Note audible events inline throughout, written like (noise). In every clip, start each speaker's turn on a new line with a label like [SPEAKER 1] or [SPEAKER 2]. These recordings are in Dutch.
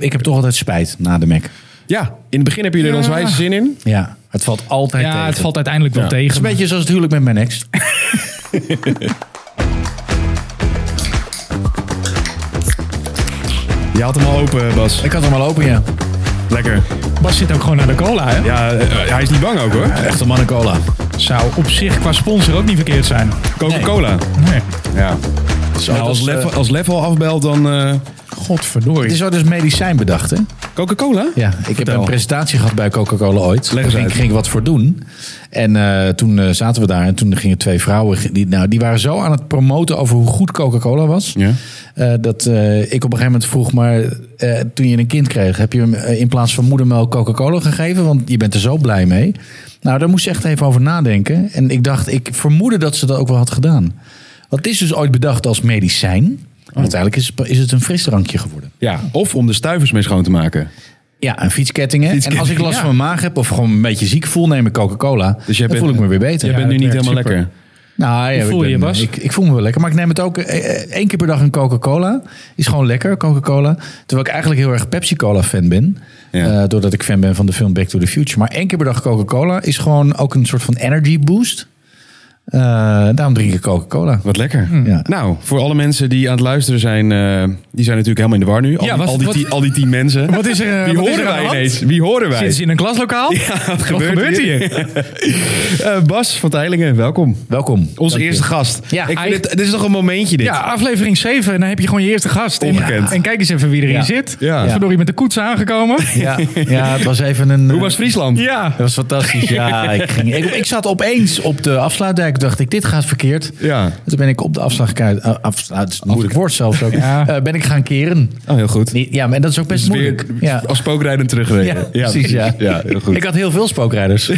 [SPEAKER 1] Ik heb toch altijd spijt na de Mac.
[SPEAKER 2] Ja, in het begin hebben jullie er
[SPEAKER 3] Ja.
[SPEAKER 2] onwijs zin in.
[SPEAKER 1] Ja, het valt altijd tegen.
[SPEAKER 3] Ja, het valt uiteindelijk wel
[SPEAKER 1] Het is een
[SPEAKER 3] tegen.
[SPEAKER 1] beetje zoals het huwelijk met mijn ex.
[SPEAKER 2] Je had hem al open, Bas.
[SPEAKER 1] Ik had hem al open, ja.
[SPEAKER 2] Lekker.
[SPEAKER 3] Bas zit ook gewoon aan de cola, hè?
[SPEAKER 2] Ja, eh, hij is niet bang ook hoor.
[SPEAKER 1] Echte mannencola.
[SPEAKER 3] Zou op zich qua sponsor ook niet verkeerd zijn.
[SPEAKER 2] Coca-Cola.
[SPEAKER 3] Nee.
[SPEAKER 2] Ja. Nou, als,
[SPEAKER 1] als,
[SPEAKER 2] Lef,
[SPEAKER 1] eh,
[SPEAKER 2] als Lef al afbelt, dan eh,
[SPEAKER 1] Het
[SPEAKER 3] Godverdorie.
[SPEAKER 1] is ook dus medicijn bedacht, hè?
[SPEAKER 2] Coca-Cola?
[SPEAKER 1] Ja, ik heb een presentatie gehad bij Coca-Cola ooit.
[SPEAKER 2] Leg
[SPEAKER 1] Daar
[SPEAKER 2] eens
[SPEAKER 1] ging,
[SPEAKER 2] uit.
[SPEAKER 1] ging ik wat voor doen. En eh, toen eh, zaten we daar en toen gingen twee vrouwen... Die, nou, die waren zo aan het promoten over hoe goed Coca-Cola was...
[SPEAKER 2] Ja.
[SPEAKER 1] eh, dat eh, ik op een gegeven moment vroeg... maar eh, toen je een kind kreeg... heb je hem eh, in plaats van moedermelk Coca-Cola gegeven? Want je bent er zo blij mee. Nou, daar moest ze echt even over nadenken. En ik dacht, ik vermoedde dat ze dat ook wel had gedaan. Want het is dus ooit bedacht als medicijn. En
[SPEAKER 2] Oh.
[SPEAKER 1] uiteindelijk is, is het een frisdrankje geworden.
[SPEAKER 2] ja. Of om de stuivers mee schoon te maken.
[SPEAKER 1] Ja, en fietskettingen.
[SPEAKER 2] Fietskettingen,
[SPEAKER 1] en als ik last
[SPEAKER 2] ja.
[SPEAKER 1] van mijn maag heb of gewoon een beetje ziek voel, neem ik Coca-Cola.
[SPEAKER 2] Dus
[SPEAKER 1] Dus
[SPEAKER 2] jij
[SPEAKER 1] dan
[SPEAKER 2] bent-
[SPEAKER 1] voel ik me weer beter.
[SPEAKER 2] Jij
[SPEAKER 1] Ja.
[SPEAKER 2] bent nu
[SPEAKER 3] het
[SPEAKER 2] niet
[SPEAKER 3] werkt
[SPEAKER 2] helemaal
[SPEAKER 3] super.
[SPEAKER 2] lekker.
[SPEAKER 1] Nou, ja,
[SPEAKER 3] Hoe
[SPEAKER 1] ik
[SPEAKER 3] voel
[SPEAKER 1] ben-
[SPEAKER 3] je je, Bas?
[SPEAKER 1] Ik, ik voel me wel lekker. Maar ik neem het ook eh, eh, één keer per dag een Coca-Cola. Is gewoon lekker, Coca-Cola. Terwijl ik eigenlijk heel erg Pepsi-Cola-fan ben.
[SPEAKER 2] Ja.
[SPEAKER 1] Eh, doordat ik fan ben van de film Back to the Future. Maar één keer per dag Coca-Cola is gewoon ook een soort van energy boost. Eh, daarom drink ik Coca-Cola.
[SPEAKER 2] Wat lekker.
[SPEAKER 3] Hm.
[SPEAKER 1] Ja.
[SPEAKER 2] Nou, voor alle mensen die aan het luisteren zijn, eh, die zijn natuurlijk helemaal in de war nu. Al,
[SPEAKER 3] Ja,
[SPEAKER 2] die-
[SPEAKER 3] wat-
[SPEAKER 2] al, die,
[SPEAKER 3] wat-
[SPEAKER 2] tien- al die tien mensen.
[SPEAKER 3] Wat is er, eh,
[SPEAKER 2] Wie
[SPEAKER 3] wat is
[SPEAKER 2] horen
[SPEAKER 3] er aan
[SPEAKER 2] wij
[SPEAKER 3] de hand?
[SPEAKER 2] ineens? Wie horen wij?
[SPEAKER 3] Zitten ze in een klaslokaal?
[SPEAKER 2] wat
[SPEAKER 3] Wat gebeurt hier?
[SPEAKER 2] Eh, Bas van Teilingen, welkom.
[SPEAKER 1] Welkom.
[SPEAKER 2] Onze
[SPEAKER 1] Dank je.
[SPEAKER 2] eerste gast.
[SPEAKER 1] Ja,
[SPEAKER 2] Ik vind
[SPEAKER 3] eigenlijk-
[SPEAKER 2] het, dit is toch een momentje dit?
[SPEAKER 3] Ja, aflevering 7. En dan heb je gewoon je eerste gast. En-
[SPEAKER 2] Ongekend.
[SPEAKER 3] En kijk eens even wie erin
[SPEAKER 1] Ja.
[SPEAKER 3] zit.
[SPEAKER 2] Ja.
[SPEAKER 3] Ja. Verdorie met de koets aangekomen.
[SPEAKER 1] Ja,
[SPEAKER 2] (laughs)
[SPEAKER 1] ja, het was even een...
[SPEAKER 2] Hoe was Friesland?
[SPEAKER 3] Ja.
[SPEAKER 1] Dat was fantastisch. Ja, ik, ging, ik, ik zat opeens op de afsluitdijk. Dacht ik, dit gaat verkeerd.
[SPEAKER 2] Ja.
[SPEAKER 1] En Toen ben ik op de afslagkuit, eh, afsluit, het is een moeilijk woord zelfs ook,
[SPEAKER 3] Ja.
[SPEAKER 1] Eh, ben ik gaan keren.
[SPEAKER 2] Oh, heel goed.
[SPEAKER 1] Nee, Ja, maar dat is ook best moeilijk.
[SPEAKER 2] Weer Oh,
[SPEAKER 1] Ja.
[SPEAKER 2] als spookrijden terugrijden.
[SPEAKER 1] Ja, precies, ja.
[SPEAKER 2] heel goed.
[SPEAKER 1] Ik had heel veel spookrijders.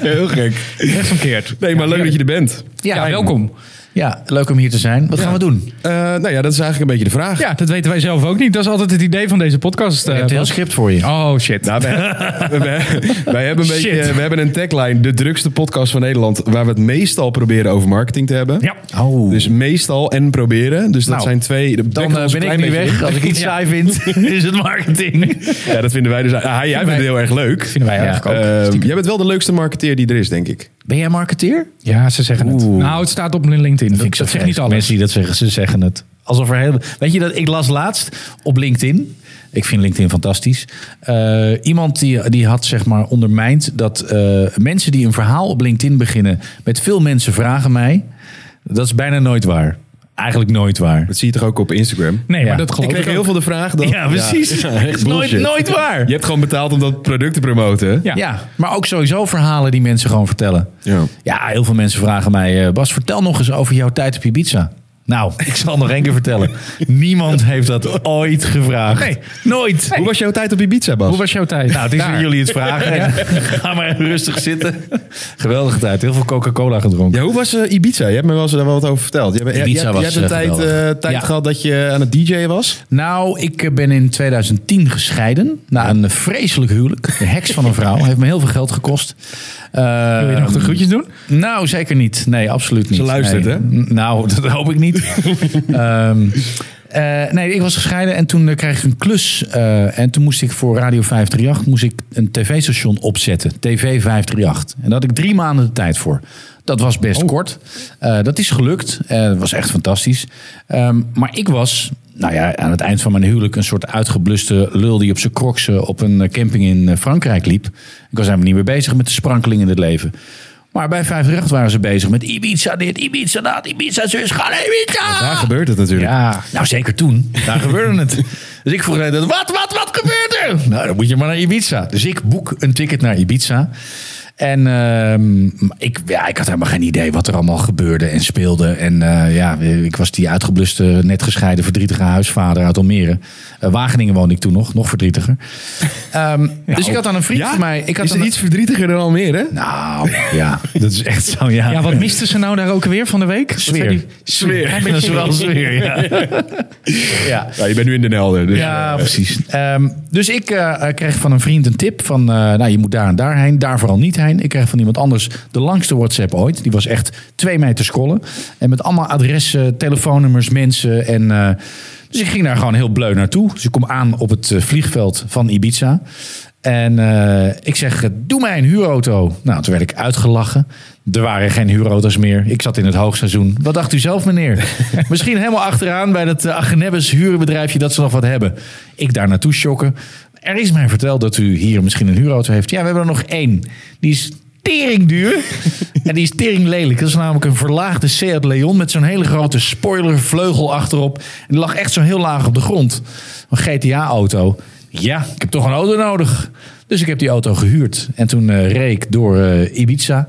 [SPEAKER 2] heel gek.
[SPEAKER 3] Rechtsomkeerd.
[SPEAKER 2] Nee, maar leuk dat je er bent.
[SPEAKER 3] Ja,
[SPEAKER 1] Ja,
[SPEAKER 3] welkom.
[SPEAKER 1] Ja, leuk om hier te zijn. Wat gaan we doen?
[SPEAKER 2] Eh, nou ja, dat is eigenlijk een beetje de vraag.
[SPEAKER 3] Ja, dat weten wij zelf ook niet. Dat is altijd het idee van deze podcast. eh,
[SPEAKER 1] Ik heb een heel
[SPEAKER 3] Bas.
[SPEAKER 1] script voor je.
[SPEAKER 3] Oh shit.
[SPEAKER 2] Nou, wij, wij- wij hebben een beetje,
[SPEAKER 3] Shit.
[SPEAKER 2] we hebben een tagline, de drukste podcast van Nederland, waar we het meestal proberen over marketing te hebben.
[SPEAKER 3] Ja.
[SPEAKER 1] Oh.
[SPEAKER 2] Dus meestal en proberen. Dus dat
[SPEAKER 1] Nou,
[SPEAKER 2] zijn twee. dat
[SPEAKER 1] dan
[SPEAKER 2] dekken we
[SPEAKER 1] eh,
[SPEAKER 2] ons
[SPEAKER 1] ben
[SPEAKER 2] een
[SPEAKER 1] ik
[SPEAKER 2] klein
[SPEAKER 1] niet
[SPEAKER 2] beetje
[SPEAKER 1] weg. Als ik iets
[SPEAKER 3] Ja.
[SPEAKER 1] saai vind,
[SPEAKER 3] (laughs)
[SPEAKER 1] is het marketing.
[SPEAKER 2] in. Ja, dat vinden wij dus. Ah, hij- jij vindt het heel erg leuk.
[SPEAKER 3] Vinden wij
[SPEAKER 1] Ja.
[SPEAKER 3] eigenlijk ook.
[SPEAKER 2] Eh, jij bent wel de leukste marketeer die er is, denk ik.
[SPEAKER 1] Ben jij marketeer?
[SPEAKER 3] Ja, ze zeggen het.
[SPEAKER 1] Oeh.
[SPEAKER 3] Nou, het staat op LinkedIn. Dat, dat zegt niet alles.
[SPEAKER 1] Mensen die dat zeggen, ze zeggen het. Alsof er heel, weet je dat ik las laatst op LinkedIn. Ik vind LinkedIn fantastisch. Eh, iemand die, die had zeg maar ondermijnd dat eh, mensen die een verhaal op LinkedIn beginnen met veel mensen vragen mij. Dat is bijna nooit waar. Eigenlijk nooit waar.
[SPEAKER 2] Dat zie je toch ook op Instagram?
[SPEAKER 3] Nee, maar
[SPEAKER 1] Ja.
[SPEAKER 3] dat
[SPEAKER 2] Ik
[SPEAKER 3] geloof ik,
[SPEAKER 2] kreeg heel
[SPEAKER 3] ook.
[SPEAKER 2] veel de vraag. Dat,
[SPEAKER 1] Ja, precies. (laughs)
[SPEAKER 2] Ja, echt
[SPEAKER 1] is nooit,
[SPEAKER 2] bullshit.
[SPEAKER 1] nooit waar.
[SPEAKER 2] Je
[SPEAKER 1] Ja.
[SPEAKER 2] hebt gewoon betaald om dat product te promoten. hè?
[SPEAKER 3] Ja.
[SPEAKER 1] maar ook sowieso verhalen die mensen gewoon vertellen.
[SPEAKER 2] Ja.
[SPEAKER 1] Ja, heel veel mensen vragen mij, eh, Bas, vertel nog eens over jouw tijd op Ibiza. Nou, ik zal nog één keer
[SPEAKER 3] (laughs)
[SPEAKER 1] vertellen. Niemand heeft dat ooit gevraagd.
[SPEAKER 3] Nee.
[SPEAKER 1] nooit.
[SPEAKER 2] Hoe was jouw tijd op Ibiza, Bas?
[SPEAKER 3] Hoe was jouw tijd?
[SPEAKER 1] Nou, het is
[SPEAKER 3] Daar.
[SPEAKER 1] aan jullie het vragen. (laughs) Ga maar even rustig zitten. Geweldige tijd. Heel veel Coca-Cola gedronken.
[SPEAKER 2] Ja, hoe was eh, Ibiza? Je hebt me wel eens daar wel wat over verteld. Je hebt, je- je,
[SPEAKER 1] Ibiza
[SPEAKER 2] hebt-
[SPEAKER 1] was,
[SPEAKER 2] je hebt een
[SPEAKER 1] eh,
[SPEAKER 2] tijd,
[SPEAKER 1] geweldig.
[SPEAKER 2] eh, tijd
[SPEAKER 1] Ja.
[SPEAKER 2] gehad dat je aan het DJ was.
[SPEAKER 1] Nou, ik eh, ben in 2010 gescheiden. Na een vreselijk huwelijk. De heks van een vrouw. Heeft me heel veel geld gekost. Eh,
[SPEAKER 3] Wil je nog de groetjes doen?
[SPEAKER 1] Nou, zeker niet. Nee, absoluut niet.
[SPEAKER 2] Ze luistert,
[SPEAKER 1] Nee.
[SPEAKER 2] hè?
[SPEAKER 1] N- Nou, (laughs) dat hoop ik niet. Ehm, eh, nee, ik was gescheiden en toen eh, kreeg ik een klus. eh, en toen moest ik voor Radio 538 moest ik een tv-station opzetten. TV 538. En daar had ik drie maanden de tijd voor. Dat was best kort. Eh, dat is gelukt. Eh, dat was echt fantastisch. Ehm, maar ik was, nou ja, aan het eind van mijn huwelijk... een soort uitgebluste lul die op zijn kroksen op een eh, camping in eh, Frankrijk liep. Ik was helemaal niet meer bezig met de sprankeling in het leven. Maar bij 538 waren ze bezig met Ibiza dit, Ibiza dat, Ibiza zus, ga naar Ibiza!
[SPEAKER 2] Daar gebeurt het natuurlijk.
[SPEAKER 1] Ah! Ja, nou zeker toen. Daar gebeurde het. (laughs) Dus ik vroeg aan hen, wat, wat, wat gebeurt er? Nou, dan moet je maar naar Ibiza. Dus ik boek een ticket naar Ibiza. En ehm, ik, ja, ik had helemaal geen idee wat er allemaal gebeurde en speelde. En eh, ja, ik was die uitgebluste, net gescheiden, verdrietige huisvader uit Almere. Eh, Wageningen woonde ik toen nog, nog verdrietiger. Ehm, dus ik had aan een vriend van mij... Ik had
[SPEAKER 2] is
[SPEAKER 1] aan-
[SPEAKER 2] het iets verdrietiger dan Almere?
[SPEAKER 1] Nou, ja, (laughs) dat is echt zo, ja.
[SPEAKER 3] Ja, wat misten ze nou daar ook weer van de week? Wat zei die-
[SPEAKER 1] Sfeer. (laughs) Dat is wel sfeer, ja. ja.
[SPEAKER 2] Ja, je bent nu in Den Helder. Dus,
[SPEAKER 1] Ja, eh, precies. Ehm, dus ik eh, kreeg van een vriend een tip van, eh, nou, je moet daar en daarheen, daar vooral niet heen. mijn. Ik kreeg van iemand anders de langste WhatsApp ooit. Die was echt twee meter scrollen. En met allemaal adressen, telefoonnummers, mensen. En, eh, dus ik ging daar gewoon heel bleu naartoe. Dus ik kom aan op het eh, vliegveld van Ibiza. En eh, ik zeg, eh, doe mij een huurauto. Nou, toen werd ik uitgelachen. Er waren geen huurauto's meer. Ik zat in het hoogseizoen. Wat dacht u zelf, meneer? Misschien helemaal achteraan bij dat uh, Agenebbes hurenbedrijfje dat ze nog wat hebben. Ik daar naartoe shocken. Er is mij verteld dat u hier misschien een huurauto heeft. Ja, we hebben er nog één. Die is tering duur. (laughs) en die is tering lelijk. Dat is namelijk een verlaagde Seat Leon met zo'n hele grote spoilervleugel achterop. En die lag echt zo heel laag op de grond. Een GTA-auto. Ja, ik heb toch een auto nodig. Dus ik heb die auto gehuurd. En toen eh, reed ik door eh, Ibiza.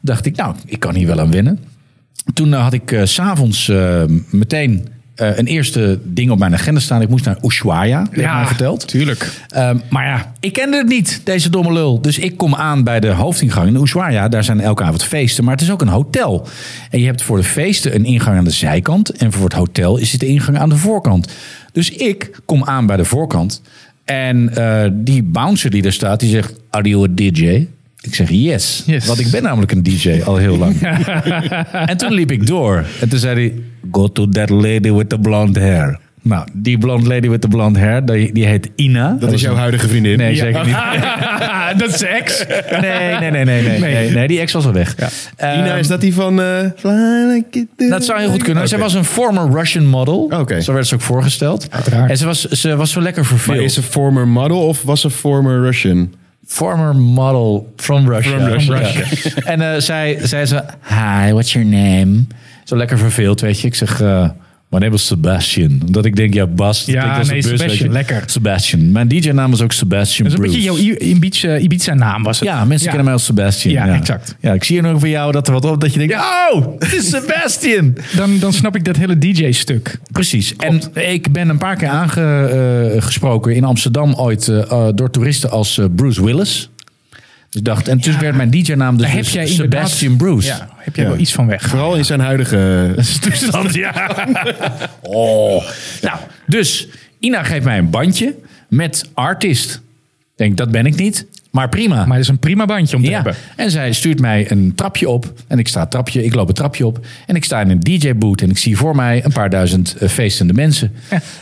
[SPEAKER 1] Dacht ik, nou, ik kan hier wel aan winnen. Toen eh, had ik eh, s s'avonds meteen eh, een eerste ding op mijn agenda staan. Ik moest naar Ushuaia, werd
[SPEAKER 3] Ja.
[SPEAKER 1] mij verteld.
[SPEAKER 2] Tuurlijk.
[SPEAKER 1] Ehm, maar ja, ik kende het niet, deze domme lul. Dus ik kom aan bij de hoofdingang in Ushuaia. Daar zijn elke avond feesten, maar het is ook een hotel. En je hebt voor de feesten een ingang aan de zijkant. En voor het hotel is het de ingang aan de voorkant. Dus ik kom aan bij de voorkant. En eh, die bouncer die daar staat, die zegt... Are you a DJ? Ik zeg yes.
[SPEAKER 3] Yes.
[SPEAKER 1] Want ik ben namelijk een DJ al heel lang.
[SPEAKER 2] (laughs)
[SPEAKER 1] En toen liep ik door. En toen zei hij... Go to that lady with the blonde hair. Nou, die blonde lady with the blonde hair, die, die heet Ina.
[SPEAKER 2] Dat, is
[SPEAKER 1] was
[SPEAKER 2] jouw
[SPEAKER 1] een-
[SPEAKER 2] huidige vriendin.
[SPEAKER 1] Nee, zeker niet.
[SPEAKER 3] (laughs) dat is ex.
[SPEAKER 1] (laughs) Nee, nee, nee, nee. nee, nee, nee die ex was al weg. Ehm,
[SPEAKER 2] Ina, is dat die van... eh, Fly like it-
[SPEAKER 1] dat zou heel goed kunnen. Zij
[SPEAKER 2] Oké.
[SPEAKER 1] was een former Russian model.
[SPEAKER 2] Oké.
[SPEAKER 1] Zo werd ze ook voorgesteld.
[SPEAKER 3] Uiteraard.
[SPEAKER 1] En ze was, ze was zo lekker
[SPEAKER 2] Maar
[SPEAKER 1] verveeld.
[SPEAKER 2] is ze former model of was ze former Russian?
[SPEAKER 1] former model from Russia.
[SPEAKER 2] From Russia.
[SPEAKER 1] Ja. (laughs) en eh, zij zei ze, hi, what's your name? Zo lekker verveeld, weet je. Ik zeg, eh my name is Sebastian. Omdat ik denk, ja, Bas. dat
[SPEAKER 3] Ja,
[SPEAKER 1] klinkt als
[SPEAKER 3] nee,
[SPEAKER 1] een bus, weet
[SPEAKER 3] Sebastian,
[SPEAKER 1] je.
[SPEAKER 3] lekker.
[SPEAKER 1] Sebastian. Mijn DJ-naam was ook Sebastian
[SPEAKER 3] Dat is een
[SPEAKER 1] Bruce.
[SPEAKER 3] beetje jouw I- Ibiza, Ibiza naam was het.
[SPEAKER 1] Ja, mensen kennen mij als Sebastian.
[SPEAKER 3] Ja, exact.
[SPEAKER 1] Ja, ik zie er nog van jou dat er wat op dat je denkt, oh, het
[SPEAKER 3] (laughs)
[SPEAKER 1] is Sebastian.
[SPEAKER 3] Dan, dan snap ik dat hele DJ-stuk.
[SPEAKER 1] Precies. En ik ben een paar keer aangesproken in Amsterdam ooit eh, eh, door toeristen als eh, Bruce Willis. Dus ik dacht, en toen werd mijn DJ-naam dus,
[SPEAKER 3] Daar heb
[SPEAKER 1] dus
[SPEAKER 3] jij inderdaad-
[SPEAKER 1] Sebastian Bruce.
[SPEAKER 3] Ja, heb jij
[SPEAKER 2] Ja.
[SPEAKER 3] wel iets van weg.
[SPEAKER 2] Vooral in zijn huidige...
[SPEAKER 1] toestand, ja. oh. Nou, dus Ina geeft mij een bandje met artist. Ik denk, dat ben ik niet, maar prima.
[SPEAKER 3] Maar het is een prima bandje om te
[SPEAKER 1] Ja,
[SPEAKER 3] hebben.
[SPEAKER 1] en zij stuurt mij een trapje op. En ik sta het trapje, ik loop het trapje op. En ik sta in een DJ-boot en ik zie voor mij een paar duizend eh, feestende mensen.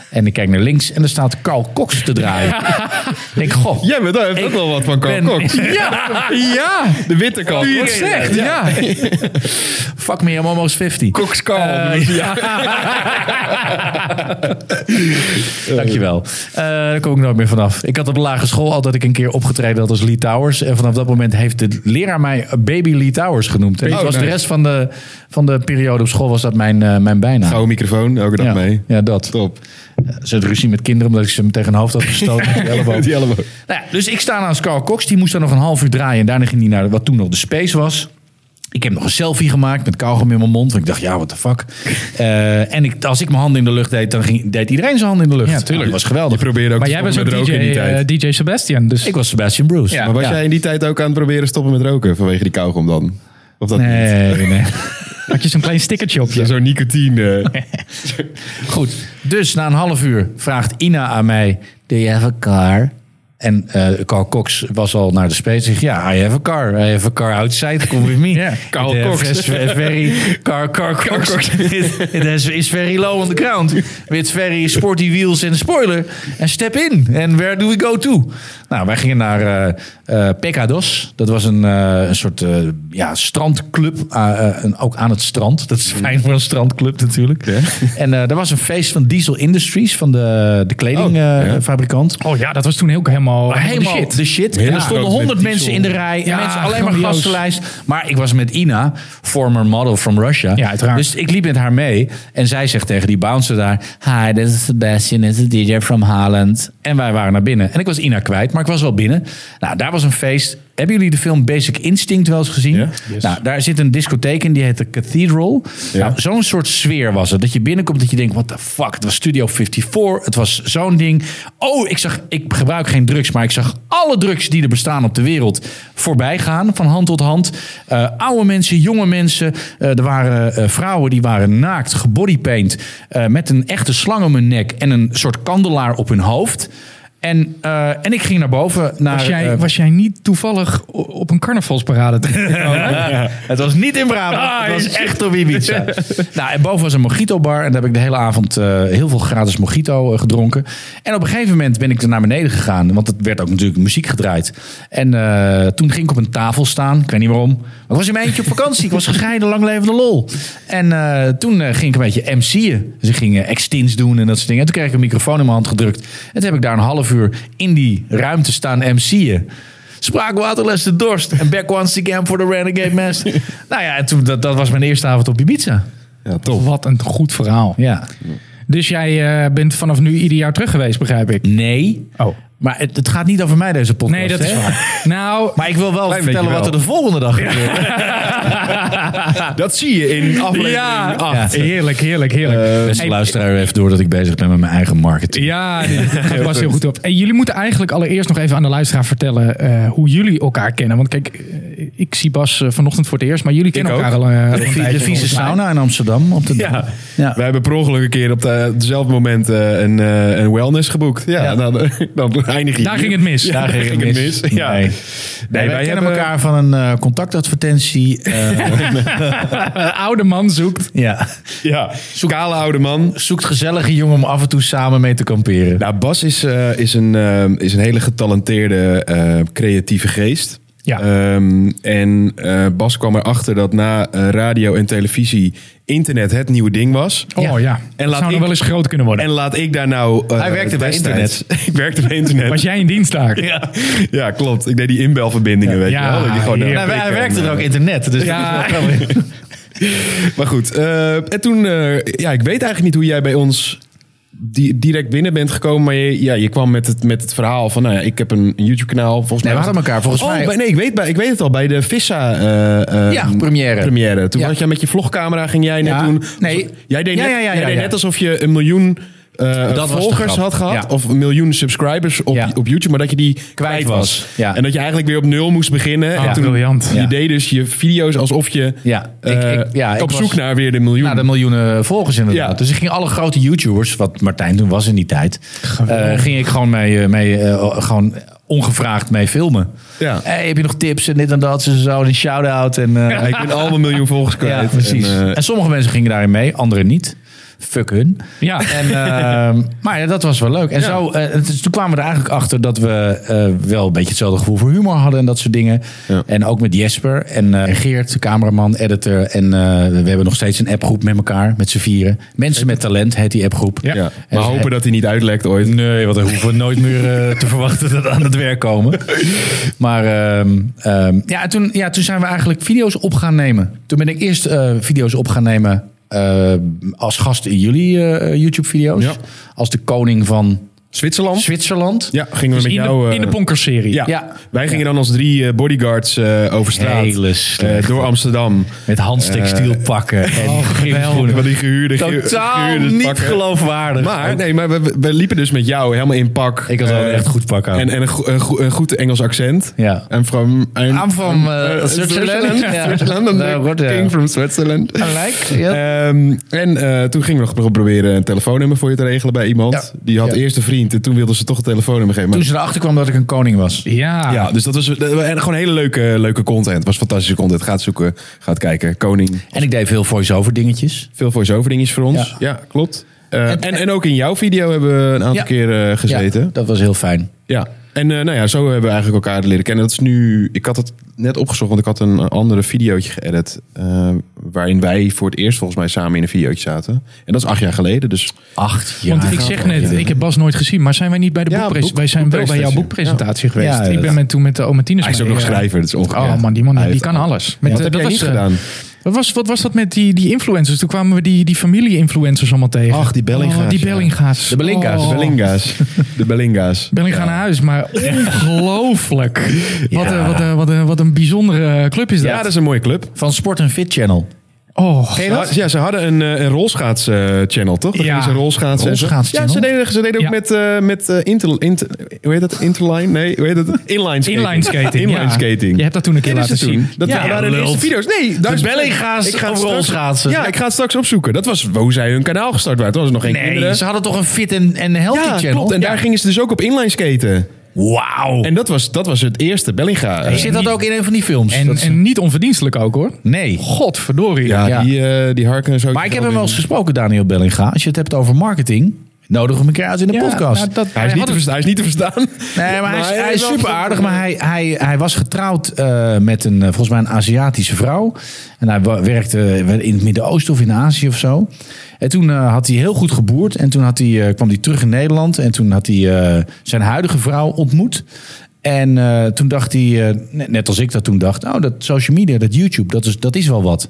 [SPEAKER 1] En ik kijk naar links en er staat Carl Cox te draaien. ik denk, goh.
[SPEAKER 2] Ja, maar daar heeft ook wel wat van Carl
[SPEAKER 1] ben- (laughs)
[SPEAKER 2] Cox.
[SPEAKER 1] Ja,
[SPEAKER 2] Ja, de witte Carl
[SPEAKER 1] Nu je
[SPEAKER 2] Cox.
[SPEAKER 1] het zegt,
[SPEAKER 2] ja.
[SPEAKER 1] fuck me, I'm almost 50.
[SPEAKER 2] Cox Carl.
[SPEAKER 1] Eh,
[SPEAKER 2] (laughs) ja.
[SPEAKER 1] Dankjewel. Eh daar kom ik nooit meer vanaf. Ik had op de lagere school altijd ik een keer opgetreden had als Lee Towers. En vanaf dat moment heeft de leraar mij Baby Lee Towers genoemd. En dat
[SPEAKER 2] Oh,
[SPEAKER 1] was de
[SPEAKER 2] nice.
[SPEAKER 1] rest van de, van de periode op school was dat mijn, eh, mijn bijnaam.
[SPEAKER 2] Gouden microfoon, elke dag
[SPEAKER 1] ja,
[SPEAKER 2] mee.
[SPEAKER 1] ja, dat.
[SPEAKER 2] Top.
[SPEAKER 1] Ze had ruzie met kinderen omdat ik ze hem tegen hun hoofd had
[SPEAKER 2] (laughs)
[SPEAKER 1] gestoten. met die elleboog.
[SPEAKER 2] Die elleboog.
[SPEAKER 1] Nou ja, dus ik sta naast Carl Cox. Die moest daar nog een half uur draaien. En daarna ging hij naar wat toen nog de Space was. Ik heb nog een selfie gemaakt met kauwgom in mijn mond. Want ik dacht, ja, what the fuck. Eh, en ik, als ik mijn handen in de lucht deed, dan ging, deed iedereen zijn handen in de lucht. Nou,
[SPEAKER 3] Ja, tuurlijk.
[SPEAKER 1] Dat was geweldig.
[SPEAKER 2] Je probeerde ook
[SPEAKER 3] Maar
[SPEAKER 2] te
[SPEAKER 3] jij was
[SPEAKER 2] stoppen
[SPEAKER 3] ook
[SPEAKER 2] met
[SPEAKER 3] DJ,
[SPEAKER 2] roken in die tijd.
[SPEAKER 3] eh, DJ Sebastian. Dus
[SPEAKER 1] Ik was Sebastian Bruce.
[SPEAKER 3] Ja.
[SPEAKER 2] maar was
[SPEAKER 1] Ja.
[SPEAKER 2] jij in die tijd ook aan het proberen stoppen met roken vanwege die kauwgom dan? Of dat niet?
[SPEAKER 1] Nee, nee.
[SPEAKER 3] had je zo'n klein stickertje op je.
[SPEAKER 2] Zo'n nicotine. eh.
[SPEAKER 1] Goed, dus na een half uur vraagt Ina aan mij... Do you have a car? En eh, Carl Cox was al naar de space. Zegt, ja, I have a car. I have a car outside. Come with me.
[SPEAKER 3] Ja,
[SPEAKER 2] Carl
[SPEAKER 1] It, eh,
[SPEAKER 2] Cox.
[SPEAKER 1] is very, Carl, Carl Cox. It, it has- (laughs) is very low on the ground. With very sporty wheels and spoiler. And step in. And where do we go to? Nou, wij gingen naar eh, eh, Pecados. Dat was een, eh, een soort eh, ja, strandclub. Ah, eh, en ook aan het strand. Dat is fijn voor een strandclub natuurlijk. En eh er was een feest van Diesel Industries. Van de, de
[SPEAKER 2] Oh, ja.
[SPEAKER 1] kledingfabrikant.
[SPEAKER 3] Oh ja, dat was toen ook helemaal,
[SPEAKER 1] Maar helemaal de shit. En
[SPEAKER 2] Hele
[SPEAKER 1] er stonden
[SPEAKER 2] groot met
[SPEAKER 1] honderd
[SPEAKER 2] diesel.
[SPEAKER 1] mensen in de rij. En
[SPEAKER 3] Ja,
[SPEAKER 1] mensen alleen maar
[SPEAKER 3] grandioos.
[SPEAKER 1] gastenlijst. Maar ik was met Ina, former model from Russia.
[SPEAKER 3] Ja, uiteraard.
[SPEAKER 1] Dus ik liep met haar mee. En zij zegt tegen die bouncer daar... Hi, this is Sebastian. This is DJ from Haaland. En wij waren naar binnen. En ik was Ina kwijt, maar ik was wel binnen. Nou, daar was een feest. Hebben jullie de film Basic Instinct wel eens gezien?
[SPEAKER 2] Ja.
[SPEAKER 1] Nou, daar zit een discotheek in, die heet de Cathedral. Nou, zo'n soort sfeer was het. Dat je binnenkomt, dat je denkt, what the fuck? Het was Studio 54, het was zo'n ding. Oh, ik zag, ik gebruik geen drugs, maar ik zag alle drugs die er bestaan op de wereld voorbij gaan. Van hand tot hand. Eh, oude mensen, jonge mensen. Eh, er waren eh, vrouwen die waren naakt, gebodypaint. eh, met een echte slang om hun nek en een soort kandelaar op hun hoofd. En, eh, en ik ging naar boven. Naar,
[SPEAKER 3] Was
[SPEAKER 1] eh,
[SPEAKER 3] jij, was jij niet toevallig o- op een
[SPEAKER 1] (laughs)
[SPEAKER 3] carnavalsparade terechtgekomen?
[SPEAKER 1] Het was niet in Brabant,
[SPEAKER 3] Ah,
[SPEAKER 1] het was
[SPEAKER 3] shit.
[SPEAKER 1] echt op Ibiza. (laughs) nou, en boven was een mojito bar en daar heb ik de hele avond eh, heel veel gratis mojito eh, gedronken. En op een gegeven moment ben ik er naar beneden gegaan, want het werd ook natuurlijk muziek gedraaid. En eh, toen ging ik op een tafel staan, ik weet niet waarom. Maar ik was in mijn eentje op vakantie, ik was gescheiden, lang levende lol. En eh, toen eh, ging ik een beetje MC'en. Dus ik ging eh, extins doen en dat soort dingen. En toen kreeg ik een microfoon in mijn hand gedrukt. En toen heb ik daar een half uur in die ruimte staan MC'en. Spraakwaterles de dorst. En back once again for the renegade
[SPEAKER 2] (laughs)
[SPEAKER 1] master. nou ja, en toen, dat, dat was mijn eerste avond op Ibiza.
[SPEAKER 2] Ja, top.
[SPEAKER 3] Wat een goed verhaal.
[SPEAKER 1] Ja.
[SPEAKER 3] Dus jij eh, bent vanaf nu ieder jaar terug geweest, begrijp ik.
[SPEAKER 1] Nee.
[SPEAKER 3] Oh.
[SPEAKER 1] Maar het, het gaat niet over mij deze podcast.
[SPEAKER 3] Nee, dat is
[SPEAKER 1] hè?
[SPEAKER 2] (laughs)
[SPEAKER 3] waar. Nou,
[SPEAKER 1] Maar ik wil wel
[SPEAKER 2] Klein
[SPEAKER 1] vertellen
[SPEAKER 2] beetje
[SPEAKER 1] wat er
[SPEAKER 2] wel.
[SPEAKER 1] de volgende dag gebeurt.
[SPEAKER 2] (laughs) Dat zie je in aflevering Eh,
[SPEAKER 3] ja,
[SPEAKER 2] 8.
[SPEAKER 3] ah, heerlijk, heerlijk, heerlijk.
[SPEAKER 1] Beste
[SPEAKER 3] Hey,
[SPEAKER 1] luisteraar, even door dat ik bezig ben met mijn eigen marketing.
[SPEAKER 3] Ja, dit- dit
[SPEAKER 2] (laughs)
[SPEAKER 3] gaat Bas heel goed op. En jullie moeten eigenlijk allereerst nog even aan de luisteraar vertellen eh, hoe jullie elkaar kennen. Want kijk, eh, ik zie Bas eh, vanochtend voor het eerst, maar jullie kennen
[SPEAKER 2] ook.
[SPEAKER 3] elkaar al. eh, al een
[SPEAKER 1] De, vie-
[SPEAKER 3] tijdje
[SPEAKER 1] de vieze
[SPEAKER 3] volgens mij.
[SPEAKER 1] sauna in Amsterdam. Op de
[SPEAKER 2] Ja.
[SPEAKER 1] Ja. (laughs)
[SPEAKER 2] We hebben per ongeluk een keer op de- op hetzelfde moment eh, een, eh, een wellness geboekt. Ja,
[SPEAKER 1] Ja.
[SPEAKER 2] Dan, (laughs) dan eindig je
[SPEAKER 3] Daar
[SPEAKER 2] hier.
[SPEAKER 3] ging het mis.
[SPEAKER 2] Ja,
[SPEAKER 3] Daar
[SPEAKER 2] daar ging het mis. Ja.
[SPEAKER 1] Nee. Nee, wij,
[SPEAKER 2] wij
[SPEAKER 1] kennen
[SPEAKER 2] hebben-
[SPEAKER 1] elkaar van een eh, contactadvertentie. eh,
[SPEAKER 3] Een (laughs) oude man zoekt.
[SPEAKER 1] ja. (laughs)
[SPEAKER 2] Ja, kale oude man.
[SPEAKER 1] Zoekt gezellige jongen om af en toe samen mee te kamperen.
[SPEAKER 2] Nou, Bas is, eh, is, een, eh, is een hele getalenteerde eh, creatieve geest.
[SPEAKER 3] Ja.
[SPEAKER 2] Ehm, en eh, Bas kwam erachter dat na eh, radio en televisie internet het nieuwe ding was.
[SPEAKER 3] Oh ja,
[SPEAKER 2] En
[SPEAKER 3] en
[SPEAKER 2] laat
[SPEAKER 3] laat zou nog
[SPEAKER 2] ik-
[SPEAKER 3] wel eens groot kunnen worden.
[SPEAKER 2] En laat ik daar nou... eh,
[SPEAKER 1] Hij werkte bij
[SPEAKER 2] destijds-
[SPEAKER 1] (laughs)
[SPEAKER 2] ik werkte bij (laughs) internet.
[SPEAKER 3] Was jij in dienst daar?
[SPEAKER 2] Ja. ja, klopt. Ik deed die inbelverbindingen, weet
[SPEAKER 3] Ja,
[SPEAKER 2] je wel. Dat je gewoon-
[SPEAKER 3] heerlijk.
[SPEAKER 1] Nou, hij
[SPEAKER 2] prikken
[SPEAKER 1] werkte
[SPEAKER 2] en,
[SPEAKER 1] er ook
[SPEAKER 2] eh,
[SPEAKER 1] internet. Dus
[SPEAKER 3] Ja.
[SPEAKER 1] (laughs) dat is wel grappig.
[SPEAKER 2] Maar goed, eh, en toen... eh, ja, ik weet eigenlijk niet hoe jij bij ons di- direct binnen bent gekomen. Maar je, ja, je kwam met het, met het verhaal van... Nou ja, ik heb een, een YouTube-kanaal. Volgens
[SPEAKER 1] Nee,
[SPEAKER 2] mij
[SPEAKER 1] we
[SPEAKER 2] was
[SPEAKER 1] hadden elkaar volgens
[SPEAKER 2] Oh,
[SPEAKER 1] mij.
[SPEAKER 2] bij- nee, ik weet, bij- ik weet het al. Bij de Vissa eh, eh,
[SPEAKER 1] Ja, première.
[SPEAKER 2] première. Toen
[SPEAKER 1] Ja.
[SPEAKER 2] had jij met je vlogcamera, ging jij net
[SPEAKER 1] Ja,
[SPEAKER 2] doen...
[SPEAKER 1] nee.
[SPEAKER 2] Jij deed,
[SPEAKER 1] Ja,
[SPEAKER 2] net,
[SPEAKER 1] ja, ja,
[SPEAKER 2] jij
[SPEAKER 1] ja,
[SPEAKER 2] deed
[SPEAKER 1] ja.
[SPEAKER 2] net alsof je een miljoen eh,
[SPEAKER 1] was de
[SPEAKER 2] volgers
[SPEAKER 1] grap.
[SPEAKER 2] had gehad.
[SPEAKER 1] Ja.
[SPEAKER 2] Of een miljoen subscribers op,
[SPEAKER 1] Ja.
[SPEAKER 2] op YouTube. Maar dat je die kwijt, was.
[SPEAKER 1] was. Ja.
[SPEAKER 2] En dat je eigenlijk weer op nul moest beginnen.
[SPEAKER 3] Ah,
[SPEAKER 2] en toen,
[SPEAKER 3] briljant.
[SPEAKER 2] Je
[SPEAKER 1] Ja.
[SPEAKER 2] deed dus je video's alsof je
[SPEAKER 1] Ja, ik-
[SPEAKER 2] eh,
[SPEAKER 1] ik- ja, ik
[SPEAKER 2] op
[SPEAKER 1] was-
[SPEAKER 2] zoek naar weer de miljoen.
[SPEAKER 1] Nou, de miljoenen volgers inderdaad.
[SPEAKER 2] Ja.
[SPEAKER 1] Dus ik ging alle grote YouTubers, wat Martijn toen was in die tijd, eh, ging ik gewoon mee, eh, mee eh, gewoon ongevraagd mee filmen.
[SPEAKER 2] Ja.
[SPEAKER 1] Hey, heb je nog tips en dit en dat, en zo, en een shout-out. En, eh, (laughs)
[SPEAKER 2] Ja, ik ben al mijn miljoen volgers kwijt.
[SPEAKER 1] ja, precies. En,
[SPEAKER 2] En, eh,
[SPEAKER 1] sommige mensen gingen daarin mee, anderen niet. Fuck hun.
[SPEAKER 3] Ja.
[SPEAKER 1] En, ehm, (laughs) maar ja, dat was wel leuk. En zo, eh, het is- toen kwamen we er eigenlijk achter dat we eh, wel een beetje hetzelfde gevoel voor humor hadden en dat soort dingen.
[SPEAKER 2] Ja.
[SPEAKER 1] En ook met Jesper en eh, Geert, cameraman, editor. En eh, we hebben nog steeds een appgroep met elkaar, met z'n vieren. Mensen met talent heet die appgroep.
[SPEAKER 3] Ja.
[SPEAKER 2] ja.
[SPEAKER 1] En
[SPEAKER 2] Maar
[SPEAKER 1] ze-
[SPEAKER 2] hopen dat hij niet uitlekt ooit.
[SPEAKER 1] Nee, want er hoeven we nooit meer eh, te verwachten dat we aan het werk komen. Maar ehm, ehm, ja, toen, ja, toen zijn we eigenlijk video's op gaan nemen. Toen ben ik eerst eh, video's op gaan nemen eh, als gast in jullie eh, YouTube-video's.
[SPEAKER 2] Ja.
[SPEAKER 1] Als de koning van
[SPEAKER 2] Zwitserland?
[SPEAKER 1] Zwitserland.
[SPEAKER 2] Ja, gingen we
[SPEAKER 3] Dus
[SPEAKER 2] met
[SPEAKER 3] in,
[SPEAKER 2] jou...
[SPEAKER 3] de,
[SPEAKER 2] eh,
[SPEAKER 3] in de Ponkers-serie.
[SPEAKER 2] Ja.
[SPEAKER 1] Ja.
[SPEAKER 2] wij gingen dan als drie eh, bodyguards eh, over straat
[SPEAKER 1] Hele slecht.
[SPEAKER 2] eh, door Amsterdam.
[SPEAKER 1] Met handtextiel
[SPEAKER 2] Eh,
[SPEAKER 1] pakken en
[SPEAKER 2] oh,
[SPEAKER 1] gymschoenen.
[SPEAKER 2] Van die gehuurde ge-
[SPEAKER 1] Totaal
[SPEAKER 2] gehuurde
[SPEAKER 1] niet
[SPEAKER 2] pakken.
[SPEAKER 1] geloofwaardig.
[SPEAKER 2] Maar, nee, maar we, we liepen dus met jou helemaal in pak.
[SPEAKER 1] ik had wel
[SPEAKER 2] Eh,
[SPEAKER 1] een echt goed pak aan.
[SPEAKER 2] En, en een, go- een go- een goed Engels accent.
[SPEAKER 1] ja.
[SPEAKER 2] En from... I'm,
[SPEAKER 1] I'm from, eh,
[SPEAKER 2] eh,
[SPEAKER 1] Zwitserland. Ja.
[SPEAKER 2] Zwitserland. I'm the
[SPEAKER 1] Nou, goed, ja. Ah,
[SPEAKER 2] king from Switzerland.
[SPEAKER 1] Gelijk, ja.
[SPEAKER 2] Ehm, en eh, toen gingen we nog proberen een telefoonnummer voor je te regelen bij iemand.
[SPEAKER 1] Ja.
[SPEAKER 2] Die had
[SPEAKER 1] Ja.
[SPEAKER 2] eerst een vriend en toen wilden ze toch een telefoonnummer geven. Maar-
[SPEAKER 1] Toen ze erachter kwam dat ik een koning was.
[SPEAKER 3] Ja.
[SPEAKER 2] Ja, dus dat was dat- en gewoon hele leuke, leuke content. Was fantastische content. Gaat zoeken, gaat kijken. Koning,
[SPEAKER 1] En ik deed veel voice-over dingetjes.
[SPEAKER 2] veel voice-over dingetjes voor ons. Ja,
[SPEAKER 1] Ja.
[SPEAKER 2] klopt. Eh,
[SPEAKER 1] En-
[SPEAKER 2] en, en, ook in jouw video hebben we een aantal
[SPEAKER 1] Ja.
[SPEAKER 2] keer eh, gezeten.
[SPEAKER 1] Ja,
[SPEAKER 2] Ja.
[SPEAKER 1] dat was heel fijn.
[SPEAKER 2] En eh, nou ja, zo hebben we eigenlijk elkaar leren kennen. Dat is nu, ik had het net opgezocht, want ik had een andere videootje geëdit. eh, waarin wij voor het eerst volgens mij samen in een videootje zaten. En dat is acht jaar geleden. Dus
[SPEAKER 1] Acht jaar.
[SPEAKER 3] Want ik zeg net, ik heb Bas nooit gezien, maar zijn wij niet bij de
[SPEAKER 2] Ja,
[SPEAKER 3] boekpres-
[SPEAKER 2] boek-
[SPEAKER 3] Wij zijn wel bij jouw
[SPEAKER 2] boekpresentatie.
[SPEAKER 3] boekpresentatie
[SPEAKER 1] Ja,
[SPEAKER 3] geweest.
[SPEAKER 1] dat-
[SPEAKER 3] ik ben met, toen met de Omartinus.
[SPEAKER 2] hij is ook nog schrijver. Dat is ongekend.
[SPEAKER 3] Oh man, die man
[SPEAKER 2] Hij
[SPEAKER 3] die
[SPEAKER 2] heeft-
[SPEAKER 3] kan alles. Met,
[SPEAKER 2] Wat
[SPEAKER 3] eh,
[SPEAKER 2] heb jij
[SPEAKER 3] was,
[SPEAKER 2] niet
[SPEAKER 3] eh,
[SPEAKER 2] gedaan?
[SPEAKER 3] Wat was, wat was dat met die, die influencers? Toen kwamen we die, die familie-influencers allemaal tegen.
[SPEAKER 2] Ach, die Bellinga's,
[SPEAKER 3] Oh, die
[SPEAKER 2] ja.
[SPEAKER 3] Bellinga's.
[SPEAKER 1] De Belinga's,
[SPEAKER 3] Oh.
[SPEAKER 2] De
[SPEAKER 3] (laughs)
[SPEAKER 2] Belinga's. De Belinga's.
[SPEAKER 3] Bellinga naar huis, maar
[SPEAKER 2] (laughs)
[SPEAKER 3] ongelooflijk. eh, Wat, een, wat, een, wat, een, wat een bijzondere club is dat.
[SPEAKER 2] Ja, dat is een mooie club.
[SPEAKER 1] Van Sport en Fit Channel.
[SPEAKER 3] Oh,
[SPEAKER 2] Ze had- Ja, ze hadden een, eh, een rolschaats-channel, toch?
[SPEAKER 3] Ja.
[SPEAKER 2] Ze rolschaatsen. en zo.
[SPEAKER 1] Rolschaatschannel.
[SPEAKER 2] Ja, ze deden, ze deden ook
[SPEAKER 3] Ja.
[SPEAKER 2] met, eh, met eh, inter, inter- hoe heet dat? Interline? Nee, hoe heet
[SPEAKER 3] (laughs)
[SPEAKER 2] dat? Inline skating.
[SPEAKER 3] inline skating.
[SPEAKER 2] Inline
[SPEAKER 3] ja.
[SPEAKER 2] skating.
[SPEAKER 3] Je hebt dat toen een keer
[SPEAKER 2] Deden
[SPEAKER 3] laten
[SPEAKER 2] ze toen.
[SPEAKER 3] zien.
[SPEAKER 2] Dat
[SPEAKER 1] Ja,
[SPEAKER 2] waren de
[SPEAKER 1] lult.
[SPEAKER 2] eerste video's. Nee,
[SPEAKER 1] De
[SPEAKER 2] duizend-
[SPEAKER 1] Bellinga's
[SPEAKER 2] Ik ga het
[SPEAKER 1] over
[SPEAKER 2] straks-
[SPEAKER 1] rolschaatsen.
[SPEAKER 2] Ja, ik ga het straks opzoeken. Dat was hoe zij hun kanaal gestart werd. Dat was nog geen
[SPEAKER 1] Nee,
[SPEAKER 2] kinderen.
[SPEAKER 1] ze hadden toch een fit en, en healthy
[SPEAKER 2] Ja,
[SPEAKER 1] channel?
[SPEAKER 2] klopt. En
[SPEAKER 1] Ja.
[SPEAKER 2] daar gingen ze dus ook op inline skaten.
[SPEAKER 1] Wauw.
[SPEAKER 2] En dat was, dat was het eerste Bellinga. eh,
[SPEAKER 1] Zit dat ook in een van die films?
[SPEAKER 3] En,
[SPEAKER 1] Dat-
[SPEAKER 3] en niet onverdienstelijk ook hoor.
[SPEAKER 1] nee.
[SPEAKER 3] Godverdorie.
[SPEAKER 2] ja,
[SPEAKER 1] ja.
[SPEAKER 2] die, eh, die harken en zo.
[SPEAKER 1] Maar ik heb hem wel eens gesproken, Daniel Bellinga. Als je het hebt over marketing, nodig hem een keer uit in de
[SPEAKER 3] Ja,
[SPEAKER 1] podcast.
[SPEAKER 3] nou, dat-
[SPEAKER 2] Hij is, niet te verstaan, hij is niet te verstaan.
[SPEAKER 1] Nee, maar hij is,
[SPEAKER 2] (laughs) Maar
[SPEAKER 1] hij is
[SPEAKER 2] wel-
[SPEAKER 1] super aardig. Maar hij, hij, hij was getrouwd eh, met een, eh, volgens mij een Aziatische vrouw. En hij wa- werkte eh, in het Midden-Oosten of in Azië of zo. En toen eh, had hij heel goed geboerd. En toen had hij, eh, kwam hij terug in Nederland. En toen had hij eh, zijn huidige vrouw ontmoet. En eh, toen dacht hij, eh, net, net als ik dat toen dacht... oh, dat social media, dat YouTube, dat is, dat is wel wat. En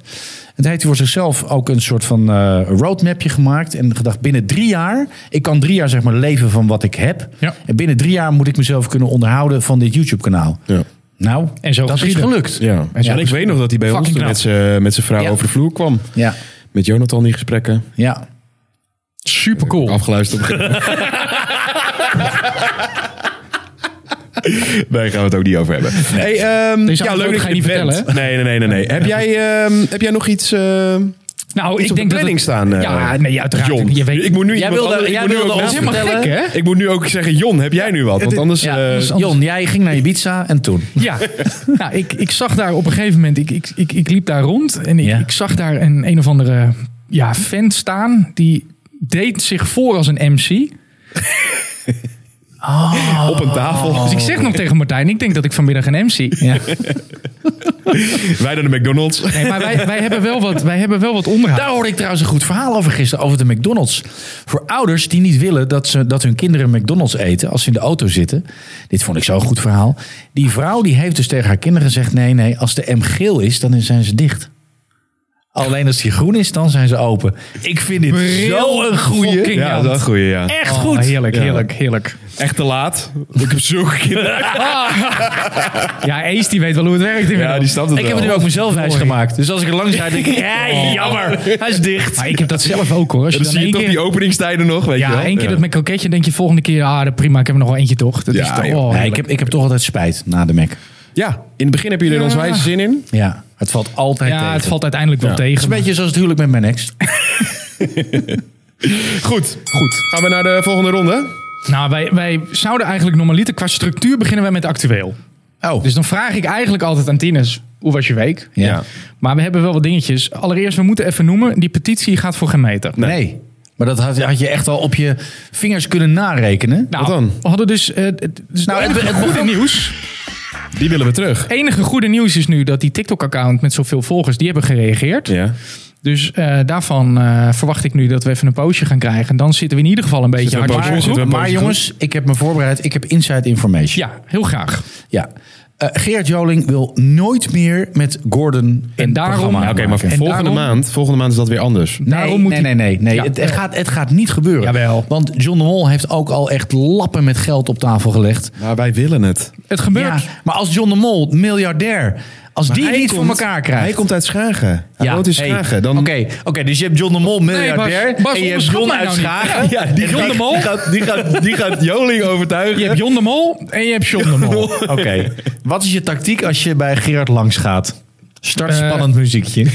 [SPEAKER 1] toen heeft hij voor zichzelf ook een soort van eh, roadmapje gemaakt... en gedacht, binnen drie jaar... ik kan drie jaar zeg maar leven van wat ik heb...
[SPEAKER 3] Ja.
[SPEAKER 1] En binnen drie jaar moet ik mezelf kunnen onderhouden van dit YouTube-kanaal.
[SPEAKER 2] (laughs) Ja.
[SPEAKER 1] Nou,
[SPEAKER 3] En zo
[SPEAKER 1] dat
[SPEAKER 3] geschieden.
[SPEAKER 1] is gelukt.
[SPEAKER 2] Ja.
[SPEAKER 3] En zo
[SPEAKER 2] En ik
[SPEAKER 3] is-
[SPEAKER 2] weet nog dat hij bij ons
[SPEAKER 3] Fucking
[SPEAKER 2] toen met
[SPEAKER 3] knap.
[SPEAKER 2] zijn met zijn vrouw
[SPEAKER 1] Ja.
[SPEAKER 2] over de vloer kwam.
[SPEAKER 1] Ja,
[SPEAKER 2] Met Jonathan die gesprekken.
[SPEAKER 1] ja.
[SPEAKER 3] Super cool.
[SPEAKER 1] (laughs)
[SPEAKER 2] Afgeluisterd. op een gegeven moment. nee, gaan we het ook niet over hebben. Hey, ehm,
[SPEAKER 3] Deze
[SPEAKER 2] ja, leuk
[SPEAKER 3] antwoord
[SPEAKER 2] dat
[SPEAKER 3] ga
[SPEAKER 2] je
[SPEAKER 3] je niet
[SPEAKER 2] er bent.
[SPEAKER 3] vertellen,
[SPEAKER 2] Nee, nee, nee. nee,
[SPEAKER 1] (laughs)
[SPEAKER 2] nee. heb, jij, ehm, heb jij nog iets, eh,
[SPEAKER 3] Nou,
[SPEAKER 2] iets
[SPEAKER 3] ik
[SPEAKER 2] op de
[SPEAKER 3] denk dat
[SPEAKER 2] planning
[SPEAKER 3] het-
[SPEAKER 2] staan? eh,
[SPEAKER 3] Ja, nee, uiteraard.
[SPEAKER 2] John,
[SPEAKER 3] Je weet-
[SPEAKER 2] ik moet nu
[SPEAKER 1] Jij
[SPEAKER 2] iemand
[SPEAKER 1] wilde-
[SPEAKER 2] anders- ik
[SPEAKER 1] jij
[SPEAKER 2] moet nu
[SPEAKER 1] wilde
[SPEAKER 2] ook
[SPEAKER 1] ons
[SPEAKER 2] naast-
[SPEAKER 3] helemaal gek, hè?
[SPEAKER 2] Ik moet nu ook zeggen, Jon, heb jij nu wat? Want anders...
[SPEAKER 1] Ja,
[SPEAKER 2] eh,
[SPEAKER 1] dus Jon, jij ging naar Ibiza en toen.
[SPEAKER 3] (laughs) Ja, nou, ik, ik zag daar op een gegeven moment, ik, ik, ik, ik liep daar rond en ik,
[SPEAKER 1] Ja.
[SPEAKER 3] ik zag daar een, een of andere ja, fan staan die deed zich voor als een MC.
[SPEAKER 2] op een tafel.
[SPEAKER 3] Dus ik zeg nog tegen Martijn, ik denk dat ik vanmiddag een MC.
[SPEAKER 1] Ja.
[SPEAKER 2] Wij naar de McDonald's.
[SPEAKER 3] Nee, maar wij, wij, hebben wel wat, wij hebben wel wat onderhoud.
[SPEAKER 1] Daar hoorde ik trouwens een goed verhaal over gisteren, over de McDonald's. Voor ouders die niet willen dat, ze, dat hun kinderen McDonald's eten als ze in de auto zitten. Dit vond ik zo'n goed verhaal. Die vrouw die heeft dus tegen haar kinderen gezegd, nee, nee, als de M geel is, dan zijn ze dicht. Alleen als die groen is, dan zijn ze open. Ik vind dit zo'n goeie.
[SPEAKER 3] fucking
[SPEAKER 2] Ja, dat is een goeie, ja.
[SPEAKER 1] Echt
[SPEAKER 3] Oh,
[SPEAKER 1] goed.
[SPEAKER 3] Heerlijk,
[SPEAKER 2] Ja.
[SPEAKER 3] heerlijk, heerlijk.
[SPEAKER 2] Echt te laat. Ik heb zulke kinderen.
[SPEAKER 3] Ja, Ace die weet wel hoe het werkt inmiddels.
[SPEAKER 2] Ja, die snapt het
[SPEAKER 1] Ik
[SPEAKER 2] wel.
[SPEAKER 1] heb (laughs) het nu ook mezelf wijs gemaakt. Dus als ik er langs rijd,
[SPEAKER 3] (laughs)
[SPEAKER 1] denk ik, ja,
[SPEAKER 3] Oh.
[SPEAKER 1] jammer. Hij is dicht.
[SPEAKER 3] Maar ik heb dat zelf ook hoor. Als je
[SPEAKER 2] Dan zie
[SPEAKER 3] dan
[SPEAKER 2] je
[SPEAKER 3] één
[SPEAKER 2] toch
[SPEAKER 3] keer-
[SPEAKER 2] die openingstijden nog, weet je
[SPEAKER 3] ja,
[SPEAKER 2] wel.
[SPEAKER 3] één keer
[SPEAKER 2] Ja.
[SPEAKER 3] dat met kroketje denk je volgende keer, ah dat prima, ik heb er nog wel eentje toch. Dat
[SPEAKER 2] Ja,
[SPEAKER 3] is toch,
[SPEAKER 2] joh.
[SPEAKER 3] oh,
[SPEAKER 1] Nee, ik,
[SPEAKER 3] heerlijk.
[SPEAKER 1] heb, ik heb toch altijd spijt na de Mac.
[SPEAKER 2] Ja, in het begin hebben jullie er ons
[SPEAKER 3] Ja.
[SPEAKER 2] wijze zin in.
[SPEAKER 1] Ja, het valt altijd tegen.
[SPEAKER 3] ja, het valt uiteindelijk wel tegen.
[SPEAKER 1] Het is een beetje zoals het huwelijk met mijn ex.
[SPEAKER 2] Goed,
[SPEAKER 3] goed.
[SPEAKER 2] gaan we naar de volgende ronde.
[SPEAKER 3] Nou, wij, wij zouden eigenlijk normaliter qua structuur beginnen wij met actueel.
[SPEAKER 1] Oh,
[SPEAKER 3] Dus dan vraag ik eigenlijk altijd aan Tines, hoe was je week?
[SPEAKER 1] ja.
[SPEAKER 3] Maar we hebben wel wat dingetjes. Allereerst, we moeten even noemen, die petitie gaat voor geen meter.
[SPEAKER 1] Nee. Maar dat had, had je echt al op je vingers kunnen narekenen.
[SPEAKER 3] Nou,
[SPEAKER 2] Wat dan?
[SPEAKER 3] We hadden dus, eh, het, dus
[SPEAKER 1] Nou,
[SPEAKER 3] nou,
[SPEAKER 1] het-
[SPEAKER 3] het,
[SPEAKER 1] het
[SPEAKER 3] goede
[SPEAKER 1] begon-
[SPEAKER 3] nieuws.
[SPEAKER 2] Die willen we terug.
[SPEAKER 3] Het enige goede nieuws is nu dat die TikTok-account met zoveel volgers, die hebben gereageerd.
[SPEAKER 2] Ja.
[SPEAKER 3] Dus eh, daarvan eh, verwacht ik nu dat we even een postje gaan krijgen. En dan zitten we in ieder geval een beetje
[SPEAKER 2] Zitten we
[SPEAKER 3] hard
[SPEAKER 2] een
[SPEAKER 3] op de
[SPEAKER 2] poosje?
[SPEAKER 3] groep.
[SPEAKER 1] Maar,
[SPEAKER 2] een
[SPEAKER 1] maar
[SPEAKER 2] beetje
[SPEAKER 1] jongens, ik heb me voorbereid. Ik heb inside information.
[SPEAKER 3] Ja, heel graag.
[SPEAKER 1] Ja. Eh, Gerard Joling wil nooit meer met Gordon
[SPEAKER 3] En
[SPEAKER 1] een
[SPEAKER 3] daarom-
[SPEAKER 1] programma
[SPEAKER 3] Ja,
[SPEAKER 2] Oké, maar voor
[SPEAKER 1] maken.
[SPEAKER 2] volgende
[SPEAKER 3] daarom-
[SPEAKER 2] maand, volgende maand is dat weer anders.
[SPEAKER 1] Nee,
[SPEAKER 3] Daarom moet
[SPEAKER 1] nee,
[SPEAKER 3] die-
[SPEAKER 1] nee, nee, nee.
[SPEAKER 3] Ja.
[SPEAKER 1] Het, het gaat, het gaat niet gebeuren.
[SPEAKER 3] Jawel.
[SPEAKER 1] Want John de Mol heeft ook al echt lappen met geld op tafel gelegd.
[SPEAKER 2] Maar wij willen het.
[SPEAKER 3] Het gebeurt.
[SPEAKER 1] Ja, maar als John de Mol, miljardair, als die
[SPEAKER 2] hij
[SPEAKER 1] niet voor
[SPEAKER 2] komt-
[SPEAKER 1] elkaar krijgt.
[SPEAKER 2] Hij komt uit Schagen. Hij
[SPEAKER 1] ja,
[SPEAKER 2] woont in
[SPEAKER 1] hey,
[SPEAKER 2] Schagen. Dan...
[SPEAKER 1] Oké, oké, dus je hebt John de Mol, miljardair.
[SPEAKER 3] Bas, Bas,
[SPEAKER 1] en je hebt
[SPEAKER 3] onderschat
[SPEAKER 1] John
[SPEAKER 3] mij
[SPEAKER 1] uit
[SPEAKER 3] nou niet.
[SPEAKER 1] Schagen.
[SPEAKER 2] Ja, die,
[SPEAKER 3] John de Mol?
[SPEAKER 2] Die gaat, die, (laughs) gaat, die gaat Joling overtuigen.
[SPEAKER 3] Je hebt Jon de Mol en je hebt John de Mol.
[SPEAKER 1] Oké, wat is je tactiek als je bij Gerard langs gaat? Start
[SPEAKER 3] Eh,
[SPEAKER 1] spannend muziekje.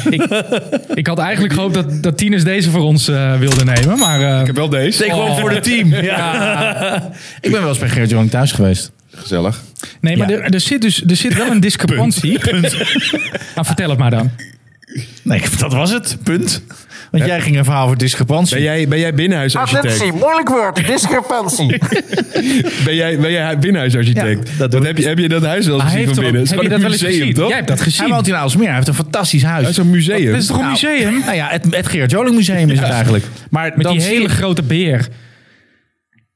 [SPEAKER 3] Ik had eigenlijk gehoopt dat, dat Tinus deze voor ons eh, wilde nemen. Maar eh,
[SPEAKER 2] Ik heb wel deze.
[SPEAKER 1] Take one voor het team. Ja. Ik ben wel eens bij Gerard Joling thuis geweest.
[SPEAKER 2] Gezellig.
[SPEAKER 3] nee, maar
[SPEAKER 1] Ja.
[SPEAKER 3] er, er zit dus er zit wel een discrepantie. (laughs) nou, vertel het maar dan.
[SPEAKER 1] Nee, dat was het. Punt. Want jij ging een verhaal voor discrepantie.
[SPEAKER 2] Ben jij, ben jij binnenhuisarchitect?
[SPEAKER 4] Attentie, moeilijk woord, discrepantie.
[SPEAKER 2] Ben jij, ben jij binnenhuisarchitect?
[SPEAKER 1] Ja, dat doe
[SPEAKER 2] Want heb, je, heb je dat huis wel eens
[SPEAKER 3] Maar
[SPEAKER 2] gezien
[SPEAKER 3] hij
[SPEAKER 2] van
[SPEAKER 3] heeft toch-
[SPEAKER 2] binnen? Het is
[SPEAKER 3] heb je
[SPEAKER 2] gewoon
[SPEAKER 3] dat wel
[SPEAKER 2] een
[SPEAKER 3] eens
[SPEAKER 2] museum,
[SPEAKER 3] gezien?
[SPEAKER 2] toch?
[SPEAKER 3] Jij hebt dat gezien.
[SPEAKER 1] Hij woont in Aalsmeer. Hij heeft een fantastisch huis.
[SPEAKER 2] Dat is een museum.
[SPEAKER 3] Dat is toch een museum?
[SPEAKER 1] Nou ja, het, het Gerard Joling Museum is het eigenlijk. Maar
[SPEAKER 3] Met
[SPEAKER 1] dan
[SPEAKER 3] die
[SPEAKER 1] zie
[SPEAKER 3] hele
[SPEAKER 1] je-
[SPEAKER 3] grote beer.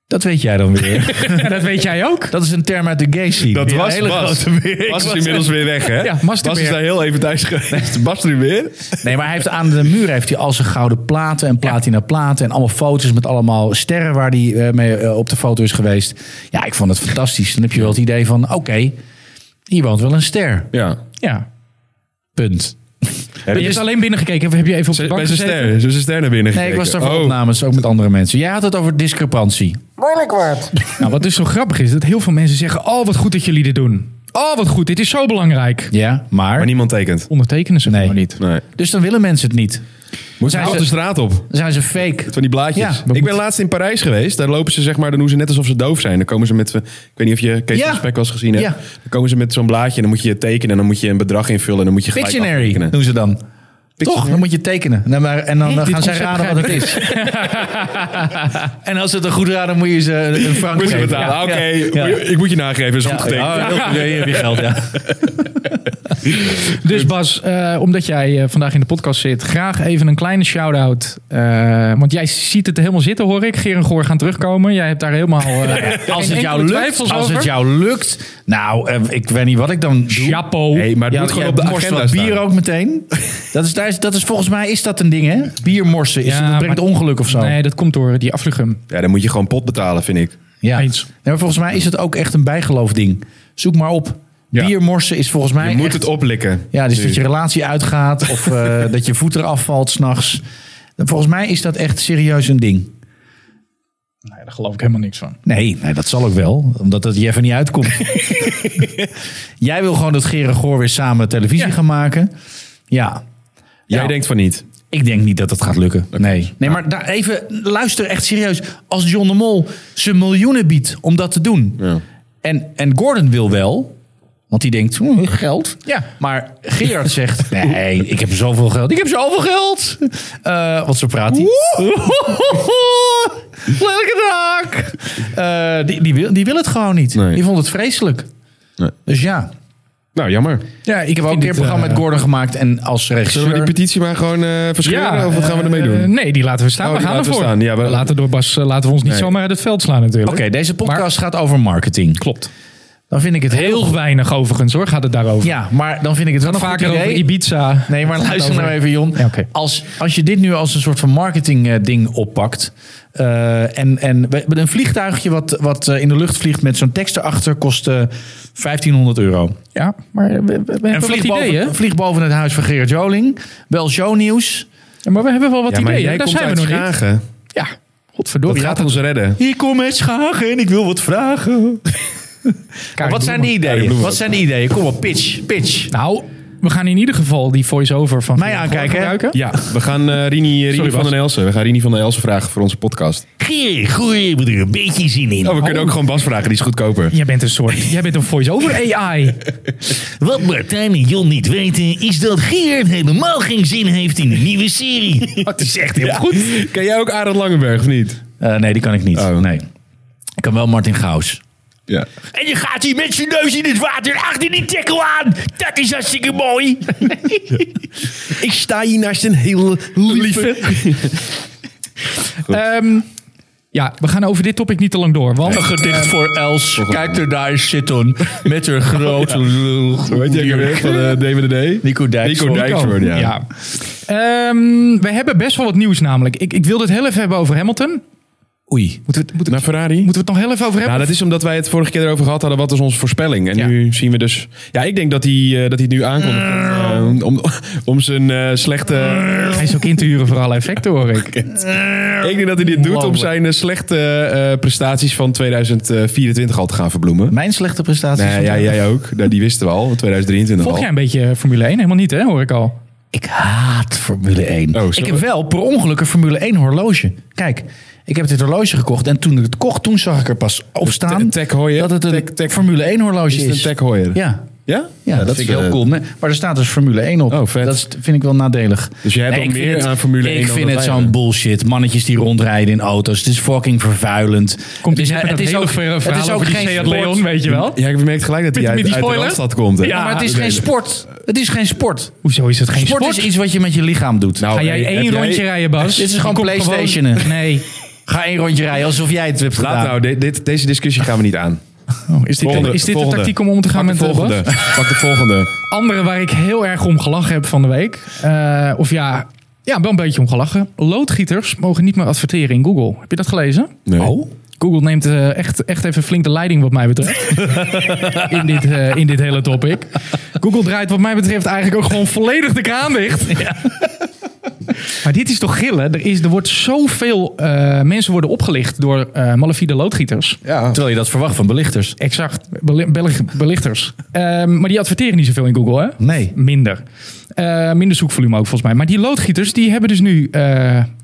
[SPEAKER 1] Dat weet jij dan weer.
[SPEAKER 3] Ja, dat weet jij ook.
[SPEAKER 1] dat is een term uit de gay scene.
[SPEAKER 2] (laughs) Dat
[SPEAKER 1] Ja,
[SPEAKER 2] was
[SPEAKER 1] hele
[SPEAKER 2] Bas.
[SPEAKER 1] grote beer.
[SPEAKER 2] Bas is
[SPEAKER 1] Ik
[SPEAKER 2] inmiddels weer weg, hè?
[SPEAKER 3] Ja, Bas
[SPEAKER 2] Bas
[SPEAKER 3] er weer.
[SPEAKER 2] is daar heel even thuis (laughs) geweest. Bas nu weer?
[SPEAKER 1] was- Nee, maar hij heeft aan de muur heeft hij al zijn gouden platen en platina platen. En allemaal foto's met allemaal sterren waar hij eh, mee eh, op de foto is geweest. Ja, ik vond het fantastisch. Dan heb je wel het idee van, oké, hier woont wel een ster.
[SPEAKER 2] Ja.
[SPEAKER 3] Ja.
[SPEAKER 1] Punt.
[SPEAKER 3] je hebt alleen binnengekeken of heb je even op de bank
[SPEAKER 2] Bij zijn
[SPEAKER 3] gezeten?
[SPEAKER 2] ster, zijn ster naar binnen
[SPEAKER 1] Nee, ik was daar
[SPEAKER 2] gekeken.
[SPEAKER 1] voor
[SPEAKER 2] oh,
[SPEAKER 1] opnames, ook met andere mensen. Jij had het over discrepantie.
[SPEAKER 4] Moeilijk woord.
[SPEAKER 3] Nou, wat dus zo grappig is, dat heel veel mensen zeggen... Oh, wat goed dat jullie dit doen. Oh, wat goed, dit is zo belangrijk.
[SPEAKER 1] Ja, maar...
[SPEAKER 2] maar niemand tekent.
[SPEAKER 3] Ondertekenen ze
[SPEAKER 1] Nee.
[SPEAKER 3] gewoon niet.
[SPEAKER 2] Nee.
[SPEAKER 1] Dus dan willen mensen het niet.
[SPEAKER 2] Moet je
[SPEAKER 1] Zijn
[SPEAKER 2] nou
[SPEAKER 1] ze-
[SPEAKER 2] de straat op?
[SPEAKER 1] Dan zijn ze fake.
[SPEAKER 2] Van die blaadjes.
[SPEAKER 1] Ja, we
[SPEAKER 2] ik
[SPEAKER 1] moeten-
[SPEAKER 2] ben laatst in Parijs geweest. Daar lopen ze zeg maar, dan doen ze net alsof ze doof zijn. Dan komen ze met, eh, ik weet niet of je Kees
[SPEAKER 1] Ja.
[SPEAKER 2] van Spek wel eens gezien hebt.
[SPEAKER 1] Ja.
[SPEAKER 2] Dan komen ze met zo'n blaadje en dan moet je tekenen. En dan moet je een bedrag invullen en dan moet je gelijk
[SPEAKER 1] Pictionary
[SPEAKER 2] afrekenen.
[SPEAKER 1] doen ze dan. Toch, dan moet je tekenen. Nou, maar, en dan eh,
[SPEAKER 3] dit
[SPEAKER 1] gaan zij
[SPEAKER 3] concept
[SPEAKER 1] raden wat het is. (laughs) en als ze het dan goed raden, moet je ze een frank
[SPEAKER 2] Moet je
[SPEAKER 1] geven.
[SPEAKER 2] betalen.
[SPEAKER 1] Ja,
[SPEAKER 2] Oké,
[SPEAKER 1] ja, ja.
[SPEAKER 2] moet je- ik moet je nageven. Is
[SPEAKER 1] Ja,
[SPEAKER 2] goed getekend.
[SPEAKER 1] oh, heel goed. Ja, hier heb je geld,
[SPEAKER 3] (laughs)
[SPEAKER 1] ja.
[SPEAKER 3] Dus Bas, eh, omdat jij eh, vandaag in de podcast zit... graag even een kleine shout-out. eh, want jij ziet het helemaal zitten, hoor ik. Geer en Goor gaan terugkomen. Jij hebt daar helemaal...
[SPEAKER 1] (laughs)
[SPEAKER 3] eh,
[SPEAKER 1] Als
[SPEAKER 3] geen
[SPEAKER 1] het jou
[SPEAKER 3] enkele twijfels
[SPEAKER 1] lukt, als het
[SPEAKER 3] over.
[SPEAKER 1] jou lukt. Nou, eh, ik weet niet wat ik dan doe.
[SPEAKER 3] Chapeau.
[SPEAKER 2] Hey, maar het
[SPEAKER 1] Ja,
[SPEAKER 2] moet gewoon
[SPEAKER 1] jij
[SPEAKER 2] op de
[SPEAKER 1] morst
[SPEAKER 2] agenda
[SPEAKER 1] wat bier
[SPEAKER 2] staan.
[SPEAKER 1] ook meteen. Dat is, daar is, dat is volgens mij is dat een ding, hè? Bier morsen. Is,
[SPEAKER 3] Ja,
[SPEAKER 1] dat brengt
[SPEAKER 3] maar-
[SPEAKER 1] ongeluk of zo.
[SPEAKER 3] Nee, dat komt door die afvlugum.
[SPEAKER 2] Ja, dan moet je gewoon pot betalen, vind ik.
[SPEAKER 1] ja.
[SPEAKER 3] eens.
[SPEAKER 1] Nee, maar volgens mij is het ook echt een bijgeloofding. Zoek maar op.
[SPEAKER 2] Ja.
[SPEAKER 1] Bier morsen is volgens mij
[SPEAKER 2] Je moet
[SPEAKER 1] echt-
[SPEAKER 2] het oplikken.
[SPEAKER 1] Ja, dus
[SPEAKER 2] Nu.
[SPEAKER 1] dat je relatie uitgaat of (laughs) eh, dat je voet eraf valt s'nachts. Volgens mij is dat echt serieus een ding.
[SPEAKER 3] Nee, daar geloof ik helemaal niks van.
[SPEAKER 1] Nee, nee dat zal ook wel, omdat het je even niet uitkomt. (laughs) Jij wil gewoon dat Ger en Goor weer samen televisie
[SPEAKER 3] Ja.
[SPEAKER 1] gaan maken. Ja,
[SPEAKER 2] Jij
[SPEAKER 1] Ja.
[SPEAKER 2] denkt van niet.
[SPEAKER 1] ik denk niet dat dat gaat lukken. Nee, nee maar daar even luister echt serieus. Als John de Mol zijn miljoenen biedt om dat te doen. En, en Gordon wil wel, want die denkt, "Hm, geld.
[SPEAKER 3] Ja.
[SPEAKER 1] Maar (laughs) Gerard zegt, nee, ik heb zoveel geld. Ik heb zoveel geld. Eh wat zo praat hij. Lelijke dag. Eh, die, die, wil, die wil het gewoon niet.
[SPEAKER 2] Nee.
[SPEAKER 1] Die vond het vreselijk.
[SPEAKER 2] Nee.
[SPEAKER 1] Dus ja.
[SPEAKER 2] Nou, jammer.
[SPEAKER 1] Ja, ik heb ook een keer een
[SPEAKER 3] dit,
[SPEAKER 1] programma
[SPEAKER 3] eh,
[SPEAKER 1] met Gordon gemaakt. En als regisseur...
[SPEAKER 2] Zullen we die petitie maar gewoon eh verscheuren? of wat gaan we ermee
[SPEAKER 3] eh,
[SPEAKER 2] doen?
[SPEAKER 3] nee, die laten we staan.
[SPEAKER 2] Oh,
[SPEAKER 3] we
[SPEAKER 2] die
[SPEAKER 3] gaan
[SPEAKER 2] laten we
[SPEAKER 3] ervoor.
[SPEAKER 2] staan. Ja, we-
[SPEAKER 3] laten, door Bas, eh, laten we ons niet
[SPEAKER 2] Nee.
[SPEAKER 3] zomaar uit het veld slaan natuurlijk.
[SPEAKER 1] Oké, deze podcast gaat over marketing.
[SPEAKER 3] Klopt.
[SPEAKER 1] Dan vind ik het heel...
[SPEAKER 3] Heel weinig overigens hoor, gaat het daarover.
[SPEAKER 1] Ja, maar dan vind ik het wel een
[SPEAKER 3] Vaker
[SPEAKER 1] goed
[SPEAKER 3] over
[SPEAKER 1] idee.
[SPEAKER 3] Ibiza.
[SPEAKER 1] Nee, maar luister nou even, Jon.
[SPEAKER 3] Ja, oké.
[SPEAKER 1] als, als je dit nu als een soort van marketingding oppakt. eh, en, en we hebben een vliegtuigje wat, wat eh, in de lucht vliegt met zo'n tekst erachter kost eh, 1500 euro.
[SPEAKER 3] Ja, maar we, we- we
[SPEAKER 1] En
[SPEAKER 3] hebben wat
[SPEAKER 1] vlieg
[SPEAKER 3] ideeën.
[SPEAKER 1] boven, vlieg boven het huis van Gerard Joling. Wel shownieuws.
[SPEAKER 3] Ja, maar we hebben wel wat
[SPEAKER 2] Ja, maar
[SPEAKER 3] ideeën.
[SPEAKER 2] jij
[SPEAKER 3] Daar
[SPEAKER 2] komt
[SPEAKER 3] zijn we
[SPEAKER 2] uit
[SPEAKER 3] nog niet.
[SPEAKER 2] Schagen.
[SPEAKER 3] Ja,
[SPEAKER 2] Dat
[SPEAKER 3] godverdorie.
[SPEAKER 2] gaat ons redden.
[SPEAKER 1] Hier kom het schagen en ik wil wat vragen.
[SPEAKER 3] Karin
[SPEAKER 1] wat zijn de
[SPEAKER 3] Bloemen.
[SPEAKER 2] Karin
[SPEAKER 1] ideeën?
[SPEAKER 2] Bloemen.
[SPEAKER 1] Wat zijn de ideeën? Kom op, pitch, pitch.
[SPEAKER 3] Nou, we gaan in ieder geval die voice-over van...
[SPEAKER 1] Mij
[SPEAKER 3] Gerard
[SPEAKER 1] aankijken, hè?
[SPEAKER 3] gebruiken.
[SPEAKER 2] Ja, (laughs) we gaan eh, Rini, Rini
[SPEAKER 3] Sorry,
[SPEAKER 2] van
[SPEAKER 3] Bas. Oh,
[SPEAKER 2] den Elsen. We gaan Rini van den Elsen vragen voor onze podcast.
[SPEAKER 1] Geer, goeie, moet er een beetje zin in.
[SPEAKER 2] Oh, we kunnen ook gewoon Bas vragen. Die is goedkoper.
[SPEAKER 3] Jij bent een
[SPEAKER 1] (laughs)
[SPEAKER 3] soort... Jij bent een voice-over AI.
[SPEAKER 5] Wat Martijn en Jon niet weten, is dat Geert helemaal geen zin heeft in de nieuwe
[SPEAKER 2] (laughs)
[SPEAKER 5] serie.
[SPEAKER 3] Dat is echt heel goed.
[SPEAKER 2] Ken jij ook Arend Langenberg of niet?
[SPEAKER 1] Eh, nee, die kan ik niet.
[SPEAKER 2] Oh.
[SPEAKER 1] Nee. Ik kan wel Martin Gauws.
[SPEAKER 2] Ja.
[SPEAKER 5] En je gaat hier met zijn neus in het water achter die tackle aan. Dat is hartstikke mooi.
[SPEAKER 2] (laughs) Ik sta hier naast een heel lieve... (laughs)
[SPEAKER 3] Ehm, ja, we gaan over dit topic niet te lang door. Want
[SPEAKER 1] Een gedicht voor Els. Kijk er daar zitten. Met
[SPEAKER 2] (laughs)
[SPEAKER 1] haar grote
[SPEAKER 2] Weet je ook weer van eh, DWDD?
[SPEAKER 1] Nico Dijkshoorn.
[SPEAKER 2] Nico Dijkshoorn, ja.
[SPEAKER 3] Oh, Ja. Ehm, we hebben best wel wat nieuws namelijk. Ik, ik wilde het heel even hebben over Hamilton.
[SPEAKER 1] Oei.
[SPEAKER 3] Moeten we, het- moeten, we
[SPEAKER 2] Naar
[SPEAKER 3] het-
[SPEAKER 2] Ferrari?
[SPEAKER 3] moeten we het nog heel even over
[SPEAKER 2] Nou,
[SPEAKER 3] hebben?
[SPEAKER 2] dat is omdat wij het vorige keer erover gehad hadden. Wat is onze voorspelling? En
[SPEAKER 3] Ja.
[SPEAKER 2] nu zien we dus... Ja, ik denk dat hij, eh, dat hij het nu aankondigt.
[SPEAKER 3] Mm.
[SPEAKER 2] eh, om, om zijn eh, slechte...
[SPEAKER 3] Hij is ook in te huren voor alle effecten, hoor ik.
[SPEAKER 2] Ik denk dat hij dit doet om
[SPEAKER 1] Wow.
[SPEAKER 2] zijn eh, slechte eh, prestaties van 2024 al te gaan verbloemen.
[SPEAKER 1] Mijn slechte prestaties.
[SPEAKER 2] Nee, ja, jij ook. Nou, die wisten we al. 2023
[SPEAKER 3] Volg
[SPEAKER 2] al.
[SPEAKER 3] jij een beetje Formule 1? Helemaal niet, hè? Hoor ik al.
[SPEAKER 1] Ik haat Formule 1.
[SPEAKER 2] Oh, snap
[SPEAKER 1] ik heb
[SPEAKER 2] ik.
[SPEAKER 1] wel per ongeluk een Formule 1 horloge. Kijk, ik heb dit horloge gekocht. En toen ik het kocht, toen zag ik er pas op staan
[SPEAKER 2] Te- Tech Heuer.
[SPEAKER 1] dat het een
[SPEAKER 2] Tech- Tech-
[SPEAKER 1] Formule 1 horloge
[SPEAKER 2] Is
[SPEAKER 1] is.
[SPEAKER 2] het een Tech Heuer?
[SPEAKER 1] Ja.
[SPEAKER 2] Ja?
[SPEAKER 1] Ja, dat, vind ik heel
[SPEAKER 2] eh,
[SPEAKER 1] cool. Nee, Maar er staat dus Formule 1 op.
[SPEAKER 2] Oh, vet.
[SPEAKER 1] Dat is, vind ik wel nadelig.
[SPEAKER 2] Dus jij hebt
[SPEAKER 1] Nee,
[SPEAKER 2] al
[SPEAKER 1] ik
[SPEAKER 2] meer
[SPEAKER 1] vind het-
[SPEAKER 2] aan Formule 1
[SPEAKER 1] Ik
[SPEAKER 2] dan
[SPEAKER 1] vind
[SPEAKER 2] dat
[SPEAKER 1] het
[SPEAKER 2] wij
[SPEAKER 1] zo'n
[SPEAKER 2] hebben.
[SPEAKER 1] bullshit. Mannetjes die rondrijden in auto's. Het is fucking vervuilend.
[SPEAKER 3] Komt
[SPEAKER 1] het
[SPEAKER 3] hij
[SPEAKER 1] is, het
[SPEAKER 3] met dat
[SPEAKER 1] is
[SPEAKER 3] hele
[SPEAKER 1] ook,
[SPEAKER 3] verhaal
[SPEAKER 1] het is ook
[SPEAKER 3] over die
[SPEAKER 1] geen
[SPEAKER 3] Seat
[SPEAKER 1] sport.
[SPEAKER 3] Leon, weet je wel?
[SPEAKER 2] Ja, ik merk gelijk dat hij uit,
[SPEAKER 3] Met- met die
[SPEAKER 2] uit de
[SPEAKER 3] spoiler?
[SPEAKER 2] Randstad komt. hè?
[SPEAKER 3] Ja.
[SPEAKER 1] Ja, maar het is geen sport. Het is geen sport.
[SPEAKER 3] Hoezo is het geen
[SPEAKER 1] Sport,
[SPEAKER 3] sport?
[SPEAKER 1] is iets wat je met je lichaam doet.
[SPEAKER 2] Nou,
[SPEAKER 3] Ga jij
[SPEAKER 2] hey,
[SPEAKER 3] één
[SPEAKER 2] heb jij-
[SPEAKER 3] rondje rijden, Bas?
[SPEAKER 1] Dit is gewoon
[SPEAKER 3] Je komt
[SPEAKER 1] PlayStationen.
[SPEAKER 3] Nee.
[SPEAKER 1] Ga één rondje rijden alsof jij het hebt
[SPEAKER 2] Laat
[SPEAKER 1] gedaan.
[SPEAKER 2] nou, dit, dit- deze discussie gaan we niet aan.
[SPEAKER 3] Oh, is dit,
[SPEAKER 2] Volgende,
[SPEAKER 3] is dit de
[SPEAKER 2] volgende.
[SPEAKER 3] tactiek om om te gaan
[SPEAKER 2] Pak de
[SPEAKER 3] met eh, Bas?
[SPEAKER 2] volgende. Pak de volgende.
[SPEAKER 3] Andere waar ik heel erg om gelachen heb van de week. eh, of ja, ja, wel een beetje om gelachen. Loodgieters mogen niet meer adverteren in Google. Heb je dat gelezen?
[SPEAKER 2] Nee.
[SPEAKER 1] Oh?
[SPEAKER 3] Google neemt eh, echt, echt even flink de leiding wat mij betreft. in, dit, eh, in dit hele topic. Google draait wat mij betreft eigenlijk ook gewoon volledig de kraan dicht. (laughs) Maar dit is toch gillen? Er, is, er wordt zoveel eh, mensen worden opgelicht door eh malafide loodgieters.
[SPEAKER 2] Ja.
[SPEAKER 1] Terwijl je dat verwacht van belichters.
[SPEAKER 3] Exact, Beli- belig- belichters. Ehm, maar die adverteren niet zoveel in Google, hè?
[SPEAKER 1] Nee.
[SPEAKER 3] Minder. Eh, minder zoekvolume ook volgens mij. Maar die loodgieters, die hebben dus nu eh,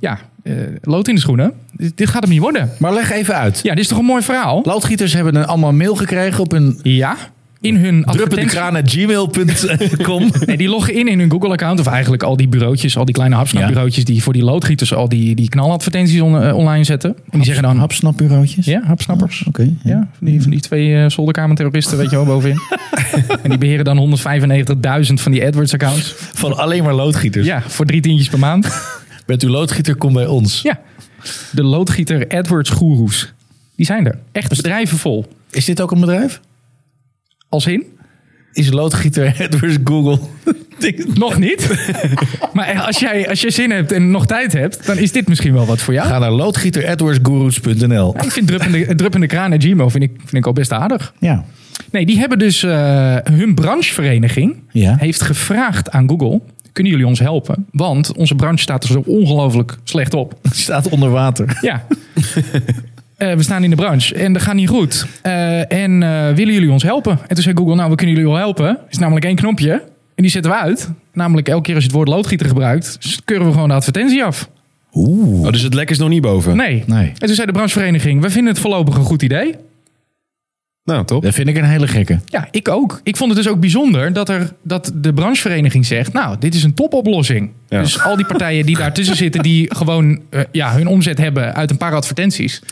[SPEAKER 3] ja, eh, lood in de schoenen. Dit, dit gaat hem niet worden.
[SPEAKER 1] Maar leg even uit.
[SPEAKER 3] Ja, dit is toch een mooi verhaal?
[SPEAKER 1] Loodgieters hebben een allemaal mail gekregen op een
[SPEAKER 3] Ja. In hun
[SPEAKER 1] (laughs)
[SPEAKER 3] advertentie.
[SPEAKER 1] druppendekraan.gmail.com.
[SPEAKER 3] (laughs) Nee, die loggen in in hun Google-account. Of eigenlijk al die bureautjes, al die kleine hapsnapbureautjes... die voor die loodgieters al die, die knaladvertenties on- eh, online zetten. En die zeggen dan... hap-
[SPEAKER 1] Hapsnapbureautjes?
[SPEAKER 3] Ja, hapsnappers.
[SPEAKER 1] Oké.
[SPEAKER 3] Ja, van die, van die twee eh, zolderkamerterroristen, weet je wel, bovenin. en die beheren dan 195.000 van die AdWords-accounts.
[SPEAKER 1] Van alleen maar loodgieters.
[SPEAKER 3] Ja, voor drie tientjes per maand.
[SPEAKER 1] Bent u loodgieter, kom bij ons.
[SPEAKER 3] Ja. De loodgieter AdWords goeroes. Die zijn er. Echt bedrijven vol.
[SPEAKER 1] Is dit ook een bedrijf?
[SPEAKER 3] Als in?
[SPEAKER 1] Is loodgieter (laughs) AdWords Google?
[SPEAKER 3] Nog niet. (laughs) maar als jij, als jij zin hebt en nog tijd hebt, dan is dit misschien wel wat voor jou.
[SPEAKER 1] Ga naar loodgieteradwordsgurus.nl.
[SPEAKER 3] Ik vind druppende, druppende kraan en Gmail vind ik, vind ik al best aardig.
[SPEAKER 1] Ja.
[SPEAKER 3] Nee, die hebben dus eh, hun branchevereniging
[SPEAKER 1] Ja.
[SPEAKER 3] heeft gevraagd aan Google. Kunnen jullie ons helpen? Want onze branche staat er zo ongelooflijk slecht
[SPEAKER 1] (laughs)
[SPEAKER 3] op.
[SPEAKER 1] Het staat onder water.
[SPEAKER 3] Ja. (laughs) Eh, we staan in de branche en dat gaat niet goed. Eh, en eh, willen jullie ons helpen? En toen zei Google, nou, we kunnen jullie wel helpen. Er is namelijk één knopje en die zetten we uit. Namelijk elke keer als je het woord loodgieter gebruikt, s- keuren we gewoon de advertentie af.
[SPEAKER 1] Oeh.
[SPEAKER 2] Oh, dus het lek is nog niet boven.
[SPEAKER 3] Nee.
[SPEAKER 1] Nee.
[SPEAKER 3] En toen zei de branchevereniging, we vinden het voorlopig een goed idee.
[SPEAKER 2] Nou, top.
[SPEAKER 1] Dat vind ik een hele gekke.
[SPEAKER 3] Ja, ik ook. Ik vond het dus ook bijzonder dat, er, dat de branchevereniging zegt, nou, dit is een topoplossing.
[SPEAKER 2] Ja.
[SPEAKER 3] Dus al die partijen die daartussen (laughs) zitten, die gewoon eh, ja, hun omzet hebben uit een paar advertenties.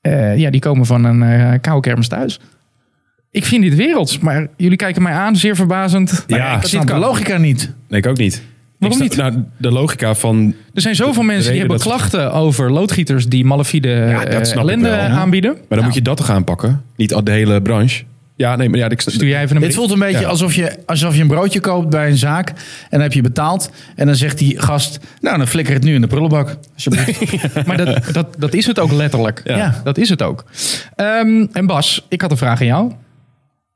[SPEAKER 3] eh, ja, die komen van een eh koude kermis thuis. Ik vind dit werelds, maar jullie kijken mij aan, zeer verbazend. Maar
[SPEAKER 1] ja,
[SPEAKER 3] dat
[SPEAKER 1] ik
[SPEAKER 3] dit
[SPEAKER 1] snap de
[SPEAKER 3] kan.
[SPEAKER 1] logica niet.
[SPEAKER 2] Nee, ik ook niet.
[SPEAKER 3] Waarom
[SPEAKER 2] Ik sta- Nou, de logica van...
[SPEAKER 3] Er zijn zoveel mensen die
[SPEAKER 2] reden
[SPEAKER 3] hebben
[SPEAKER 2] dat-
[SPEAKER 3] klachten over loodgieters die malafide
[SPEAKER 2] Ja, dat
[SPEAKER 3] eh,
[SPEAKER 2] snap ik
[SPEAKER 3] ellende
[SPEAKER 2] wel.
[SPEAKER 3] aanbieden.
[SPEAKER 2] Maar dan moet je dat toch aanpakken? Niet al de hele branche. Ja, nee, maar ja, ik...
[SPEAKER 3] Stuur Dus jij even een
[SPEAKER 1] Dit
[SPEAKER 3] bericht?
[SPEAKER 1] voelt een beetje
[SPEAKER 2] Ja.
[SPEAKER 1] alsof, je, alsof je een broodje koopt bij een zaak. En dan heb je betaald. En dan zegt die gast, nou dan flikker het nu in de prullenbak. Alsjeblieft.
[SPEAKER 3] Maar dat, dat, dat is het ook letterlijk.
[SPEAKER 2] Ja.
[SPEAKER 1] Ja.
[SPEAKER 3] Dat is het ook. Ehm, en Bas, ik had een vraag aan jou.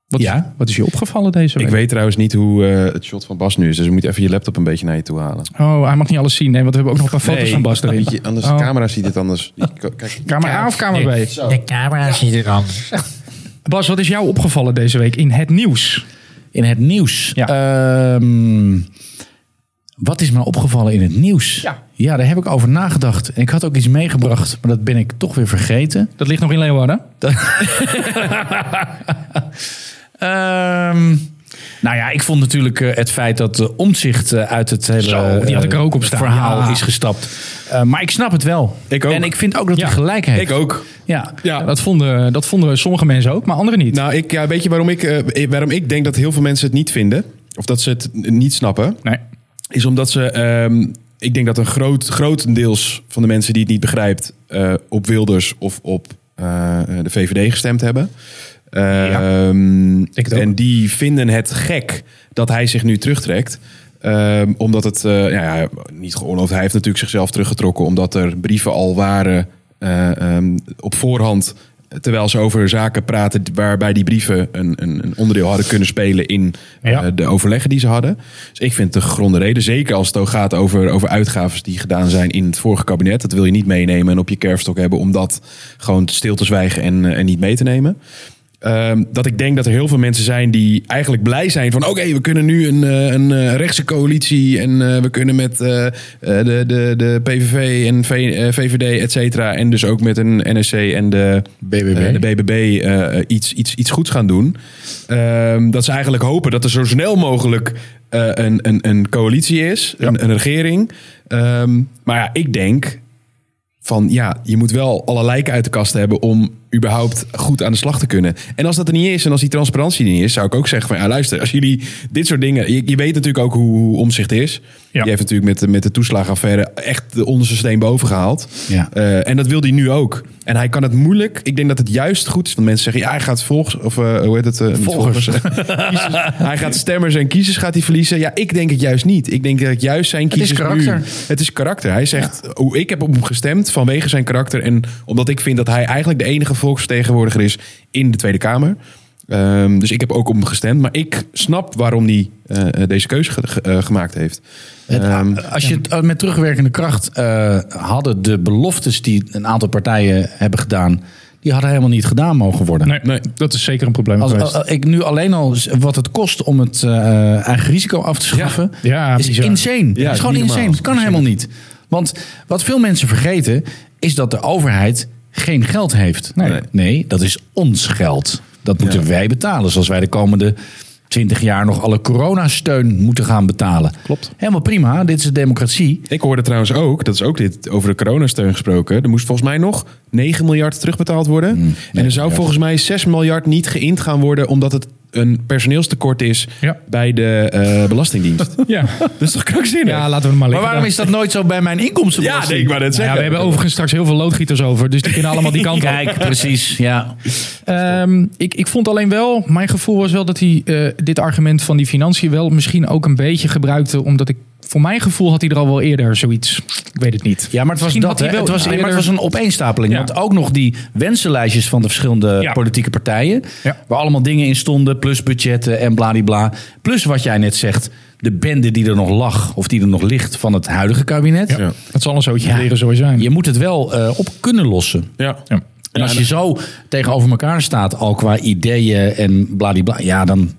[SPEAKER 3] Wat,
[SPEAKER 1] Ja?
[SPEAKER 3] wat is je opgevallen deze week?
[SPEAKER 2] Ik weet trouwens niet hoe eh, het shot van Bas nu is. Dus we moeten even je laptop een beetje naar je toe halen.
[SPEAKER 3] Oh, hij mag niet alles zien. Nee, want we hebben ook nog een paar foto's van
[SPEAKER 2] (laughs)
[SPEAKER 3] Bas erin.
[SPEAKER 2] Weet je, anders
[SPEAKER 3] Oh.
[SPEAKER 2] de camera ziet het anders. Die- k- Kijk,
[SPEAKER 3] Kamer A of kamer B?
[SPEAKER 4] De camera ziet er anders.
[SPEAKER 3] Bas, wat is jou opgevallen deze week in het nieuws?
[SPEAKER 1] In het nieuws.
[SPEAKER 3] Ja.
[SPEAKER 1] Ehm, wat is me nou opgevallen in het nieuws?
[SPEAKER 3] Ja.
[SPEAKER 1] daar heb ik over nagedacht. En ik had ook iets meegebracht, maar dat ben ik toch weer vergeten.
[SPEAKER 3] Dat ligt nog in Leeuwarden.
[SPEAKER 1] Ehm, nou ja, ik vond natuurlijk eh, het feit dat de omzicht eh, uit het hele
[SPEAKER 3] Zo, die had ik er ook op
[SPEAKER 1] eh,
[SPEAKER 3] staan.
[SPEAKER 1] verhaal
[SPEAKER 3] Ja.
[SPEAKER 1] is gestapt. Eh, maar ik snap het wel.
[SPEAKER 2] Ik ook.
[SPEAKER 1] En ik vind ook dat hij
[SPEAKER 3] Ja.
[SPEAKER 1] gelijk heeft.
[SPEAKER 2] ik ook.
[SPEAKER 1] Ja.
[SPEAKER 2] Ja.
[SPEAKER 3] Dat, vonden, dat vonden sommige mensen ook, maar anderen niet.
[SPEAKER 2] Nou, ik, ja, weet je waarom ik, eh, waarom ik denk dat heel veel mensen het niet vinden? Of dat ze het niet snappen?
[SPEAKER 3] nee.
[SPEAKER 2] Is omdat ze... ehm, ik denk dat een groot, grotendeels van de mensen die het niet begrijpt... eh, op Wilders of op eh, de VVD gestemd hebben. Ehm,
[SPEAKER 3] het ook.
[SPEAKER 2] en die vinden het gek dat hij zich nu terugtrekt. Ehm, omdat het eh, ja, ja, niet geoorloofd. Hij heeft natuurlijk zichzelf teruggetrokken omdat er brieven al waren eh, ehm, op voorhand. Terwijl ze over zaken praten waarbij die brieven een, een, een onderdeel hadden kunnen spelen in
[SPEAKER 3] Ja.
[SPEAKER 2] eh, de overleggen die ze hadden. Dus ik vind het een gegronde reden. Zeker als het ook gaat over, over uitgaven die gedaan zijn in het vorige kabinet. Dat wil je niet meenemen en op je kerfstok hebben om dat gewoon stil te zwijgen en, eh, en niet mee te nemen. Ehm, dat ik denk dat er heel veel mensen zijn die eigenlijk blij zijn van... oké, we kunnen nu een, eh, een eh, rechtse coalitie en eh, we kunnen met eh, eh, de, de, de PVV en V- eh, VVD, et cetera... en dus ook met een NSC en de BBB, de BBB eh, eh, iets, iets, iets goeds gaan doen. Ehm, dat ze eigenlijk hopen dat er zo snel mogelijk eh, een, een, een coalitie is, een, een regering. Ehm, maar ja, ik denk van ja, je moet wel alle lijken uit de kast hebben om überhaupt goed aan de slag te kunnen. En als dat er niet is en als die transparantie er niet is, zou ik ook zeggen van ja, luister, als jullie dit soort dingen. Je, je weet natuurlijk ook hoe, hoe omzicht is.
[SPEAKER 3] Ja.
[SPEAKER 2] Die heeft natuurlijk met, de- met de toeslagenaffaire echt de onderste steen boven gehaald.
[SPEAKER 1] Ja.
[SPEAKER 2] Eh, en dat wil hij nu ook. En hij kan het moeilijk. Ik denk dat het juist goed is. Want mensen zeggen, ja, hij gaat volgers. Of eh, hoe heet het? eh, niet
[SPEAKER 1] Volgers.
[SPEAKER 2] Kiezers. hij gaat stemmers en kiezers gaat hij verliezen. Ja, ik denk het juist niet. Ik denk dat het juist
[SPEAKER 1] is
[SPEAKER 2] zijn kiezers
[SPEAKER 1] karakter.
[SPEAKER 2] nu... Het is karakter. Hij zegt, oh, ik heb op hem gestemd vanwege zijn karakter. En omdat ik vind dat hij eigenlijk de enige volksvertegenwoordiger is in de Tweede Kamer. Ehm, dus ik heb ook op hem gestemd. Maar ik snap waarom hij eh, eh, deze keuze ge- ge- eh, gemaakt heeft.
[SPEAKER 1] Het-
[SPEAKER 2] Ehm,
[SPEAKER 1] Als je het eh, met terugwerkende kracht eh, hadden de beloftes die een aantal partijen hebben gedaan, die hadden helemaal niet gedaan mogen worden.
[SPEAKER 3] Nee, dat is zeker een probleem
[SPEAKER 1] Als,
[SPEAKER 3] geweest.
[SPEAKER 1] als- ik nu alleen al z- wat het kost om het eh, eigen risico af te schaffen,
[SPEAKER 3] Ja,
[SPEAKER 1] is
[SPEAKER 3] bizar.
[SPEAKER 1] insane.
[SPEAKER 2] Ja,
[SPEAKER 1] is gewoon
[SPEAKER 2] niet normaal.
[SPEAKER 1] insane. Het kan helemaal niet. Want wat veel mensen vergeten is dat de overheid geen geld heeft.
[SPEAKER 3] Nee.
[SPEAKER 1] dat is ons geld. Dat moeten wij betalen. Zoals wij de komende 20 jaar nog alle coronasteun moeten gaan betalen.
[SPEAKER 2] Klopt.
[SPEAKER 1] Helemaal prima. Dit is de democratie.
[SPEAKER 2] Ik hoorde trouwens ook, dat is ook dit over de coronasteun gesproken. Er moest volgens mij nog 9 miljard terugbetaald worden. en er zou volgens mij 6 miljard niet geïnd gaan worden, omdat het een personeelstekort is
[SPEAKER 3] Ja.
[SPEAKER 2] bij de eh, Belastingdienst.
[SPEAKER 3] Ja.
[SPEAKER 2] dat is toch krankzinnig?
[SPEAKER 3] ja, laten we het maar liggen.
[SPEAKER 1] Maar waarom
[SPEAKER 3] dan.
[SPEAKER 1] is dat nooit zo bij mijn inkomstenbelasting?
[SPEAKER 2] (laughs) ja, nee, ik wou net
[SPEAKER 3] Nou ja,
[SPEAKER 2] zeggen.
[SPEAKER 3] we hebben overigens straks heel veel loodgieters over, dus die kunnen allemaal die kant op.
[SPEAKER 1] Kijk, precies. Ja.
[SPEAKER 3] Ehm, ik, ik vond alleen wel, mijn gevoel was wel dat hij eh, dit argument van die financiën wel misschien ook een beetje gebruikte. Omdat ik, voor mijn gevoel had hij er al wel eerder zoiets. Ik weet het niet.
[SPEAKER 1] Ja, maar het was
[SPEAKER 3] Misschien
[SPEAKER 1] dat.
[SPEAKER 3] had hij
[SPEAKER 1] hè.
[SPEAKER 3] wel
[SPEAKER 1] Het was,
[SPEAKER 3] eerder-
[SPEAKER 1] maar het was een opeenstapeling.
[SPEAKER 3] Ja.
[SPEAKER 1] Want ook nog die wensenlijstjes van de verschillende
[SPEAKER 3] Ja.
[SPEAKER 1] politieke partijen.
[SPEAKER 3] Ja.
[SPEAKER 1] Waar allemaal dingen in stonden. Plus budgetten en bladibla. Plus wat jij net zegt. De bende die er nog lag. Of die er nog ligt van het huidige kabinet.
[SPEAKER 2] Ja.
[SPEAKER 3] Dat zal een zootje
[SPEAKER 1] Ja.
[SPEAKER 3] leren zo zijn.
[SPEAKER 1] Je moet het wel eh, op kunnen lossen.
[SPEAKER 2] Ja.
[SPEAKER 3] Ja.
[SPEAKER 1] En als je zo tegenover elkaar staat. Al qua ideeën en bladibla. Ja, dan...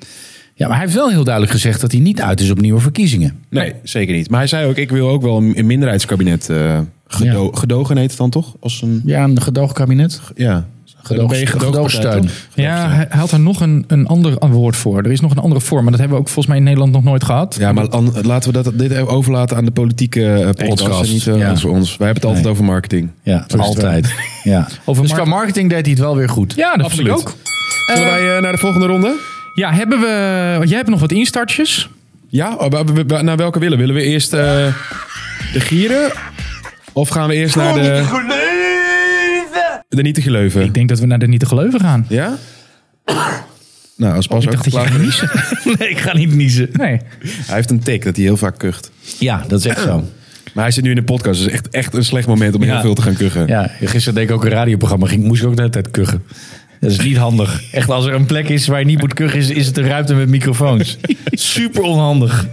[SPEAKER 1] Ja, maar hij heeft wel heel duidelijk gezegd dat hij niet uit is op nieuwe verkiezingen.
[SPEAKER 2] Nee, zeker niet. Maar hij zei ook, ik wil ook wel een, een minderheidskabinet eh gedo
[SPEAKER 1] Ja.
[SPEAKER 2] gedogen heet het dan toch? Als een,
[SPEAKER 1] Ja, een gedoogkabinet.
[SPEAKER 2] ja.
[SPEAKER 1] Gedoog-
[SPEAKER 2] Ben je gedoogpartij,
[SPEAKER 1] gedoogsteun.
[SPEAKER 2] toch?
[SPEAKER 3] Ja, hij hij had er nog een, een ander woord voor. Er is nog een andere vorm, maar dat hebben we ook volgens mij in Nederland nog nooit gehad.
[SPEAKER 2] Ja, maar an- laten we dat, dit even overlaten aan de politieke eh, podcast.
[SPEAKER 1] Podcast,
[SPEAKER 2] en Niet eh,
[SPEAKER 1] ja.
[SPEAKER 2] ons, ons. Wij hebben het altijd
[SPEAKER 1] Nee.
[SPEAKER 2] over marketing.
[SPEAKER 1] Ja, altijd. (laughs) Ja.
[SPEAKER 3] Over
[SPEAKER 1] dus
[SPEAKER 3] market-
[SPEAKER 1] qua marketing deed hij het wel weer goed.
[SPEAKER 3] Ja, dat vond ik
[SPEAKER 2] Absoluut.
[SPEAKER 3] ook.
[SPEAKER 2] Zullen wij eh, naar de volgende ronde?
[SPEAKER 3] Ja, hebben we. want Jij hebt nog wat instartjes.
[SPEAKER 2] Ja, oh, wa- wa- wa- naar welke willen? we? Willen we eerst eh, de gieren? Of gaan we eerst naar de... De niet te geleuven.
[SPEAKER 3] Ik denk dat we naar de niet te geloven gaan.
[SPEAKER 2] Ja? Nou, als Bas
[SPEAKER 3] ik
[SPEAKER 2] ook
[SPEAKER 3] dacht dat je
[SPEAKER 2] klaar
[SPEAKER 3] ging
[SPEAKER 2] is.
[SPEAKER 3] niezen.
[SPEAKER 1] (laughs) Nee, ik ga niet niezen.
[SPEAKER 3] Nee.
[SPEAKER 2] Hij heeft een tik dat hij heel vaak kucht.
[SPEAKER 1] Ja, dat is echt zo.
[SPEAKER 2] Maar hij zit nu in de podcast. Dus echt, echt een slecht moment om heel
[SPEAKER 1] Ja.
[SPEAKER 2] veel te gaan
[SPEAKER 1] (clears throat)
[SPEAKER 2] kuchen.
[SPEAKER 1] Ja, gisteren deed ik ook een radioprogramma. Ging, moest ik ook de hele tijd kuchen. Dat is niet handig. Echt, als er een plek is waar je niet moet kuchen, is, is het een ruimte met (laughs) microfoons. Super onhandig.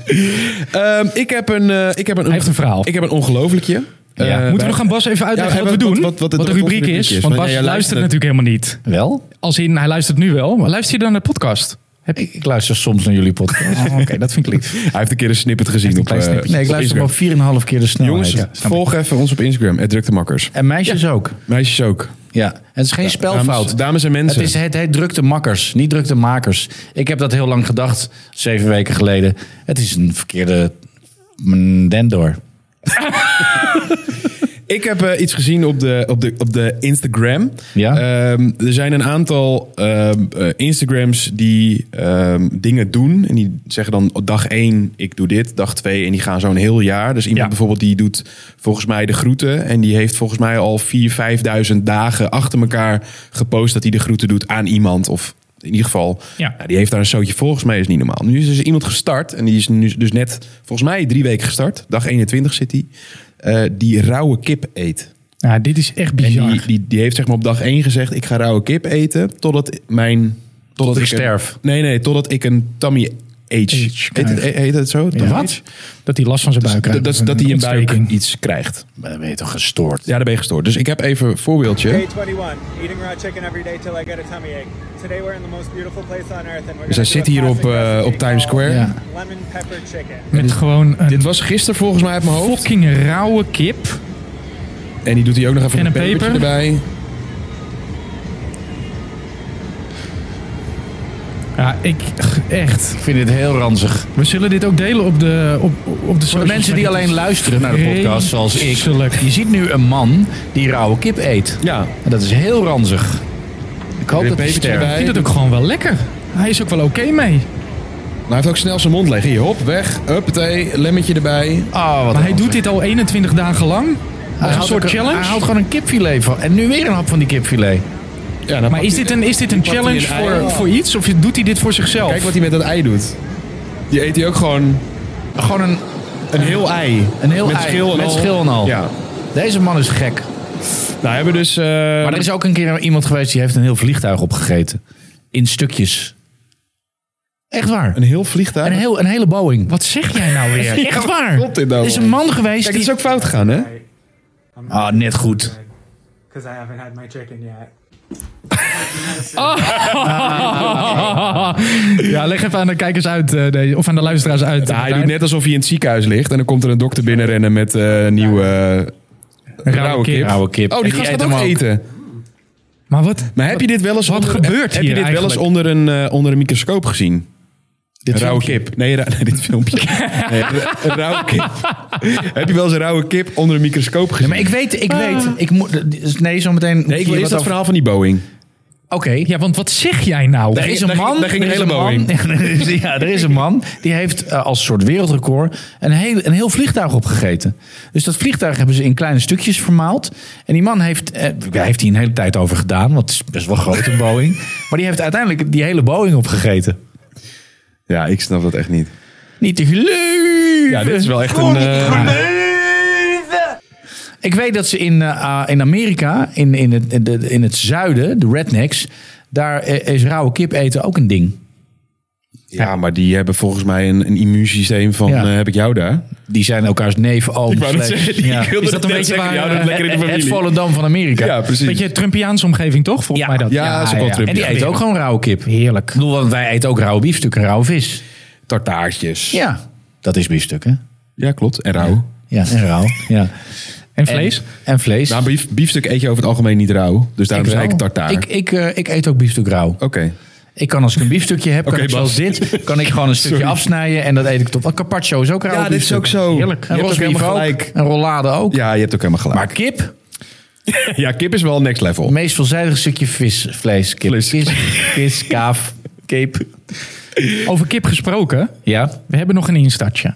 [SPEAKER 2] Ehm, ik heb een... eh, ik heb een
[SPEAKER 3] Hij heeft een verhaal.
[SPEAKER 2] Ik heb een ongelooflijkje. Eh,
[SPEAKER 3] Moeten we
[SPEAKER 2] wij-
[SPEAKER 3] nog aan Bas even uitleggen
[SPEAKER 2] Ja,
[SPEAKER 3] wat,
[SPEAKER 2] wat-
[SPEAKER 3] we doen?
[SPEAKER 2] wat- wat-
[SPEAKER 3] Wat,
[SPEAKER 2] wat-
[SPEAKER 3] de
[SPEAKER 2] wat onze
[SPEAKER 3] rubriek
[SPEAKER 2] rubriek
[SPEAKER 3] is.
[SPEAKER 2] is.
[SPEAKER 3] Want
[SPEAKER 2] Ja,
[SPEAKER 3] Bas
[SPEAKER 2] jij luistert
[SPEAKER 3] luistert,
[SPEAKER 2] het-
[SPEAKER 3] natuurlijk helemaal niet.
[SPEAKER 1] Wel?
[SPEAKER 3] Als in, hij luistert nu wel, maar luistert hij dan naar de podcast?
[SPEAKER 1] Heb ik, ik luister soms naar jullie podcast.
[SPEAKER 3] Oké, dat vind ik lief.
[SPEAKER 2] Hij heeft een keer een snippet gezien op,
[SPEAKER 3] klein
[SPEAKER 2] eh,
[SPEAKER 3] snippetje.
[SPEAKER 1] Nee, ik
[SPEAKER 2] op
[SPEAKER 1] luister
[SPEAKER 2] Instagram.
[SPEAKER 1] maar 4,5 keer de snelheid.
[SPEAKER 2] Jongens, volg even ons op Instagram. Het drukte makkers.
[SPEAKER 1] En meisjes ook.
[SPEAKER 2] Meisjes ook.
[SPEAKER 1] Ja. Het is geen
[SPEAKER 2] Dames,
[SPEAKER 1] spelfout.
[SPEAKER 2] dames en mensen.
[SPEAKER 1] Het, is, het heet drukte makkers, niet drukte makers. Ik heb dat heel lang gedacht, zeven weken geleden. Het is een verkeerde dendor.
[SPEAKER 2] Ik heb eh, iets gezien op de, op de, op de Instagram.
[SPEAKER 1] Ja.
[SPEAKER 2] Ehm, er zijn een aantal ehm, eh, Instagrams die ehm, dingen doen. En die zeggen dan op dag 1, ik doe dit. Dag 2, en die gaan zo'n heel jaar. Dus iemand
[SPEAKER 3] Ja.
[SPEAKER 2] bijvoorbeeld die doet volgens mij de groeten. En die heeft volgens mij al 4.000, 5.000 dagen achter elkaar gepost... dat hij de groeten doet aan iemand of... In ieder geval,
[SPEAKER 3] Ja.
[SPEAKER 2] nou, die heeft daar een zootje volgens mij is niet normaal. Nu is dus iemand gestart en die is nu dus net volgens mij drie weken gestart. Dag 21 zit hij. Eh, die rauwe kip eet.
[SPEAKER 3] Nou, dit is echt
[SPEAKER 2] En
[SPEAKER 3] bizar.
[SPEAKER 2] die, die, die heeft zeg maar op dag 1 gezegd: ik ga rauwe kip eten totdat mijn. Totdat
[SPEAKER 1] ik
[SPEAKER 2] een-
[SPEAKER 1] sterf.
[SPEAKER 2] nee, nee, totdat ik een tummy age.
[SPEAKER 3] Age
[SPEAKER 2] heet, het, heet het zo? Tummy
[SPEAKER 3] Ja.
[SPEAKER 2] age?
[SPEAKER 3] Dat hij last van zijn buik
[SPEAKER 2] Dat,
[SPEAKER 3] krijgt.
[SPEAKER 2] dat, dat hij een buik
[SPEAKER 3] ontsteking.
[SPEAKER 2] iets krijgt.
[SPEAKER 1] Maar dan ben je toch gestoord?
[SPEAKER 2] Ja, daar ben je gestoord. Dus ik heb even een
[SPEAKER 6] Day
[SPEAKER 2] voorbeeldje.
[SPEAKER 6] 21, eating raw chicken every day till I get a tummy ache. Today we're in the most beautiful place on earth and we're
[SPEAKER 2] Dus hij zit hier op, eh, op Times Square.
[SPEAKER 3] Ja.
[SPEAKER 6] Lemon pepper chicken.
[SPEAKER 3] Met gewoon een
[SPEAKER 2] Dit was gisteren volgens mij uit mijn hoofd.
[SPEAKER 3] fucking rauwe kip.
[SPEAKER 2] En die doet hij ook nog even
[SPEAKER 3] En
[SPEAKER 2] een
[SPEAKER 3] een
[SPEAKER 2] pepertje
[SPEAKER 3] peper.
[SPEAKER 2] erbij.
[SPEAKER 3] Ja, ik... Echt.
[SPEAKER 1] Ik vind dit heel ranzig.
[SPEAKER 3] We zullen dit ook delen op de... Op, op de
[SPEAKER 1] Voor de mensen die alleen luisteren naar de podcast, zoals ik.
[SPEAKER 3] Vreselijk.
[SPEAKER 1] Je ziet nu een man die rauwe kip eet.
[SPEAKER 2] Ja.
[SPEAKER 1] En dat is heel ranzig. Ik hoop
[SPEAKER 2] Weer
[SPEAKER 1] dat hij
[SPEAKER 2] pepertje
[SPEAKER 1] sterft.
[SPEAKER 3] Ik
[SPEAKER 2] erbij.
[SPEAKER 3] vind het ook gewoon wel lekker. Hij is ook wel oké mee.
[SPEAKER 2] Nou, hij heeft ook snel zijn mond leeg. Hier, hop, weg. Huppatee, lemmetje erbij.
[SPEAKER 1] Oh, wat
[SPEAKER 3] Maar hij doet dit al 21 dagen lang. Als een
[SPEAKER 1] houdt
[SPEAKER 3] soort
[SPEAKER 1] ook- Hij houdt
[SPEAKER 3] challenge.
[SPEAKER 1] gewoon een kipfilet van. En nu weer een hap van die kipfilet.
[SPEAKER 2] Ja, dan
[SPEAKER 3] Maar
[SPEAKER 2] pakt
[SPEAKER 3] is
[SPEAKER 2] hij-
[SPEAKER 3] dit een, is dit een
[SPEAKER 2] pakt hij
[SPEAKER 3] challenge
[SPEAKER 2] een ei.
[SPEAKER 3] voor, voor iets? Of doet hij dit voor zichzelf?
[SPEAKER 2] Kijk wat hij met dat ei doet. Die eet hij ook gewoon
[SPEAKER 1] Gewoon een,
[SPEAKER 2] een heel ei.
[SPEAKER 1] een heel
[SPEAKER 2] Met
[SPEAKER 1] ei.
[SPEAKER 2] schil en
[SPEAKER 1] met
[SPEAKER 2] al.
[SPEAKER 1] schil en al.
[SPEAKER 2] Ja.
[SPEAKER 1] Deze man is gek.
[SPEAKER 2] Nou, hebben we dus... eh,
[SPEAKER 1] Maar er is ook een keer iemand geweest die heeft een heel vliegtuig opgegeten. In stukjes. Echt waar.
[SPEAKER 2] Een heel vliegtuig.
[SPEAKER 1] Een, heel, een hele Boeing.
[SPEAKER 3] Wat zeg jij
[SPEAKER 1] (laughs)
[SPEAKER 3] nou weer?
[SPEAKER 1] Echt waar.
[SPEAKER 2] klopt dit nou
[SPEAKER 1] Er is
[SPEAKER 2] wel?
[SPEAKER 1] een man geweest
[SPEAKER 2] Kijk,
[SPEAKER 1] die...
[SPEAKER 2] dit is ook fout gegaan, hè?
[SPEAKER 1] Ah, net goed.
[SPEAKER 6] Because I haven't had my chicken yet.
[SPEAKER 3] Ja, leg even aan de kijkers uit, eh, deze- of aan de luisteraars uit.
[SPEAKER 2] Nou, hij doet net alsof hij in het ziekenhuis ligt. En dan komt er een dokter binnenrennen met eh, nieuwe eh, rauwe
[SPEAKER 3] kip.
[SPEAKER 2] kip.
[SPEAKER 1] Rauwe kip.
[SPEAKER 2] Oh,
[SPEAKER 1] En
[SPEAKER 2] die gast
[SPEAKER 1] eet
[SPEAKER 2] gaat
[SPEAKER 1] hem
[SPEAKER 2] ook eten.
[SPEAKER 3] Maar wat?
[SPEAKER 2] Maar heb je dit wel eens
[SPEAKER 3] Wat
[SPEAKER 2] onder,
[SPEAKER 3] gebeurt
[SPEAKER 2] heb- heb
[SPEAKER 3] hier
[SPEAKER 2] je dit wel eens
[SPEAKER 3] eigenlijk?
[SPEAKER 2] onder een, eh, onder een microscoop gezien? Dit rauwe kip. Nee, ra- (laughs) nee, dit filmpje. nee, ra- een rauwe kip. heb je wel eens een rauwe kip onder een microscoop gezien?
[SPEAKER 1] Nee, maar ik weet, ik weet. Ik moet, Ah. dus nee, zometeen... moet
[SPEAKER 2] Nee, ik
[SPEAKER 1] je
[SPEAKER 2] wil
[SPEAKER 1] wat
[SPEAKER 2] eerst dat
[SPEAKER 1] over-
[SPEAKER 2] verhaal van die Boeing.
[SPEAKER 1] Oké.
[SPEAKER 3] Ja, want wat zeg jij nou?
[SPEAKER 1] Er is een
[SPEAKER 2] daar ging-
[SPEAKER 1] man.
[SPEAKER 2] daar ging
[SPEAKER 1] er
[SPEAKER 2] de
[SPEAKER 1] is
[SPEAKER 2] hele
[SPEAKER 1] een man- ja, (laughs) er is een man. Die heeft eh, als soort wereldrecord een heel, een heel vliegtuig opgegeten. Dus dat vliegtuig hebben ze in kleine stukjes vermaald. En die man heeft. eh, ja, heeft hij een hele tijd over gedaan. Want het is best wel groot, een (laughs) Boeing. Maar die heeft uiteindelijk die hele Boeing opgegeten.
[SPEAKER 2] Ja, ik snap dat echt niet.
[SPEAKER 1] Niet te geloven.
[SPEAKER 2] Ja, dit is wel echt een... eh,
[SPEAKER 1] Ik weet dat ze in, eh, ah, in Amerika, in, in, het, in, de- in het zuiden, de rednecks. Daar eh, is rauwe kip eten ook een ding.
[SPEAKER 2] ja, maar die hebben volgens mij een, een immuunsysteem van...
[SPEAKER 1] Ja.
[SPEAKER 2] eh, heb ik jou daar?
[SPEAKER 1] Die zijn elkaars neef, oom.
[SPEAKER 2] Ik wou net
[SPEAKER 1] slash-
[SPEAKER 2] zeggen,
[SPEAKER 1] ja.
[SPEAKER 2] ik wilde
[SPEAKER 3] Is dat
[SPEAKER 2] net
[SPEAKER 3] een beetje
[SPEAKER 2] zeggen,
[SPEAKER 3] waar,
[SPEAKER 2] jou dat
[SPEAKER 3] eh,
[SPEAKER 2] lekker in de
[SPEAKER 1] Het
[SPEAKER 2] familie.
[SPEAKER 1] Volendam van Amerika.
[SPEAKER 2] Ja, precies.
[SPEAKER 3] Beetje Trumpiaanse omgeving, toch? Volgens
[SPEAKER 1] Ja.
[SPEAKER 3] mij dat.
[SPEAKER 2] Ja, dat is ook wel Trump.
[SPEAKER 1] En die
[SPEAKER 2] Ja,
[SPEAKER 1] eet
[SPEAKER 2] weer.
[SPEAKER 1] ook gewoon rauwe kip. Heerlijk. Ik bedoel, want wij eten ook rauwe biefstuk en rauwe vis.
[SPEAKER 2] Tartaartjes. Ja.
[SPEAKER 1] Ja, dat is biefstuk, hè?
[SPEAKER 2] klopt. En rauw.
[SPEAKER 1] Ja, en rauw. Ja.
[SPEAKER 3] En vlees?
[SPEAKER 1] En, en vlees.
[SPEAKER 2] Nou, bief, biefstuk eet je over het algemeen niet rauw. Dus daarom zei ik
[SPEAKER 1] wel.
[SPEAKER 2] tartaar.
[SPEAKER 1] Ik, ik, eh, ik eet ook biefstuk rauw.
[SPEAKER 2] Oké.
[SPEAKER 1] Ik kan als ik een biefstukje heb, kan
[SPEAKER 2] Oké,
[SPEAKER 1] ik zoals dit, kan ik gewoon een stukje afsnijden en dat eet ik top. Carpaccio is ook rauw
[SPEAKER 2] Ja, dit is
[SPEAKER 1] biefstuk.
[SPEAKER 2] ook zo.
[SPEAKER 1] Heerlijk.
[SPEAKER 2] Je
[SPEAKER 1] En
[SPEAKER 2] hebt ook
[SPEAKER 1] rosbief
[SPEAKER 2] helemaal
[SPEAKER 1] ook.
[SPEAKER 2] gelijk.
[SPEAKER 1] En rollade ook.
[SPEAKER 2] Ja, je hebt ook helemaal gelijk.
[SPEAKER 1] Maar kip,
[SPEAKER 2] (laughs) ja, kip is wel next level.
[SPEAKER 1] het meest veelzijdige stukje vis, vlees, kip.
[SPEAKER 2] Vlees.
[SPEAKER 1] Kis, kis, kaaf, cape.
[SPEAKER 3] Over kip gesproken,
[SPEAKER 1] Ja.
[SPEAKER 3] we hebben nog een instartje.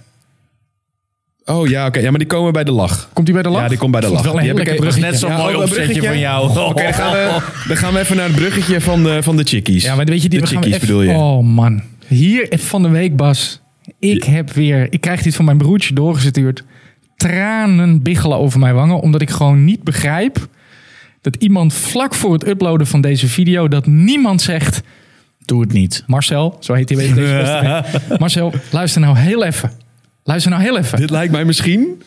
[SPEAKER 2] Oh ja, oké. Ja, maar die komen bij de lach.
[SPEAKER 3] Komt die bij de lach?
[SPEAKER 2] Ja, die komt bij de
[SPEAKER 3] Ik vond
[SPEAKER 2] lach.
[SPEAKER 3] het
[SPEAKER 2] Die
[SPEAKER 3] Wel een
[SPEAKER 2] heb
[SPEAKER 3] heel
[SPEAKER 2] ik
[SPEAKER 3] lekker
[SPEAKER 2] even-
[SPEAKER 1] Net zo'n
[SPEAKER 2] Ja,
[SPEAKER 1] mooi
[SPEAKER 2] oh, dat
[SPEAKER 1] opzetje
[SPEAKER 2] bruggetje.
[SPEAKER 1] van jou. Oh.
[SPEAKER 2] Oké, dan, gaan we, dan gaan we even naar het bruggetje van de, van de chickies.
[SPEAKER 3] Ja, maar weet je, die
[SPEAKER 2] de
[SPEAKER 3] we gaan
[SPEAKER 2] chickies
[SPEAKER 3] even-
[SPEAKER 2] bedoel je.
[SPEAKER 3] Oh man, hier even van de week Bas. Ik heb weer, ik krijg dit van mijn broertje doorgestuurd. Tranen biggelen over mijn wangen, omdat ik gewoon niet begrijp dat iemand vlak voor het uploaden van deze video dat niemand zegt.
[SPEAKER 1] Doe het niet.
[SPEAKER 3] Marcel, zo heet hij
[SPEAKER 2] (laughs)
[SPEAKER 3] weet deze beste. Marcel, luister nou heel even. Luister nou heel even.
[SPEAKER 2] Dit lijkt mij misschien...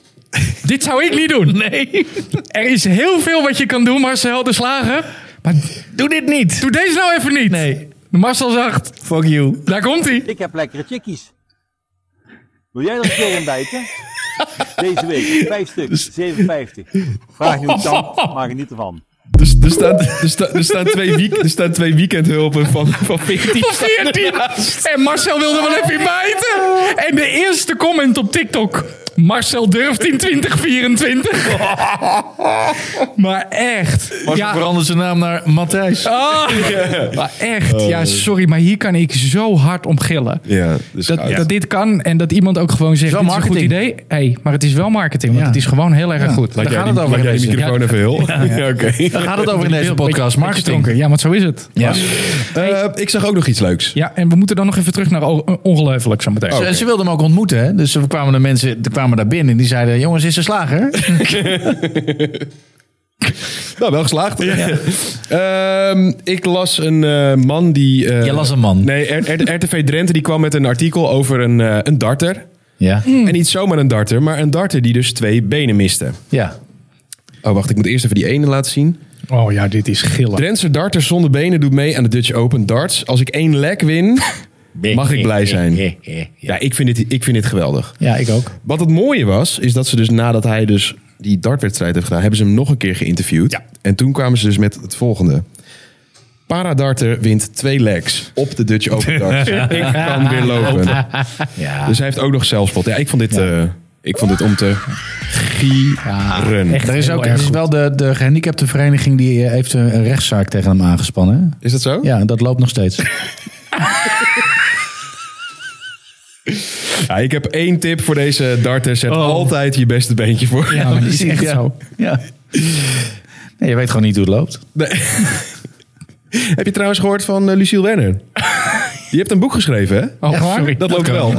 [SPEAKER 3] Dit zou ik niet doen. Nee. (laughs) Er is heel veel wat je kan doen, Marcel de Slager. Maar
[SPEAKER 1] Doe dit niet.
[SPEAKER 3] doe deze nou even niet.
[SPEAKER 1] Nee.
[SPEAKER 3] Marcel zegt,
[SPEAKER 1] Fuck you.
[SPEAKER 3] daar komt hij.
[SPEAKER 7] Ik heb lekkere chickies. Wil jij dat een keer ontbijten? Deze week, 5 stuk, 7,50. Vraag je hoe het kan, maar geniet ervan.
[SPEAKER 2] Dus er staan, er staan, er staan, twee, week, er staan twee weekendhulpen van, van 14.
[SPEAKER 3] 14. En Marcel wilde wel even bijten. En de eerste comment op TikTok. Marcel durft in 2024. Maar echt.
[SPEAKER 1] Marcel
[SPEAKER 3] Ja,
[SPEAKER 1] verandert zijn naam naar Matthijs.
[SPEAKER 3] ah. maar echt. Ja, sorry, maar hier kan ik zo hard om gillen.
[SPEAKER 2] Ja, dus
[SPEAKER 3] Dat, dat dit kan en dat iemand ook gewoon zegt,
[SPEAKER 1] wel
[SPEAKER 3] dit is een goed
[SPEAKER 1] marketing.
[SPEAKER 3] idee. Hey, maar het is wel marketing, want
[SPEAKER 1] Ja.
[SPEAKER 3] het is gewoon heel erg
[SPEAKER 2] Laat
[SPEAKER 3] goed.
[SPEAKER 1] Daar
[SPEAKER 2] jij
[SPEAKER 1] gaat
[SPEAKER 2] die,
[SPEAKER 1] het over
[SPEAKER 2] laat jij
[SPEAKER 1] in
[SPEAKER 2] die
[SPEAKER 1] deze.
[SPEAKER 2] microfoon even heel. (laughs) Ja, oké.
[SPEAKER 1] Daar gaat het over in deze
[SPEAKER 3] Beetje-
[SPEAKER 1] podcast.
[SPEAKER 3] beetje
[SPEAKER 1] Marketing.
[SPEAKER 3] dronken. Ja, want zo is het.
[SPEAKER 1] Ja.
[SPEAKER 2] Eh, ik zag ook nog iets leuks.
[SPEAKER 3] Ja, en we moeten dan nog even terug naar o- ongelooflijk zo meteen.
[SPEAKER 1] Ze, ze wilden hem ook ontmoeten. Hè? Dus er kwamen de mensen er kwamen daar binnen en die zeiden... Jongens, is er slager?
[SPEAKER 2] Nou, wel geslaagd. (laughs) Ehm, ik las een eh, man die... eh,
[SPEAKER 1] Je las een man.
[SPEAKER 2] Nee, R- R- RTV Drenthe die kwam met een artikel over een, eh, een darter.
[SPEAKER 1] Ja.
[SPEAKER 2] En niet zomaar een darter, maar een darter die dus twee benen miste.
[SPEAKER 1] ja.
[SPEAKER 2] Oh, wacht, ik moet eerst even die ene laten zien.
[SPEAKER 3] Oh ja, dit is gillen.
[SPEAKER 2] Drentse darter zonder benen doet mee aan de Dutch Open darts. Als ik één leg
[SPEAKER 1] (laughs)
[SPEAKER 2] win, mag ik blij zijn. Ja, ik vind dit, ik vind dit geweldig.
[SPEAKER 1] Ja, ik ook.
[SPEAKER 2] Wat het mooie was, is dat ze dus nadat hij dus die dartwedstrijd heeft gedaan, hebben ze hem nog een keer geïnterviewd. En toen kwamen ze dus met het volgende. Paradarter wint twee legs op de
[SPEAKER 3] (laughs)
[SPEAKER 2] Dutch Open darts. ik kan weer lopen.
[SPEAKER 1] Ja.
[SPEAKER 2] Dus hij heeft ook nog zelfspot. Ja, ik vond dit... eh, Ik vond dit om te gieren.
[SPEAKER 1] er is,
[SPEAKER 3] heel
[SPEAKER 1] ook,
[SPEAKER 3] erg
[SPEAKER 1] er is
[SPEAKER 3] goed.
[SPEAKER 1] wel de, de gehandicapte vereniging die eh, heeft een een rechtszaak tegen hem aangespannen. hè?
[SPEAKER 2] Is dat zo?
[SPEAKER 1] Ja, dat loopt nog (laughs) steeds.
[SPEAKER 2] Ja, ik heb één tip voor deze darter. Zet altijd je beste beentje voor.
[SPEAKER 3] Oh. Ja, maar dat is echt
[SPEAKER 1] Ja.
[SPEAKER 3] zo.
[SPEAKER 1] Ja. Nee, je weet gewoon niet hoe het loopt.
[SPEAKER 2] Nee. (laughs) heb je trouwens gehoord van eh, Lucille Werner?
[SPEAKER 3] (laughs)
[SPEAKER 2] Die heeft een boek geschreven, hè?
[SPEAKER 3] Oh,
[SPEAKER 1] Echt waar?
[SPEAKER 3] sorry.
[SPEAKER 2] Dat loopt wel.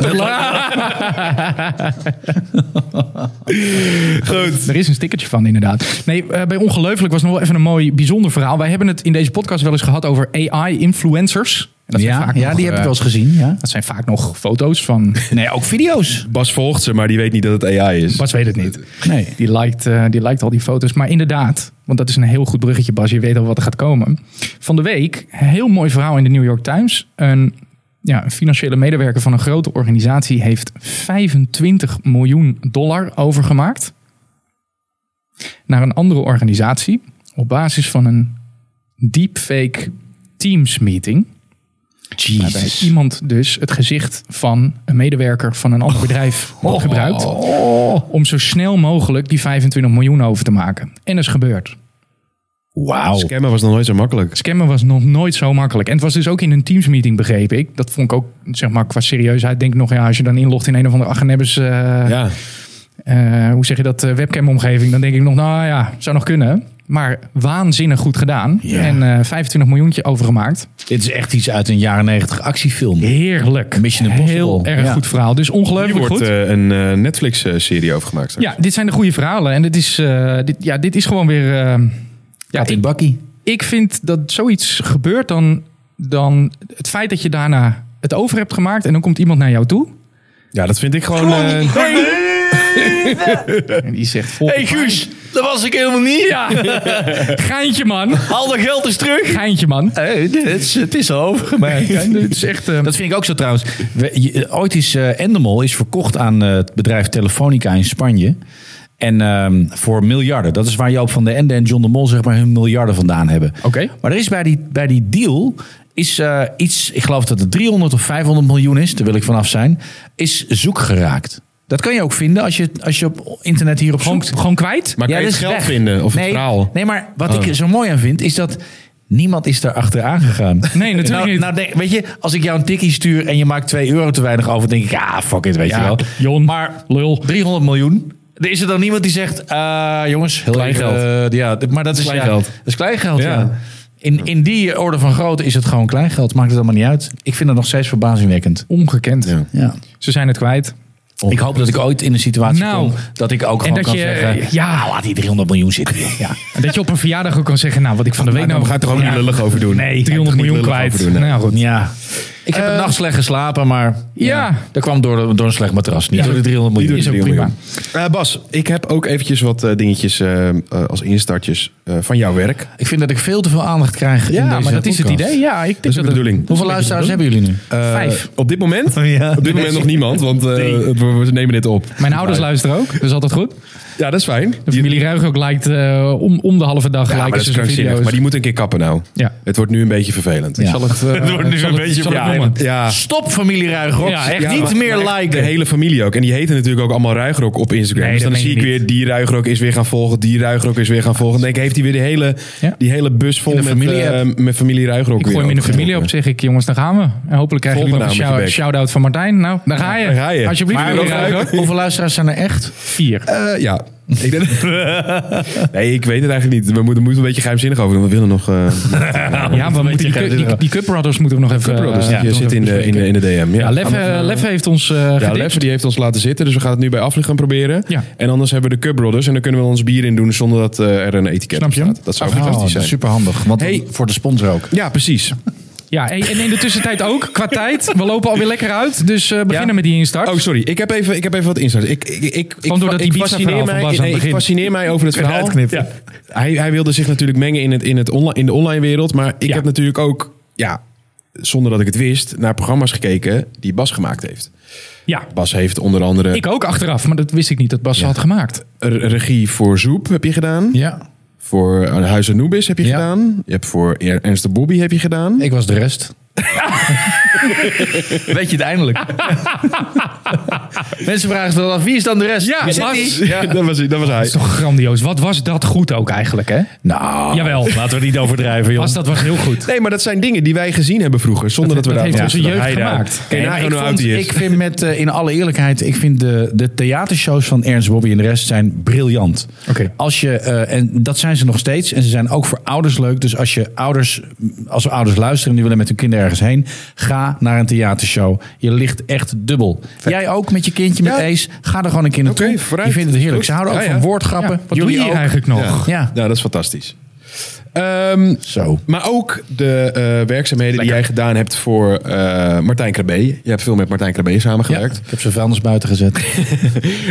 [SPEAKER 2] Goed.
[SPEAKER 3] Er is een stickertje van, inderdaad. Nee, eh, bij Ongelooflijk was nog wel even een mooi, bijzonder verhaal. Wij hebben het in deze podcast wel eens gehad over AI-influencers. En dat zijn
[SPEAKER 1] ja,
[SPEAKER 3] vaak
[SPEAKER 1] ja
[SPEAKER 3] nog,
[SPEAKER 1] die heb
[SPEAKER 3] eh,
[SPEAKER 1] ik wel eens gezien. Ja.
[SPEAKER 3] Dat zijn vaak nog foto's van...
[SPEAKER 1] Nee, ook video's.
[SPEAKER 2] Bas volgt ze, maar die weet niet dat het AI is.
[SPEAKER 3] Bas weet het niet.
[SPEAKER 1] Nee.
[SPEAKER 3] Die liked, eh, die liked al die foto's. Maar inderdaad, want dat is een heel goed bruggetje, Bas. Je weet al wat er gaat komen. Van de week, een heel mooi verhaal in de New York Times. Een, ja, een financiële medewerker van een grote organisatie heeft 25 miljoen dollar overgemaakt naar een andere organisatie op basis van een deepfake Teams meeting. Waarbij iemand dus het gezicht van een medewerker van een ander
[SPEAKER 1] Oh. (laughs)
[SPEAKER 3] bedrijf gebruikt. Om zo snel mogelijk die 25 miljoen over te maken. En is gebeurd. Oh.
[SPEAKER 1] Wauw.
[SPEAKER 2] Scammen was nog nooit zo makkelijk.
[SPEAKER 3] Scammen was nog nooit zo makkelijk. En het was dus ook in een Teams meeting, begreep ik. Dat vond ik ook, zeg maar, qua serieusheid. Denk ik nog, ja, als je dan inlogt in een of andere agenebbers, eh
[SPEAKER 2] Ja.
[SPEAKER 3] eh, hoe zeg je dat, eh, webcam-omgeving. Dan denk ik nog, nou ja, zou nog kunnen. Maar waanzinnig goed gedaan.
[SPEAKER 1] Ja.
[SPEAKER 3] En eh 25 miljoentje overgemaakt.
[SPEAKER 1] Dit is echt iets uit een jaren negentig actiefilm.
[SPEAKER 3] Heerlijk.
[SPEAKER 1] Mission Impossible.
[SPEAKER 3] Heel erg
[SPEAKER 1] Ja.
[SPEAKER 3] goed verhaal. Dus
[SPEAKER 2] Hier
[SPEAKER 3] ongelooflijk
[SPEAKER 2] wordt
[SPEAKER 3] goed.
[SPEAKER 2] eh, een eh, Netflix-serie over gemaakt. straks.
[SPEAKER 3] ja, dit zijn de goede verhalen. En dit is, eh, dit, ja, dit is gewoon weer... eh, ja,
[SPEAKER 1] Kat in
[SPEAKER 3] ik,
[SPEAKER 1] bakkie.
[SPEAKER 3] ik vind dat zoiets gebeurt dan, dan het feit dat je daarna het over hebt gemaakt... en dan komt iemand naar jou toe.
[SPEAKER 2] Ja, dat vind ik gewoon... eh,
[SPEAKER 3] En die zegt... vol-
[SPEAKER 5] hey Guus, dat was ik helemaal niet.
[SPEAKER 3] Ja, (laughs) geintje man.
[SPEAKER 5] Al dat geld is terug.
[SPEAKER 3] Geintje
[SPEAKER 2] Eh,
[SPEAKER 3] man.
[SPEAKER 1] het, is, het is al
[SPEAKER 5] (laughs)
[SPEAKER 1] overgemaakt.
[SPEAKER 3] Dit is echt... eh,
[SPEAKER 1] Dat vind ik ook zo trouwens. We- je- ooit is eh, Endemol is verkocht aan eh, het bedrijf Telefonica in Spanje. En ehm, voor miljarden. Dat is waar Joop van den Ende en John de Mol zeg maar hun miljarden vandaan hebben.
[SPEAKER 3] Oké.
[SPEAKER 1] Maar er is bij die, bij die deal is eh, iets, ik geloof dat het 300 of 500 miljoen is, daar wil ik vanaf zijn, is zoek geraakt. Dat kan je ook vinden als je, als je op internet hierop
[SPEAKER 3] gewoon,
[SPEAKER 1] zoekt.
[SPEAKER 3] gewoon kwijt.
[SPEAKER 2] maar kan je
[SPEAKER 1] dat
[SPEAKER 2] het
[SPEAKER 1] is
[SPEAKER 2] geld
[SPEAKER 1] weg.
[SPEAKER 2] vinden? Of
[SPEAKER 1] nee,
[SPEAKER 2] het verhaal?
[SPEAKER 1] Nee, maar wat
[SPEAKER 2] Oh.
[SPEAKER 1] ik er zo mooi aan vind, is dat niemand is daar achteraan gegaan.
[SPEAKER 3] (laughs) Nee, natuurlijk
[SPEAKER 1] nou,
[SPEAKER 3] niet.
[SPEAKER 1] nou, denk- weet je, als ik jou een tikkie stuur en je maakt 2 euro te weinig over, denk ik, ah, fuck it, weet je wel.
[SPEAKER 3] Jon,
[SPEAKER 1] maar
[SPEAKER 3] lul.
[SPEAKER 1] 300 miljoen. Er is er dan niemand die zegt, eh, jongens, heel
[SPEAKER 2] Klein
[SPEAKER 1] even,
[SPEAKER 2] geld.
[SPEAKER 1] eh, ja, d- maar dat is
[SPEAKER 2] Klein
[SPEAKER 1] ja,
[SPEAKER 2] geld.
[SPEAKER 1] Dat is klein geld, ja.
[SPEAKER 2] Ja.
[SPEAKER 1] In, in die orde van grootte is het gewoon klein geld. Maakt het allemaal niet uit. Ik vind het nog steeds verbazingwekkend.
[SPEAKER 3] Ongekend.
[SPEAKER 1] Ja.
[SPEAKER 3] Ze zijn het kwijt.
[SPEAKER 1] Ik hoop dat ik ooit in een situatie
[SPEAKER 3] Nou.
[SPEAKER 1] kom dat ik ook gewoon
[SPEAKER 3] dat
[SPEAKER 1] kan
[SPEAKER 3] je-
[SPEAKER 1] zeggen,
[SPEAKER 3] ja.
[SPEAKER 1] ja, laat die 300 miljoen zitten. (laughs) joh. Ja.
[SPEAKER 3] En dat je op een verjaardag ook kan zeggen, nou, wat ik van de week nou...
[SPEAKER 2] we gaan het er gewoon niet lullig over doen.
[SPEAKER 3] Nee,
[SPEAKER 2] Ga je toch
[SPEAKER 3] 300
[SPEAKER 2] niet
[SPEAKER 3] miljoen
[SPEAKER 2] lullig
[SPEAKER 3] kwijt.
[SPEAKER 2] over doen, hè?
[SPEAKER 3] nou goed.
[SPEAKER 1] Ja. Ik heb een nacht slecht geslapen, maar
[SPEAKER 3] Ja.
[SPEAKER 1] dat kwam door, door een slecht matras. Niet door de 300 miljoen.
[SPEAKER 3] Is ook
[SPEAKER 2] Drie
[SPEAKER 3] prima.
[SPEAKER 2] miljoen. Eh, Bas, ik heb ook eventjes wat eh, dingetjes eh, eh, als instartjes eh, van jouw werk.
[SPEAKER 1] Ik vind dat ik veel te veel aandacht krijg in
[SPEAKER 3] Ja,
[SPEAKER 1] deze
[SPEAKER 3] maar dat is het
[SPEAKER 1] podcast.
[SPEAKER 3] idee. Ja, ik denk
[SPEAKER 2] Dat is ook de
[SPEAKER 3] het-
[SPEAKER 2] bedoeling.
[SPEAKER 1] Hoeveel luisteraars hebben jullie
[SPEAKER 3] (laughs)
[SPEAKER 1] nu?
[SPEAKER 2] Eh,
[SPEAKER 3] Vijf.
[SPEAKER 2] Op dit
[SPEAKER 3] (laughs)
[SPEAKER 2] moment?
[SPEAKER 3] Oh,
[SPEAKER 2] Op dit moment nog niemand, want eh, we, we nemen dit op.
[SPEAKER 3] Mijn ouders luisteren ook, dat is altijd goed.
[SPEAKER 2] Ja, dat is fijn.
[SPEAKER 3] De familie Ruig ook lijkt eh, om, om de halve dag
[SPEAKER 2] Ja,
[SPEAKER 3] gelijk
[SPEAKER 2] maar dat is
[SPEAKER 3] liken ze zijn
[SPEAKER 2] krankzinnig.
[SPEAKER 3] video's.
[SPEAKER 2] Maar die moet een keer kappen nou.
[SPEAKER 3] Ja.
[SPEAKER 2] Het wordt nu een beetje vervelend.
[SPEAKER 1] Ja.
[SPEAKER 3] zal
[SPEAKER 2] (laughs)
[SPEAKER 3] het, eh,
[SPEAKER 2] wordt nu
[SPEAKER 3] zal
[SPEAKER 2] een
[SPEAKER 3] het-
[SPEAKER 2] beetje
[SPEAKER 3] zal het
[SPEAKER 2] vervelend.
[SPEAKER 3] noemen.
[SPEAKER 2] Ja.
[SPEAKER 1] Stop familie Ruigrok.
[SPEAKER 3] Ja, echt
[SPEAKER 1] niet
[SPEAKER 2] maar-
[SPEAKER 1] meer
[SPEAKER 2] maar echt
[SPEAKER 1] liken.
[SPEAKER 2] De hele familie ook. En die heten natuurlijk ook allemaal Ruigrok op Instagram.
[SPEAKER 3] Nee,
[SPEAKER 2] dus
[SPEAKER 3] dat
[SPEAKER 2] dan
[SPEAKER 3] meen
[SPEAKER 2] zie
[SPEAKER 3] je
[SPEAKER 2] ik
[SPEAKER 3] niet.
[SPEAKER 2] weer, die Ruigrok is weer gaan volgen. Die Ruigrok is weer gaan volgen. Dan denk ik, heeft hij weer de hele,
[SPEAKER 3] Ja.
[SPEAKER 2] die hele bus vol
[SPEAKER 1] In de
[SPEAKER 2] met
[SPEAKER 1] familie app.
[SPEAKER 2] eh, met familie Ruigrok.
[SPEAKER 3] Ik gooi hem in de familie op, zeg ik. Jongens, daar gaan we. En hopelijk krijgen
[SPEAKER 2] Volg
[SPEAKER 3] jullie nog
[SPEAKER 2] me
[SPEAKER 3] een
[SPEAKER 2] nou met
[SPEAKER 3] shout-
[SPEAKER 2] je bek.
[SPEAKER 3] shout-out van Martijn. Nou, daar ga je.
[SPEAKER 2] Daar ga je.
[SPEAKER 3] Alsjeblieft,
[SPEAKER 2] Maar
[SPEAKER 3] familie
[SPEAKER 2] ook-
[SPEAKER 3] Ruig ook.
[SPEAKER 1] (laughs) Hoeveel luisteraars zijn er echt?
[SPEAKER 3] Vier.
[SPEAKER 2] Eh, ja. Ik denk- (laughs) nee, ik weet het eigenlijk niet. We moeten, moeten een beetje geheimzinnig over doen. We willen nog... eh
[SPEAKER 3] (laughs) Ja, we moeten die, die, die, die Cup Brothers moeten we nog even...
[SPEAKER 2] Brothers,
[SPEAKER 3] eh,
[SPEAKER 2] dus die
[SPEAKER 3] nog
[SPEAKER 2] zit
[SPEAKER 3] even
[SPEAKER 2] in de, in, de, in de DM. Ja,
[SPEAKER 3] Ja, Lef,
[SPEAKER 2] Gaan we even-
[SPEAKER 3] eh, Lef heeft ons eh
[SPEAKER 2] Ja,
[SPEAKER 3] gedipt.
[SPEAKER 2] Lef die heeft ons laten zitten, dus we gaan het nu bij Aflig gaan proberen.
[SPEAKER 3] Ja.
[SPEAKER 2] En anders hebben we de Cup Brothers en dan kunnen we ons bier in doen zonder dat eh, er een etiket
[SPEAKER 3] Snap
[SPEAKER 2] op
[SPEAKER 3] je hem? Oh,
[SPEAKER 2] staat. Dat zou fantastisch zijn.
[SPEAKER 1] super handig. Want
[SPEAKER 2] Hey.
[SPEAKER 1] voor de sponsor ook.
[SPEAKER 2] Ja, precies.
[SPEAKER 3] Ja, en en in de tussentijd ook, qua tijd. We lopen alweer lekker uit, dus eh, beginnen
[SPEAKER 2] Ja.
[SPEAKER 3] met die instart.
[SPEAKER 2] Oh, sorry. Ik heb even, ik heb even wat insights. Ik, ik, ik, ik,
[SPEAKER 3] Gewoon doordat
[SPEAKER 2] ik
[SPEAKER 3] die pizza
[SPEAKER 2] fascineer
[SPEAKER 3] verhaal van
[SPEAKER 2] mij,
[SPEAKER 3] Bas aan
[SPEAKER 2] nee,
[SPEAKER 3] het
[SPEAKER 2] ik
[SPEAKER 3] begin.
[SPEAKER 2] fascineer mij over
[SPEAKER 3] (laughs)
[SPEAKER 2] het verhaal.
[SPEAKER 1] uitknippen.
[SPEAKER 2] Ja. Hij, hij wilde zich natuurlijk mengen in, het, in, het online, in de online wereld. Maar ik
[SPEAKER 3] Ja.
[SPEAKER 2] heb natuurlijk ook, ja, zonder dat ik het wist, naar programma's gekeken die Bas gemaakt heeft.
[SPEAKER 3] Ja,
[SPEAKER 2] Bas heeft onder andere
[SPEAKER 3] ik ook achteraf, maar dat wist ik niet dat Bas ze had gemaakt.
[SPEAKER 2] re- regie voor Zoep heb je gedaan.
[SPEAKER 1] Ja,
[SPEAKER 2] Voor eh, Huis Anubis heb je
[SPEAKER 1] Ja.
[SPEAKER 2] gedaan. Je hebt voor Er- Ernst de Bobby heb je gedaan.
[SPEAKER 1] ik was de (laughs)
[SPEAKER 3] (laughs)
[SPEAKER 1] rest. Weet je het eindelijk? Mensen vragen zich dan af, wie is dan de rest?
[SPEAKER 3] Ja,
[SPEAKER 1] Wie zit
[SPEAKER 3] Bas.
[SPEAKER 1] die?
[SPEAKER 2] (laughs) Ja, dat was, dat was
[SPEAKER 3] Dat (laughs)
[SPEAKER 2] hij.
[SPEAKER 3] is toch grandioos. Wat was dat goed ook eigenlijk, hè?
[SPEAKER 1] Nou,
[SPEAKER 3] Jawel.
[SPEAKER 1] laten we niet overdrijven, joh.
[SPEAKER 3] Bas, dat was heel goed.
[SPEAKER 2] Nee, maar dat zijn dingen die wij gezien hebben vroeger, zonder dat,
[SPEAKER 3] dat
[SPEAKER 2] we
[SPEAKER 3] heeft
[SPEAKER 2] daar
[SPEAKER 3] onze
[SPEAKER 2] Ja,
[SPEAKER 3] jeugd
[SPEAKER 2] hij daar.
[SPEAKER 3] gemaakt.
[SPEAKER 2] Kijk,
[SPEAKER 1] Nee,
[SPEAKER 2] nou
[SPEAKER 1] maar
[SPEAKER 2] gewoon
[SPEAKER 1] ik,
[SPEAKER 2] hoe
[SPEAKER 1] vond,
[SPEAKER 2] oud hij is.
[SPEAKER 1] ik vind met, eh, in alle eerlijkheid, ik vind de, de theatershows van Ernst Bobby en de rest zijn briljant.
[SPEAKER 3] Oké.
[SPEAKER 1] Als je, eh, en dat zijn ze nog steeds. En ze zijn ook voor ouders leuk. Dus als je ouders, als er ouders luisteren en die willen met hun kinderen ergens heen, ga naar een theatershow. Je ligt echt dubbel. Jij ook met je kindje met
[SPEAKER 2] Ja.
[SPEAKER 1] Ace. Ga er gewoon een keer naartoe.
[SPEAKER 2] Oké, vooruit.
[SPEAKER 1] Je vindt het heerlijk. Ze houden ook
[SPEAKER 2] Ja, ja.
[SPEAKER 1] van woordgrappen.
[SPEAKER 3] Wat
[SPEAKER 1] Jullie
[SPEAKER 3] doe je hier
[SPEAKER 1] ook.
[SPEAKER 3] eigenlijk nog?
[SPEAKER 1] Ja.
[SPEAKER 2] Ja, dat is fantastisch. Ehm,
[SPEAKER 1] Zo.
[SPEAKER 2] maar ook de eh, werkzaamheden die jij gedaan hebt voor eh, Martijn Krabbe. Je hebt veel met Martijn Krabbe
[SPEAKER 1] Ja,
[SPEAKER 2] samengewerkt.
[SPEAKER 1] ik heb ze vuilnis buiten gezet.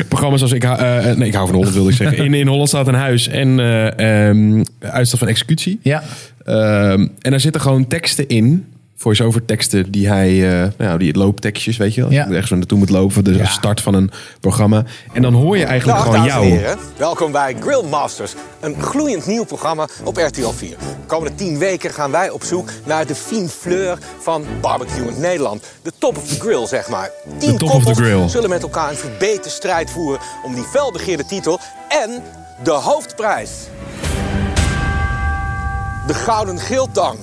[SPEAKER 2] Programma's als ik, hou- eh, eh, nee, ik hou van Holland wilde ik
[SPEAKER 1] (laughs)
[SPEAKER 2] zeggen. In, in Holland staat een huis en eh ehm, uitstap van executie.
[SPEAKER 1] Ja.
[SPEAKER 2] Ehm, en daar zitten gewoon teksten in. Voice-over teksten die hij, eh, nou, die looptekstjes, weet je wel.
[SPEAKER 1] Ja.
[SPEAKER 2] Ja. Echt zo naartoe moet lopen, de start van een programma. En dan hoor je eigenlijk
[SPEAKER 8] Dag,
[SPEAKER 2] gewoon
[SPEAKER 8] Nou, dames en
[SPEAKER 2] jou.
[SPEAKER 8] heren. Welkom bij Grill Masters, een gloeiend nieuw programma op RTL 4. De komende 10 weken gaan wij op zoek naar de fine fleur van barbecue in Nederland. De top of the grill, zeg maar. Tien
[SPEAKER 2] top of the
[SPEAKER 8] koppels
[SPEAKER 2] grill.
[SPEAKER 8] zullen met elkaar een verbeterde strijd voeren om die felbegeerde titel en de hoofdprijs. De gouden geeltang.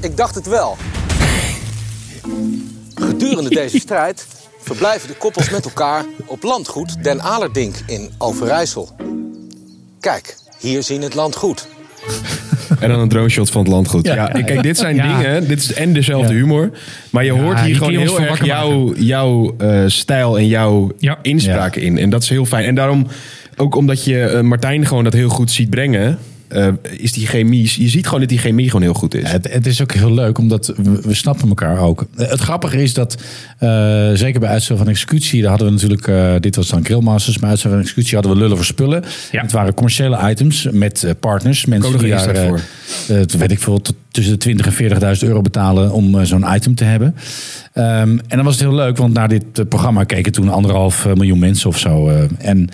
[SPEAKER 8] Ik dacht het wel. Gedurende
[SPEAKER 2] (laughs)
[SPEAKER 8] deze strijd verblijven de koppels met elkaar op landgoed Den Alerdink in Overijssel. Kijk, hier zien het landgoed.
[SPEAKER 2] En dan een drone shot van het landgoed. Ja, kijk, dit zijn
[SPEAKER 3] Ja.
[SPEAKER 2] dingen. Dit is en dezelfde humor. Maar je hoort
[SPEAKER 3] die
[SPEAKER 2] hier
[SPEAKER 3] kun
[SPEAKER 2] gewoon
[SPEAKER 3] je ons
[SPEAKER 2] heel
[SPEAKER 3] van
[SPEAKER 2] erg
[SPEAKER 3] wakker
[SPEAKER 2] jouw, jouw eh, stijl en jouw
[SPEAKER 3] Ja.
[SPEAKER 2] inspraak in. En dat is heel fijn. En daarom, ook omdat je eh, Martijn gewoon dat heel goed ziet brengen, eh, is die chemie. Je ziet gewoon dat die chemie gewoon heel goed is.
[SPEAKER 1] Het, het is ook heel leuk, omdat we, we snappen elkaar ook. Eh, Het grappige is dat, eh, zeker bij uitstel van executie, daar hadden we natuurlijk, eh, dit was dan Grillmasters, maar uitstel van executie hadden we lullen voor spullen.
[SPEAKER 3] Ja.
[SPEAKER 1] Het waren commerciële items met eh, partners, mensen
[SPEAKER 2] nog
[SPEAKER 1] die
[SPEAKER 2] een
[SPEAKER 1] daar,
[SPEAKER 2] inzet
[SPEAKER 1] eh, eh, het weet ik veel, t- tussen de 20.000 en 40.000 euro betalen om eh, zo'n item te hebben. Ehm, en dan was het heel leuk, want naar dit eh, programma keken toen anderhalf eh, miljoen mensen of zo. eh, en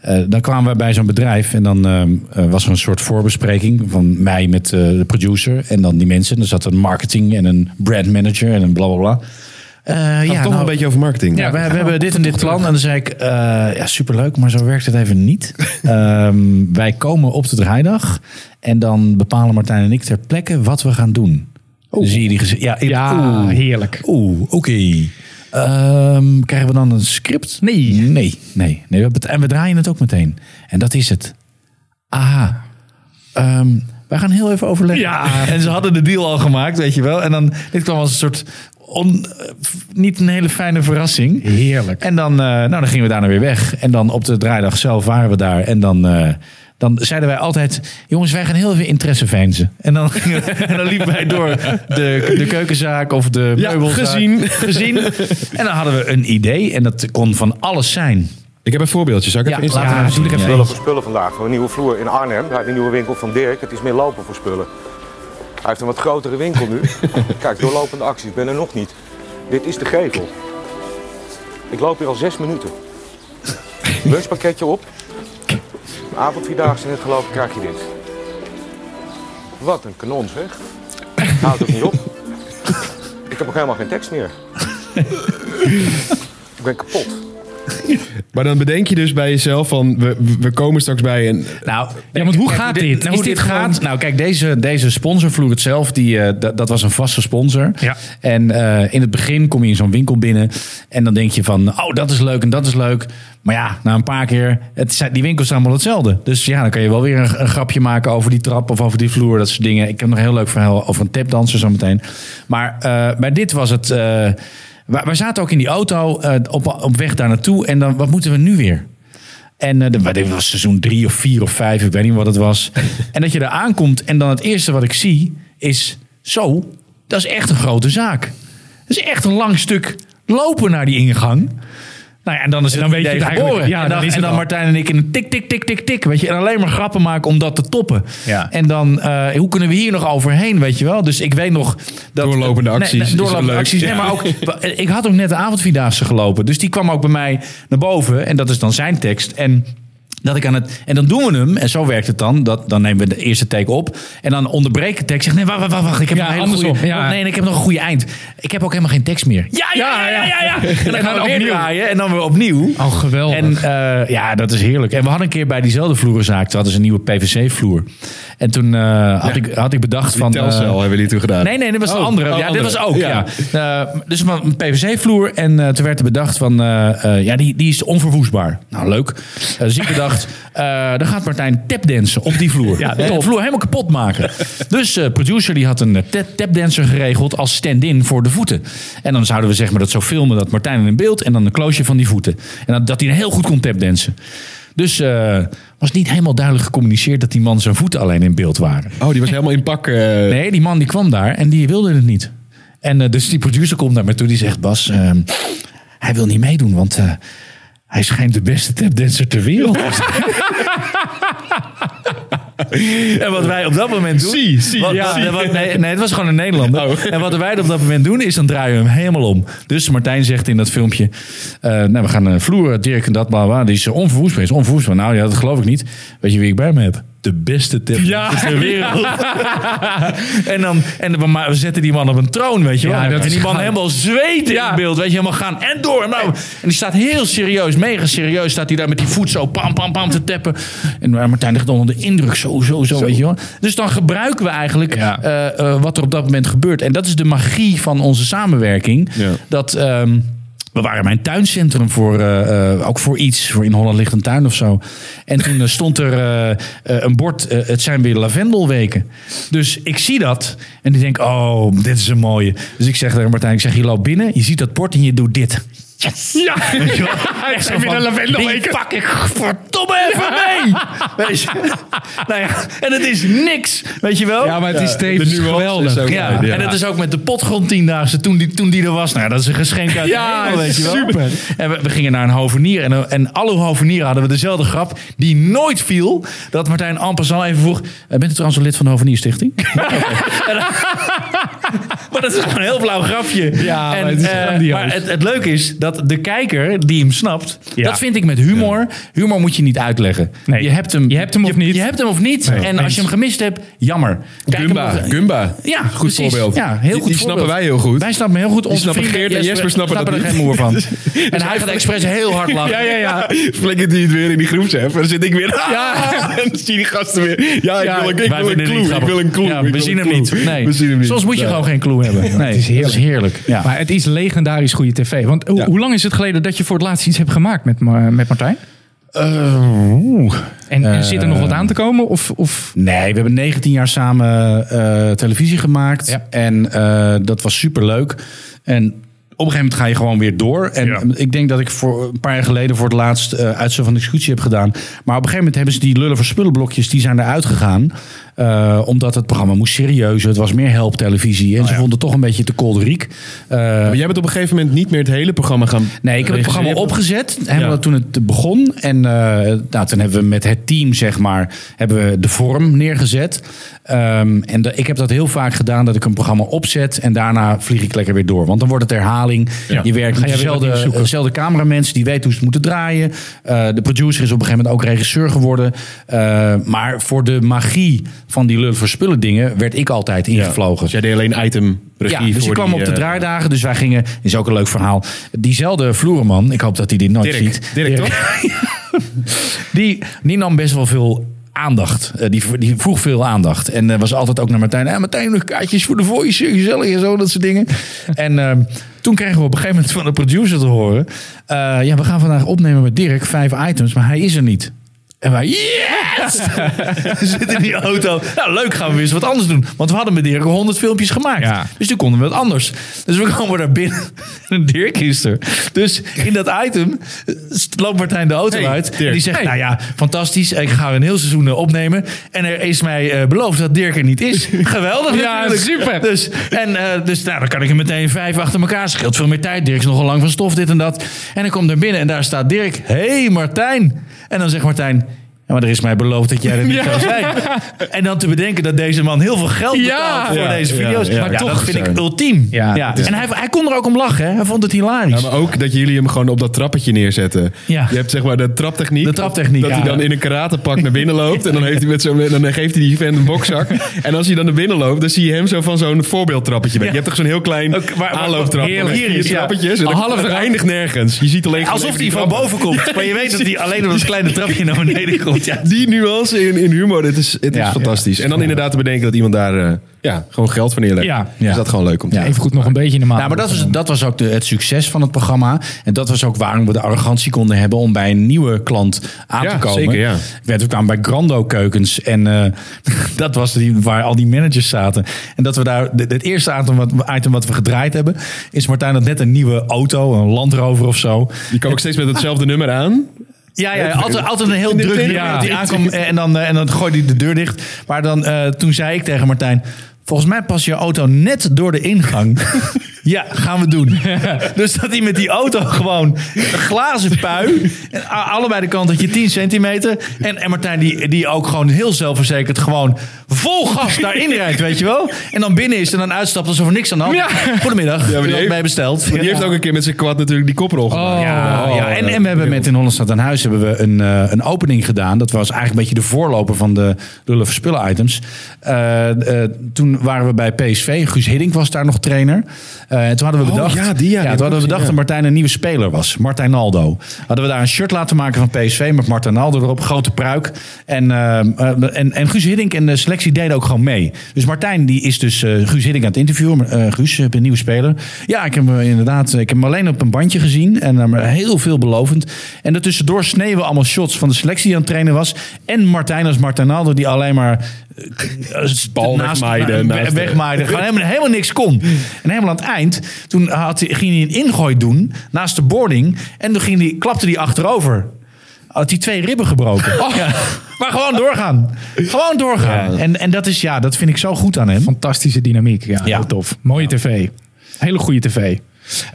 [SPEAKER 1] eh, dan kwamen we bij zo'n bedrijf en dan ehm, eh, was er een soort voorbespreking van mij met eh, de producer en dan die mensen. En er zat een marketing en een brand manager en een blablabla. Eh,
[SPEAKER 2] Gaat
[SPEAKER 1] ja,
[SPEAKER 2] toch
[SPEAKER 1] nou,
[SPEAKER 2] wel een beetje over marketing.
[SPEAKER 1] ja, we, we hebben dit en dit plan. En dan zei ik, eh, ja, superleuk, maar zo werkt het even (laughs) niet. Ehm, wij komen op de draaidag. En dan bepalen Martijn en ik ter plekke wat we gaan doen. Zie je die gezicht? Oh. Ja, ik-
[SPEAKER 3] Ja,
[SPEAKER 1] oeh.
[SPEAKER 3] heerlijk.
[SPEAKER 1] Oeh, oké. Ehm, krijgen we dan een script? Nee. Nee, nee. nee we bet- en we draaien het ook meteen. En dat is het. Aha. Ehm, wij gaan heel even overleggen.
[SPEAKER 3] Ja.
[SPEAKER 1] (laughs) En ze hadden de deal al gemaakt, weet je wel. En dan, dit kwam als een soort, on- eh, f- niet een hele fijne verrassing.
[SPEAKER 3] Heerlijk.
[SPEAKER 1] En dan, eh, nou, dan gingen we daarna weer weg. En dan op de draaidag zelf waren we daar. En dan, eh, dan zeiden wij altijd... jongens, wij gaan heel even interesse veinzen. En dan, gingen we- (laughs) en dan liepen wij door de, de keukenzaak of de
[SPEAKER 2] Ja,
[SPEAKER 1] meubelzaak.
[SPEAKER 2] gezien.
[SPEAKER 1] (laughs) gezien. En dan hadden we een idee. En dat kon van alles zijn.
[SPEAKER 2] Ik heb een voorbeeldje. Zal ik
[SPEAKER 1] Ja,
[SPEAKER 2] even inzetten?
[SPEAKER 1] laten we even zien. Ja.
[SPEAKER 8] Spullen voor spullen vandaag. Voor een nieuwe vloer in Arnhem. Bij de nieuwe winkel van Dirk. Het is meer lopen voor spullen. Hij heeft een wat grotere winkel nu. Kijk, doorlopende acties. Ik ben er nog niet. Dit is de gevel. Ik loop hier al zes minuten. Lunchpakketje op. Een avond vierdaagse in het gelopen krijg je dit. Wat een kanon zeg. Houdt ook niet op. Ik heb nog helemaal geen tekst meer. Ik ben kapot.
[SPEAKER 2] Maar dan bedenk je dus bij jezelf van, we, we komen straks bij een...
[SPEAKER 1] Nou,
[SPEAKER 3] Ja, want hoe
[SPEAKER 1] kijk,
[SPEAKER 3] gaat dit?
[SPEAKER 1] nou, hoe
[SPEAKER 3] Is
[SPEAKER 1] dit
[SPEAKER 3] dit gewoon-
[SPEAKER 1] gaat? Nou, kijk, deze, deze sponsor, Vloer het zelf, die, eh, dat, dat was een vaste sponsor.
[SPEAKER 3] Ja.
[SPEAKER 1] En eh, in het begin kom je in zo'n winkel binnen en dan denk je van, oh, dat is leuk en dat is leuk. Maar ja, na een paar keer, het, zijn- die winkels zijn allemaal hetzelfde. Dus ja, dan kan je wel weer een, een grapje maken over die trap of over die vloer, dat soort dingen. Ik heb nog een heel leuk verhaal over een tapdanser zo meteen. Maar eh, bij dit was het, eh, wij, wij zaten ook in die auto eh, op, op weg daar naartoe en dan, wat moeten we nu weer? En eh, de- wat- dit was seizoen drie of vier of vijf, ik weet niet wat het
[SPEAKER 3] (laughs)
[SPEAKER 1] was. En dat je daar aankomt en dan het eerste wat ik zie is... Zo, dat is echt een grote zaak. Dat is echt een lang stuk lopen naar die ingang. Nou ja, en dan is het
[SPEAKER 3] dan weet je
[SPEAKER 1] idee
[SPEAKER 3] het eigenlijk.
[SPEAKER 1] geboren.
[SPEAKER 3] Ja,
[SPEAKER 1] en
[SPEAKER 3] dan
[SPEAKER 1] dan,
[SPEAKER 3] is het
[SPEAKER 1] en dan
[SPEAKER 3] al.
[SPEAKER 1] Martijn en ik in een tik, tik, tik, tik, tik. Weet je, en alleen maar grappen maken om dat te toppen.
[SPEAKER 3] Ja.
[SPEAKER 1] En dan, eh, hoe kunnen we hier nog overheen, weet je wel? Dus ik weet nog... Dat,
[SPEAKER 2] Doorlopende
[SPEAKER 1] Nee,
[SPEAKER 2] acties
[SPEAKER 1] nee,
[SPEAKER 2] is
[SPEAKER 1] doorlopende
[SPEAKER 2] wel leuk.
[SPEAKER 1] acties. Nee,
[SPEAKER 2] Ja.
[SPEAKER 1] maar ook ook- ik had ook net de avondvierdaagse gelopen. Dus die kwam ook bij mij naar boven. En dat is dan zijn tekst. En Dat ik aan het, en dan doen we hem, en zo werkt het dan. Dat, dan nemen we de eerste take op. En dan onderbreek de tekst. Zeg, nee, wacht, wacht, wacht, wacht. Ik heb
[SPEAKER 3] Ja,
[SPEAKER 1] nog een hele
[SPEAKER 3] andersom,
[SPEAKER 1] goede,
[SPEAKER 3] ja.
[SPEAKER 1] nee, nee, ik heb nog een goede eind. Ik heb ook helemaal geen tekst meer. Ja, ja, ja, ja. ja, ja. En dan gaan we weer
[SPEAKER 3] opnieuw.
[SPEAKER 1] draaien en dan weer opnieuw.
[SPEAKER 3] Oh, geweldig.
[SPEAKER 1] En eh, ja, dat is heerlijk. En we hadden een keer bij diezelfde vloerenzaak, toen hadden ze een nieuwe PVC-vloer. En toen eh, had, ik, had ik bedacht van...
[SPEAKER 2] Van, Telcel
[SPEAKER 1] eh,
[SPEAKER 2] hebben jullie toen gedaan.
[SPEAKER 1] Nee, nee, dat was de
[SPEAKER 2] Oh,
[SPEAKER 1] andere.
[SPEAKER 2] oh,
[SPEAKER 1] ja, dit
[SPEAKER 2] andere.
[SPEAKER 1] was ook, ja.
[SPEAKER 2] Ja.
[SPEAKER 1] Eh, dus van een PVC-vloer. En eh, toen werd er bedacht van... eh, eh, ja, die, die is onverwoestbaar. Nou, leuk. Eh, dus ik bedacht... eh, dan gaat Martijn tapdansen op die vloer. Ja, de vloer helemaal kapot maken. Dus eh producer die had een eh, ta- tapdancer geregeld als stand-in voor de voeten. En dan zouden we zeg maar dat zo filmen... dat Martijn in beeld en dan een kloosje van die voeten. En dat, dat hij heel goed kon tapdansen. Dus eh was niet helemaal duidelijk gecommuniceerd... dat die man zijn voeten alleen in beeld waren.
[SPEAKER 2] Oh, die was helemaal in pak. eh,
[SPEAKER 1] Nee, die man die kwam daar en die wilde het niet. En eh, dus die producer komt naar me toe, die zegt... Bas, ehm, hij wil niet meedoen, want eh, hij schijnt de beste tapdancer ter wereld te
[SPEAKER 2] (laughs)
[SPEAKER 1] zijn. En wat wij op dat moment doen...
[SPEAKER 2] Zie, zie,
[SPEAKER 1] wat-
[SPEAKER 2] ja.
[SPEAKER 1] wat- wat- nee, nee, het was gewoon een Nederlander.
[SPEAKER 2] Oh.
[SPEAKER 1] En wat wij op dat moment doen, is dan draaien we hem helemaal om. Dus Martijn zegt in dat filmpje... eh, nou, we gaan eh, vloeren, Dirk en dat, bla, bla. Die is eh, onverwoestbaar, is onverwoestbaar. Nou ja, dat geloof ik niet. Weet je wie ik bij me heb? De beste tapdancer ter wereld. En dan en we, maar we zetten die man op een troon, weet je wel.
[SPEAKER 3] Ja, dat
[SPEAKER 1] en
[SPEAKER 3] is
[SPEAKER 1] die man
[SPEAKER 3] goud.
[SPEAKER 1] helemaal zweten in beeld, weet je, helemaal gaan en door. En, nou, en die staat heel serieus, mega serieus, staat hij daar met die voet zo pam, pam, pam te teppen. En eh, Martijn ligt dan onder de indruk, zo, zo, zo, weet je wel. Dus dan gebruiken we eigenlijk
[SPEAKER 3] Ja.
[SPEAKER 1] eh, eh, wat er op dat moment gebeurt. En dat is de magie van onze samenwerking.
[SPEAKER 2] Ja.
[SPEAKER 1] Dat... ehm, we waren bij een tuincentrum voor, eh, eh, ook voor iets. Voor in Holland ligt een tuin of zo. En toen eh, stond er eh, eh, een bord, eh, het zijn weer lavendelweken. Dus ik zie dat en die denk, oh, dit is een mooie. Dus ik zeg tegen Martijn, ik zeg, je loopt binnen, je ziet dat bord en je doet dit.
[SPEAKER 3] (laughs) Ja,
[SPEAKER 1] Echt zo
[SPEAKER 3] Heb je
[SPEAKER 1] van,
[SPEAKER 3] de
[SPEAKER 1] die
[SPEAKER 3] lavendelweken?
[SPEAKER 1] pak ik verdomme even
[SPEAKER 3] (laughs)
[SPEAKER 1] mee. Weet je? Nou ja, en het is niks, weet je wel?
[SPEAKER 3] Ja, maar het is
[SPEAKER 2] de
[SPEAKER 3] tevens
[SPEAKER 2] nuance is
[SPEAKER 3] geweldig.
[SPEAKER 2] ook-
[SPEAKER 1] Ja,
[SPEAKER 2] Ja.
[SPEAKER 1] en dat is dus ook met de potgrond tiendaagse toen die, toen die er was. Nou, dat is een geschenk uit
[SPEAKER 3] Ja,
[SPEAKER 1] de hemel, weet je wel.
[SPEAKER 3] super.
[SPEAKER 1] En we, we gingen naar een hovenier en, en alle hovenieren hadden we dezelfde grap die nooit viel. Dat Martijn Ampers al even vroeg, "Eh, bent u trouwens een lid van de hovenierstichting? (laughs) En dan- maar dat is gewoon een heel blauw grapje.
[SPEAKER 3] Ja, maar het is
[SPEAKER 1] eh,
[SPEAKER 3] grandioos.
[SPEAKER 1] maar het, het leuke is dat de kijker die hem snapt, dat vind ik met humor. Humor moet je niet uitleggen.
[SPEAKER 3] Nee.
[SPEAKER 1] Je hebt hem,
[SPEAKER 3] Je hebt hem of niet.
[SPEAKER 1] Je hebt hem of niet. en als
[SPEAKER 3] eens.
[SPEAKER 1] je hem gemist hebt, jammer. Kijk hem
[SPEAKER 2] Gumba.
[SPEAKER 1] nog-
[SPEAKER 2] Gumba.
[SPEAKER 1] ja,
[SPEAKER 2] goed
[SPEAKER 1] precies.
[SPEAKER 2] voorbeeld.
[SPEAKER 1] Ja, heel
[SPEAKER 2] Die-
[SPEAKER 1] goed
[SPEAKER 2] die snappen wij heel goed.
[SPEAKER 1] Wij snappen heel goed. Onze
[SPEAKER 2] snappen
[SPEAKER 1] vrienden
[SPEAKER 2] Geert en Jesper snappen dat
[SPEAKER 1] er geen moer (laughs) van. en hij gaat expres heel hard lachen.
[SPEAKER 2] ja, ja. (laughs) Flikkert die het weer in die groepsapp. En dan zit ik weer.
[SPEAKER 1] Ja.
[SPEAKER 2] (laughs) En dan zie je die gasten weer. Ja, ik
[SPEAKER 1] Ja,
[SPEAKER 2] wil, ik
[SPEAKER 1] wij
[SPEAKER 2] wil een
[SPEAKER 1] vinden het niet
[SPEAKER 2] clue. Ik
[SPEAKER 1] grappig.
[SPEAKER 2] wil een clue.
[SPEAKER 1] Ja,
[SPEAKER 2] ik wil
[SPEAKER 1] we,
[SPEAKER 2] een
[SPEAKER 1] zien hem
[SPEAKER 2] clue.
[SPEAKER 1] niet. Nee.
[SPEAKER 2] We zien hem niet.
[SPEAKER 1] Soms moet je
[SPEAKER 2] Nee.
[SPEAKER 1] gewoon geen clue hebben. Nee,
[SPEAKER 3] is
[SPEAKER 1] Dat is heerlijk. Ja.
[SPEAKER 3] Maar het is legendarisch goede tv. Want hoe-
[SPEAKER 2] Ja.
[SPEAKER 3] hoe lang is het geleden dat je voor het laatst iets hebt gemaakt met, Ma- met Martijn?
[SPEAKER 2] Eh,
[SPEAKER 3] en, en zit er nog wat aan te komen? Of, of
[SPEAKER 1] Nee, we hebben 19 jaar samen eh, televisie gemaakt.
[SPEAKER 3] Ja.
[SPEAKER 1] En eh, dat was super leuk. En op een gegeven moment ga je gewoon weer door. En ik denk dat ik voor een paar jaar geleden voor het laatst eh uitstel van executie heb gedaan. Maar op een gegeven moment hebben ze die lullen voor spullenblokjes, die zijn eruit gegaan. Eh, omdat het programma moest serieuzer. Het was meer helptelevisie. En ze vonden het toch een beetje te kolderiek. Eh,
[SPEAKER 2] Maar jij bent op een gegeven moment niet meer het hele programma gaan.
[SPEAKER 1] Nee, ik heb het programma opgezet. Helemaal
[SPEAKER 2] Ja.
[SPEAKER 1] toen het begon. En eh, nou, toen hebben we met het team, zeg maar, hebben we de vorm neergezet. Ehm, en de- ik heb dat heel vaak gedaan, dat ik een programma opzet. En daarna vlieg ik lekker weer door. Want dan wordt het herhaling. Je werkt met
[SPEAKER 3] jij weer wat nieuws
[SPEAKER 1] dezelfde,
[SPEAKER 3] zoeken.
[SPEAKER 1] dezelfde cameramensen. Die weten hoe ze het moeten draaien. Eh, de producer is op een gegeven moment ook regisseur geworden. Eh, maar voor de magie van die lul verspullen dingen... werd ik altijd ingevlogen.
[SPEAKER 2] Dus jij deed alleen item regie
[SPEAKER 1] Ja, dus
[SPEAKER 2] voor
[SPEAKER 1] ik kwam
[SPEAKER 2] die,
[SPEAKER 1] op de
[SPEAKER 2] eh,
[SPEAKER 1] draaidagen. Dus wij gingen, is ook een leuk verhaal. Diezelfde vloerman, ik hoop dat hij dit nooit
[SPEAKER 2] Dirk.
[SPEAKER 1] ziet.
[SPEAKER 2] Dirk,
[SPEAKER 1] die, die nam best wel veel aandacht. Eh, die, die vroeg veel aandacht. En eh, was altijd ook naar Martijn. Eh, Martijn, nog kaartjes voor de voice, eh, gezellig en zo, dat soort dingen. en ehm, toen kregen we op een gegeven moment van de producer te horen. eh, ja, we gaan vandaag opnemen met Dirk, vijf items, maar hij is er niet. En wij, yes! (laughs) we zitten in die auto. Nou, leuk, gaan we weer eens wat anders doen. Want we hadden met Dirk 100 filmpjes gemaakt.
[SPEAKER 3] Ja.
[SPEAKER 1] Dus toen konden we wat anders. Dus we komen daar binnen. (laughs) En Dirk is er. Dus in dat item eh, loopt Martijn de auto
[SPEAKER 2] Hey,
[SPEAKER 1] uit. En
[SPEAKER 2] Dirk.
[SPEAKER 1] die zegt, nou ja, fantastisch. Ik ga een heel seizoen eh, opnemen. En er is mij eh, beloofd dat Dirk er niet
[SPEAKER 2] (laughs)
[SPEAKER 1] is. Geweldig
[SPEAKER 3] Ja,
[SPEAKER 1] natuurlijk.
[SPEAKER 3] super.
[SPEAKER 1] Dus, en, eh, dus nou, dan kan ik er meteen vijf achter elkaar. Scheelt veel meer tijd. Dirk is nogal lang van stof, dit en dat. En dan komt er binnen en daar staat Dirk. Hé hey, Martijn. En dan zegt Martijn... Ja, maar er is mij beloofd dat jij er niet zou zijn. En dan te bedenken dat deze man heel veel geld betaalt
[SPEAKER 3] Ja.
[SPEAKER 1] voor
[SPEAKER 2] Ja,
[SPEAKER 1] deze
[SPEAKER 2] ja,
[SPEAKER 1] video's.
[SPEAKER 2] ja.
[SPEAKER 1] maar
[SPEAKER 2] Ja,
[SPEAKER 1] toch
[SPEAKER 2] dat
[SPEAKER 1] vind
[SPEAKER 2] zijn.
[SPEAKER 1] ik ultiem.
[SPEAKER 3] Ja,
[SPEAKER 1] Ja,
[SPEAKER 3] dat is-
[SPEAKER 1] En hij, hij kon er ook om lachen. hè. Hij vond het hilarisch.
[SPEAKER 2] Ja, maar ook dat jullie hem gewoon op dat trappetje neerzetten.
[SPEAKER 1] Ja.
[SPEAKER 2] Je hebt zeg maar de traptechniek.
[SPEAKER 1] De traptechniek,
[SPEAKER 2] Dat
[SPEAKER 1] ja.
[SPEAKER 2] hij dan in een karatepak naar binnen loopt. En dan, heeft hij met zo'n, dan geeft hij die vent een
[SPEAKER 1] (laughs)
[SPEAKER 2] bokzak. En als hij dan naar binnen loopt, dan zie je hem zo van zo'n voorbeeldtrappetje weg. Je hebt toch zo'n heel klein
[SPEAKER 1] Ook- maar- maar-
[SPEAKER 2] aanlooptrappetje.
[SPEAKER 1] heerlijk.
[SPEAKER 2] met vier
[SPEAKER 1] Ja.
[SPEAKER 2] trappetjes. En dan-
[SPEAKER 3] Half
[SPEAKER 2] het eindigt nergens. Je ziet alleen...
[SPEAKER 1] Alsof hij
[SPEAKER 2] die
[SPEAKER 1] van boven
[SPEAKER 2] (laughs)
[SPEAKER 1] komt. Maar je weet dat hij alleen op dat kleine trapje naar beneden komt. Ja,
[SPEAKER 2] Die nuance in, in humor, dit is, het
[SPEAKER 1] Ja.
[SPEAKER 2] is fantastisch. En dan inderdaad te bedenken dat iemand daar eh, ja, gewoon geld van neerlegt.
[SPEAKER 3] Ja.
[SPEAKER 2] Is dat gewoon leuk om te
[SPEAKER 3] Even goed nog een beetje in de maand.
[SPEAKER 1] Nou, maar dat was, dat was ook de, het succes van het programma. En dat was ook waarom we de arrogantie konden hebben om bij een nieuwe klant aan
[SPEAKER 2] Ja,
[SPEAKER 1] te komen.
[SPEAKER 2] zeker, ja.
[SPEAKER 1] Ik werd ook aan bij Grando Keukens. En eh, (laughs) dat was die, waar al die managers zaten. En dat we daar, de- het eerste item wat, item wat we gedraaid hebben, is Martijn had net een nieuwe auto, een Land Rover of zo.
[SPEAKER 2] Die kwam ook steeds met hetzelfde nummer aan.
[SPEAKER 1] Ja, ja altijd, altijd een heel
[SPEAKER 2] In de
[SPEAKER 1] druk
[SPEAKER 2] tent,
[SPEAKER 1] nummer
[SPEAKER 2] ja.
[SPEAKER 1] dat hij aankwam eh, en dan, eh, en dan gooide hij de deur dicht. Maar dan, eh, toen zei ik tegen Martijn... Volgens mij past je auto net door de ingang. (laughs) ja, gaan we
[SPEAKER 2] (laughs)
[SPEAKER 1] doen. dus dat hij met die auto gewoon een glazen pui... en a- allebei de kanten je 10 centimeter... en, en Martijn die, die ook gewoon heel zelfverzekerd... gewoon vol gas daarin rijdt, weet je wel? En dan binnen is en dan uitstapt alsof er niks aan de hand is.
[SPEAKER 3] Ja.
[SPEAKER 1] Goedemiddag,
[SPEAKER 2] die
[SPEAKER 1] u had
[SPEAKER 2] heeft-
[SPEAKER 1] mij besteld.
[SPEAKER 2] Maar die heeft ook een keer met zijn kwad natuurlijk die koprol gedaan.
[SPEAKER 1] Ja,
[SPEAKER 2] Oh,
[SPEAKER 1] ja. En,
[SPEAKER 2] dat-
[SPEAKER 1] en we hebben met In Holland staat aan huis hebben we een, eh, een opening gedaan. Dat was eigenlijk een beetje de voorloper van de Lullen Verspullen items. Eh, eh, toen waren we bij PSV. Guus Hiddink was daar nog trainer. Eh, en toen hadden we bedacht,
[SPEAKER 2] Oh, ja, die, ja, die
[SPEAKER 1] toen hadden we
[SPEAKER 2] klopt,
[SPEAKER 1] bedacht
[SPEAKER 2] ja.
[SPEAKER 1] dat Martijn een nieuwe speler was. Martijn Naldo. Hadden we daar een shirt laten maken van PSV met Martijn Naldo erop. Grote pruik. En, eh, eh, en, en Guus Hiddink en de selectie deden ook gewoon mee. Dus Martijn die is dus eh, Guus Hiddink aan het interviewen. Maar, eh, Guus, je hebt een nieuwe speler. Ja, ik heb hem eh, inderdaad ik heb hem alleen op een bandje gezien. En eh, maar heel veelbelovend. En daartussendoor sneden we allemaal shots van de selectie die aan het trainen was. En Martijn als Martijn Naldo die alleen maar... eh,
[SPEAKER 2] Bal wegmaaide,
[SPEAKER 1] na-
[SPEAKER 2] naast de-
[SPEAKER 1] weg- maar er gewoon helemaal, helemaal niks kon. En helemaal aan het eind, toen had, hij- ging hij een ingooi doen naast de boarding. En toen ging die, klapte hij achterover. Had hij twee ribben gebroken.
[SPEAKER 2] Oh.
[SPEAKER 1] Ja. Maar gewoon doorgaan. Gewoon doorgaan. En, en dat, is, ja, dat vind ik zo goed aan hem.
[SPEAKER 3] Fantastische dynamiek. Ja,
[SPEAKER 1] Ja.
[SPEAKER 3] heel tof. Mooie tv. Hele goede tv.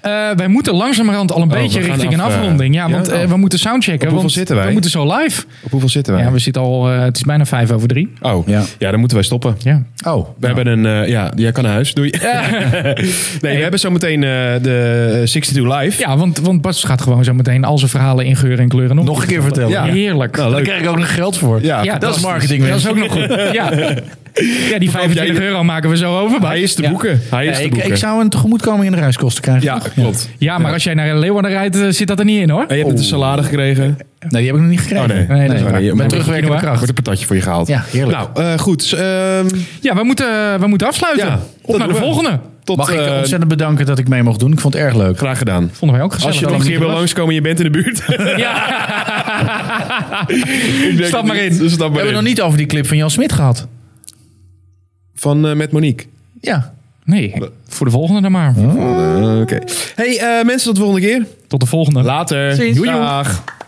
[SPEAKER 3] Eh, wij moeten langzamerhand al een
[SPEAKER 2] we
[SPEAKER 3] beetje
[SPEAKER 2] gaan
[SPEAKER 3] richting een
[SPEAKER 2] af, eh,
[SPEAKER 3] afronding. Ja,
[SPEAKER 2] ja?
[SPEAKER 3] want eh,
[SPEAKER 2] Oh.
[SPEAKER 3] we moeten soundchecken.
[SPEAKER 2] hoeveel
[SPEAKER 3] want
[SPEAKER 2] zitten wij?
[SPEAKER 3] We moeten zo live.
[SPEAKER 2] Op hoeveel zitten wij?
[SPEAKER 3] Ja, we zitten al... eh, het is bijna vijf over drie.
[SPEAKER 2] Oh,
[SPEAKER 1] Ja.
[SPEAKER 2] ja. dan moeten wij stoppen.
[SPEAKER 3] Ja.
[SPEAKER 1] Oh,
[SPEAKER 2] We hebben een... eh, ja, jij kan naar huis. Doei. (laughs) nee, we hebben zometeen eh, de eh, 62 Live.
[SPEAKER 3] Ja, want, want Bas gaat gewoon zo meteen al zijn verhalen in geuren en kleuren nog,
[SPEAKER 1] nog een keer vertellen.
[SPEAKER 3] Ja. Heerlijk.
[SPEAKER 2] Nou,
[SPEAKER 1] Daar krijg ik ook nog geld voor.
[SPEAKER 2] Ja,
[SPEAKER 3] Ja,
[SPEAKER 1] dat is
[SPEAKER 3] fantastisch.
[SPEAKER 1] marketing.
[SPEAKER 3] Dat is ook nog goed. Ja, ja die 25 euro maken we zo over. Bas.
[SPEAKER 2] Hij is te
[SPEAKER 3] Ja.
[SPEAKER 2] boeken. Hij
[SPEAKER 1] Ja,
[SPEAKER 2] is te
[SPEAKER 1] ik,
[SPEAKER 2] boeken.
[SPEAKER 1] ik zou een tegemoetkoming in de reiskosten krijgen.
[SPEAKER 2] Ja, klopt.
[SPEAKER 3] Ja, maar als jij naar Leeuwarden rijdt, eh, zit dat er niet in hoor.
[SPEAKER 2] En je hebt net een salade gekregen.
[SPEAKER 1] Nee, die heb ik nog niet gekregen.
[SPEAKER 2] Oh, nee.
[SPEAKER 3] Nee, dat is
[SPEAKER 2] Oh,
[SPEAKER 3] waar.
[SPEAKER 2] nee, je-
[SPEAKER 1] Met
[SPEAKER 2] wordt-
[SPEAKER 1] terugwerkende
[SPEAKER 3] Quinoa.
[SPEAKER 1] kracht.
[SPEAKER 2] Wordt een patatje voor je gehaald.
[SPEAKER 1] Ja, heerlijk.
[SPEAKER 2] Nou, eh, goed. s- ehm,
[SPEAKER 3] Ja, we moeten, eh, we moeten afsluiten.
[SPEAKER 2] Ja,
[SPEAKER 3] Op
[SPEAKER 2] dat
[SPEAKER 3] naar de
[SPEAKER 2] doen we.
[SPEAKER 3] volgende.
[SPEAKER 2] tot,
[SPEAKER 1] Mag ik
[SPEAKER 2] eh,
[SPEAKER 1] ontzettend bedanken dat ik mee mocht doen. Ik vond het erg leuk.
[SPEAKER 2] Graag gedaan.
[SPEAKER 3] Vonden wij ook gezellig.
[SPEAKER 2] Als je nog een keer wil langskomen en je bent in de
[SPEAKER 1] (laughs)
[SPEAKER 2] buurt.
[SPEAKER 3] Ja.
[SPEAKER 2] (laughs) ik denk
[SPEAKER 3] Stap maar
[SPEAKER 2] het niet.
[SPEAKER 3] in.
[SPEAKER 1] We
[SPEAKER 2] Stap maar
[SPEAKER 1] hebben
[SPEAKER 2] in.
[SPEAKER 1] het nog niet over die clip van Jan Smit gehad.
[SPEAKER 2] Van eh, met Monique.
[SPEAKER 1] Ja.
[SPEAKER 3] Nee, voor de volgende dan maar.
[SPEAKER 2] Eh, Oké. Hey eh, mensen, tot de volgende keer.
[SPEAKER 3] Tot de volgende.
[SPEAKER 2] Later.
[SPEAKER 3] Ziens.
[SPEAKER 2] Doei. Dag.